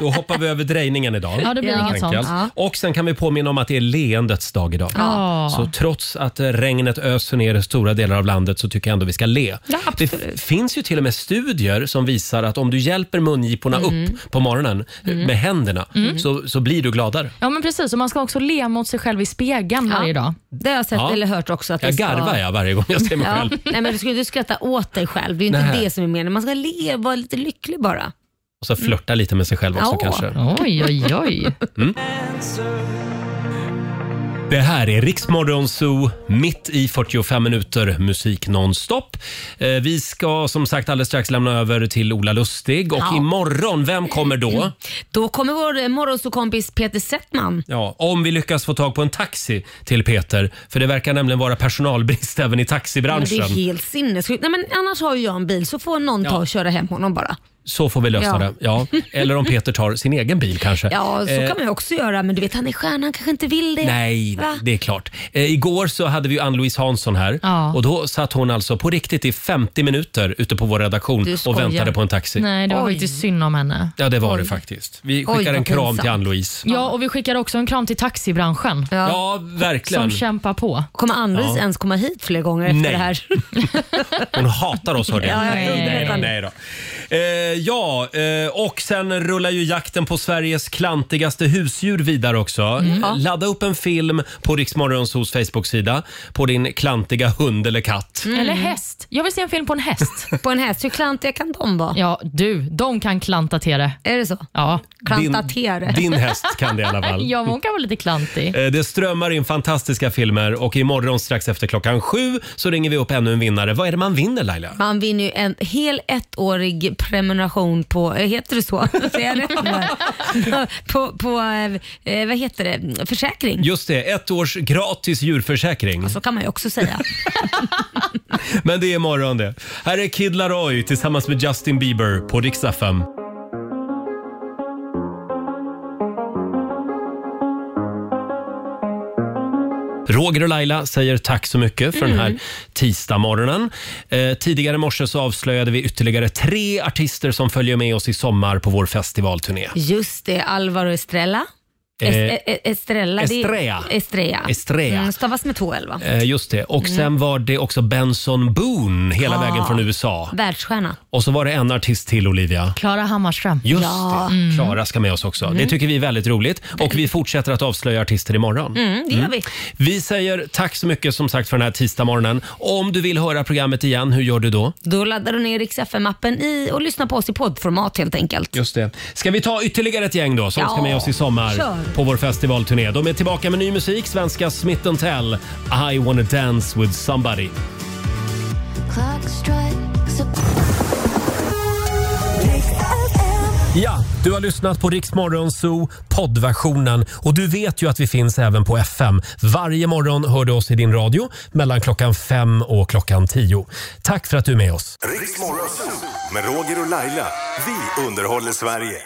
Speaker 1: Då hoppar vi över drejningen idag.
Speaker 2: Ja, det blir
Speaker 1: helt
Speaker 2: inget sånt.
Speaker 1: enkelt.
Speaker 2: Ja.
Speaker 1: Och sen kan vi påminna om att det är leendets dag idag.
Speaker 2: Ja.
Speaker 1: Så trots att eh, regnet öser ner i stora delar av landet så tycker jag ändå vi ska le. det f- finns ju till och med studier som visar att om du hjälper mungiporna upp på morgonen eh,
Speaker 2: Mm.
Speaker 1: med händerna
Speaker 2: Mm.
Speaker 1: så, så blir du gladare.
Speaker 2: Ja, men precis. Och man ska också le mot sig själv i spegeln varje dag.
Speaker 3: Det har jag sett
Speaker 1: Ja.
Speaker 3: eller hört också. Att
Speaker 1: Jag
Speaker 3: det ska...
Speaker 1: garvar jag varje gång jag ser mig
Speaker 3: Ja.
Speaker 1: själv.
Speaker 3: Nej, men du ska ju inte skratta åt dig själv. Det är ju inte
Speaker 1: Nej.
Speaker 3: det som är meningen. Man ska le vara lite lycklig bara.
Speaker 1: Och så flörta lite med sig själv också
Speaker 3: Ja.
Speaker 1: kanske.
Speaker 3: Oj, oj,
Speaker 1: (laughs)
Speaker 2: oj.
Speaker 1: Mm. Det här är Riksmorgon Zoo, mitt i 45 minuter musik nonstop. Eh, Vi ska som sagt alldeles strax lämna över till Ola Lustig och
Speaker 3: Ja.
Speaker 1: imorgon, vem kommer då?
Speaker 3: Då kommer vår eh, morgonsåkompis Peter Settman.
Speaker 1: Ja, om vi lyckas få tag på en taxi till Peter, för det verkar nämligen vara personalbrist (laughs) även i
Speaker 3: Men Det är
Speaker 1: taxibranschen.
Speaker 3: helt sinnessjukt. Nej, men annars har ju jag en bil så får någon
Speaker 1: Ja.
Speaker 3: ta och köra hem honom bara.
Speaker 1: Så får vi lösa
Speaker 3: Ja.
Speaker 1: det.
Speaker 2: (laughs)
Speaker 1: Ja. Eller om Peter tar sin egen bil kanske.
Speaker 3: Ja, så
Speaker 1: Eh,
Speaker 3: kan man ju också göra. Men du vet, han är stjärna, han kanske inte vill det.
Speaker 1: Nej,
Speaker 3: Va?
Speaker 1: det är klart. Eh, igår så hade vi ju Ann-Louise Hansson här
Speaker 2: Ja.
Speaker 1: och då satt hon alltså på riktigt i 50 minuter ute på vår redaktion
Speaker 2: Du
Speaker 1: och
Speaker 2: skojar.
Speaker 1: väntade på en taxi.
Speaker 2: Nej, det var
Speaker 1: Oj.
Speaker 2: faktiskt synd om henne.
Speaker 1: Ja, det var
Speaker 2: Oj.
Speaker 1: det faktiskt. Vi
Speaker 2: Oj,
Speaker 1: skickar
Speaker 2: vad
Speaker 1: en kram
Speaker 2: pinsamt.
Speaker 1: till Ann-Louise.
Speaker 2: Ja, och vi skickar också en kram till taxibranschen.
Speaker 1: Ja, verkligen.
Speaker 2: Som kämpar på.
Speaker 3: Kommer Ann-Louise
Speaker 1: Ja.
Speaker 3: ens komma hit fler gånger efter
Speaker 1: Nej.
Speaker 3: det
Speaker 1: (laughs)
Speaker 3: här?
Speaker 1: Hon hatar oss hörde jag.
Speaker 3: Ja, ja, ja.
Speaker 1: nej, nej, då, nej då. Eh, ja, eh, och sen rullar ju jakten på Sveriges klantigaste husdjur vidare också.
Speaker 3: Mm.
Speaker 16: Ja.
Speaker 1: Ladda upp en film på Riksmorgons hos Facebook-sida på din klantiga hund eller katt.
Speaker 3: Mm.
Speaker 2: Eller häst. Jag vill se en film på en häst.
Speaker 3: på en häst, hur klantiga kan de vara?
Speaker 2: Ja, du. De kan klanta till det.
Speaker 3: Är det så?
Speaker 2: Ja.
Speaker 1: Klanta Din- till det. din häst kan det i alla
Speaker 3: (laughs)
Speaker 1: fall.
Speaker 2: ja, men hon kan vara lite klantig.
Speaker 1: Eh, Det strömmar in fantastiska filmer och imorgon strax efter klockan sju så ringer vi upp ännu en vinnare. Vad är det man vinner Laila?
Speaker 3: Man vinner ju en hel ettårig prenumeration på, eh, heter det så? (laughs) Säger jag rätt nu?
Speaker 1: (laughs)
Speaker 3: på, på eh, vad heter det, försäkring.
Speaker 1: Just det, ett års gratis djurförsäkring.
Speaker 3: Så kan man ju också säga.
Speaker 1: Men det är imorgon det. Här är Kid Laroi tillsammans med Justin Bieber på riksdag 5. Roger och Laila säger tack så mycket för den här
Speaker 16: Mm.
Speaker 1: tisdagsmorgonen. Eh, tidigare i morse så avslöjade vi ytterligare tre artister som följer med oss i sommar på vår festivalturné.
Speaker 3: Just det, Alvaro Estrella. Es-
Speaker 1: Eh,
Speaker 3: e- e- Estrella. det är-
Speaker 1: Estrella.
Speaker 3: Estrella.
Speaker 1: Estrella.
Speaker 3: Mm, stavas med två L va?
Speaker 1: Eh, just det. Och sen
Speaker 3: Mm.
Speaker 1: var det också Benson Boone hela
Speaker 3: Ja.
Speaker 1: vägen från USA.
Speaker 3: Världsstjärna.
Speaker 1: Och så var det en artist till, Olivia.
Speaker 2: Klara Hammarström.
Speaker 1: Just
Speaker 2: ja.
Speaker 1: det,
Speaker 2: Mm.
Speaker 1: Klara ska med oss också.
Speaker 2: Mm.
Speaker 1: Det tycker vi är väldigt roligt. Och vi fortsätter att avslöja artister imorgon.
Speaker 2: Mm, det gör vi.
Speaker 1: Vi säger tack så mycket som sagt för den här tisdagsmorgonen. Om du vill höra programmet igen, hur gör du då?
Speaker 3: Då laddar du ner Rix FM-appen i och lyssnar på oss i poddformat helt enkelt.
Speaker 1: Just det. Ska vi ta ytterligare ett gäng då som
Speaker 3: Ja.
Speaker 1: ska med oss i sommar
Speaker 3: Kör.
Speaker 1: på vår festivalturné? De är tillbaka med ny musik, svenska Smith Tell, I wanna dance with somebody.
Speaker 8: Clock strikes
Speaker 1: Ja, du har lyssnat på Rix Morgon Zoo poddversionen och du vet ju att vi finns även på FM. Varje morgon hör du oss i din radio mellan klockan fem och klockan tio. Tack för att du är med oss.
Speaker 7: Riksmorgon med Roger och Laila. Vi underhåller Sverige.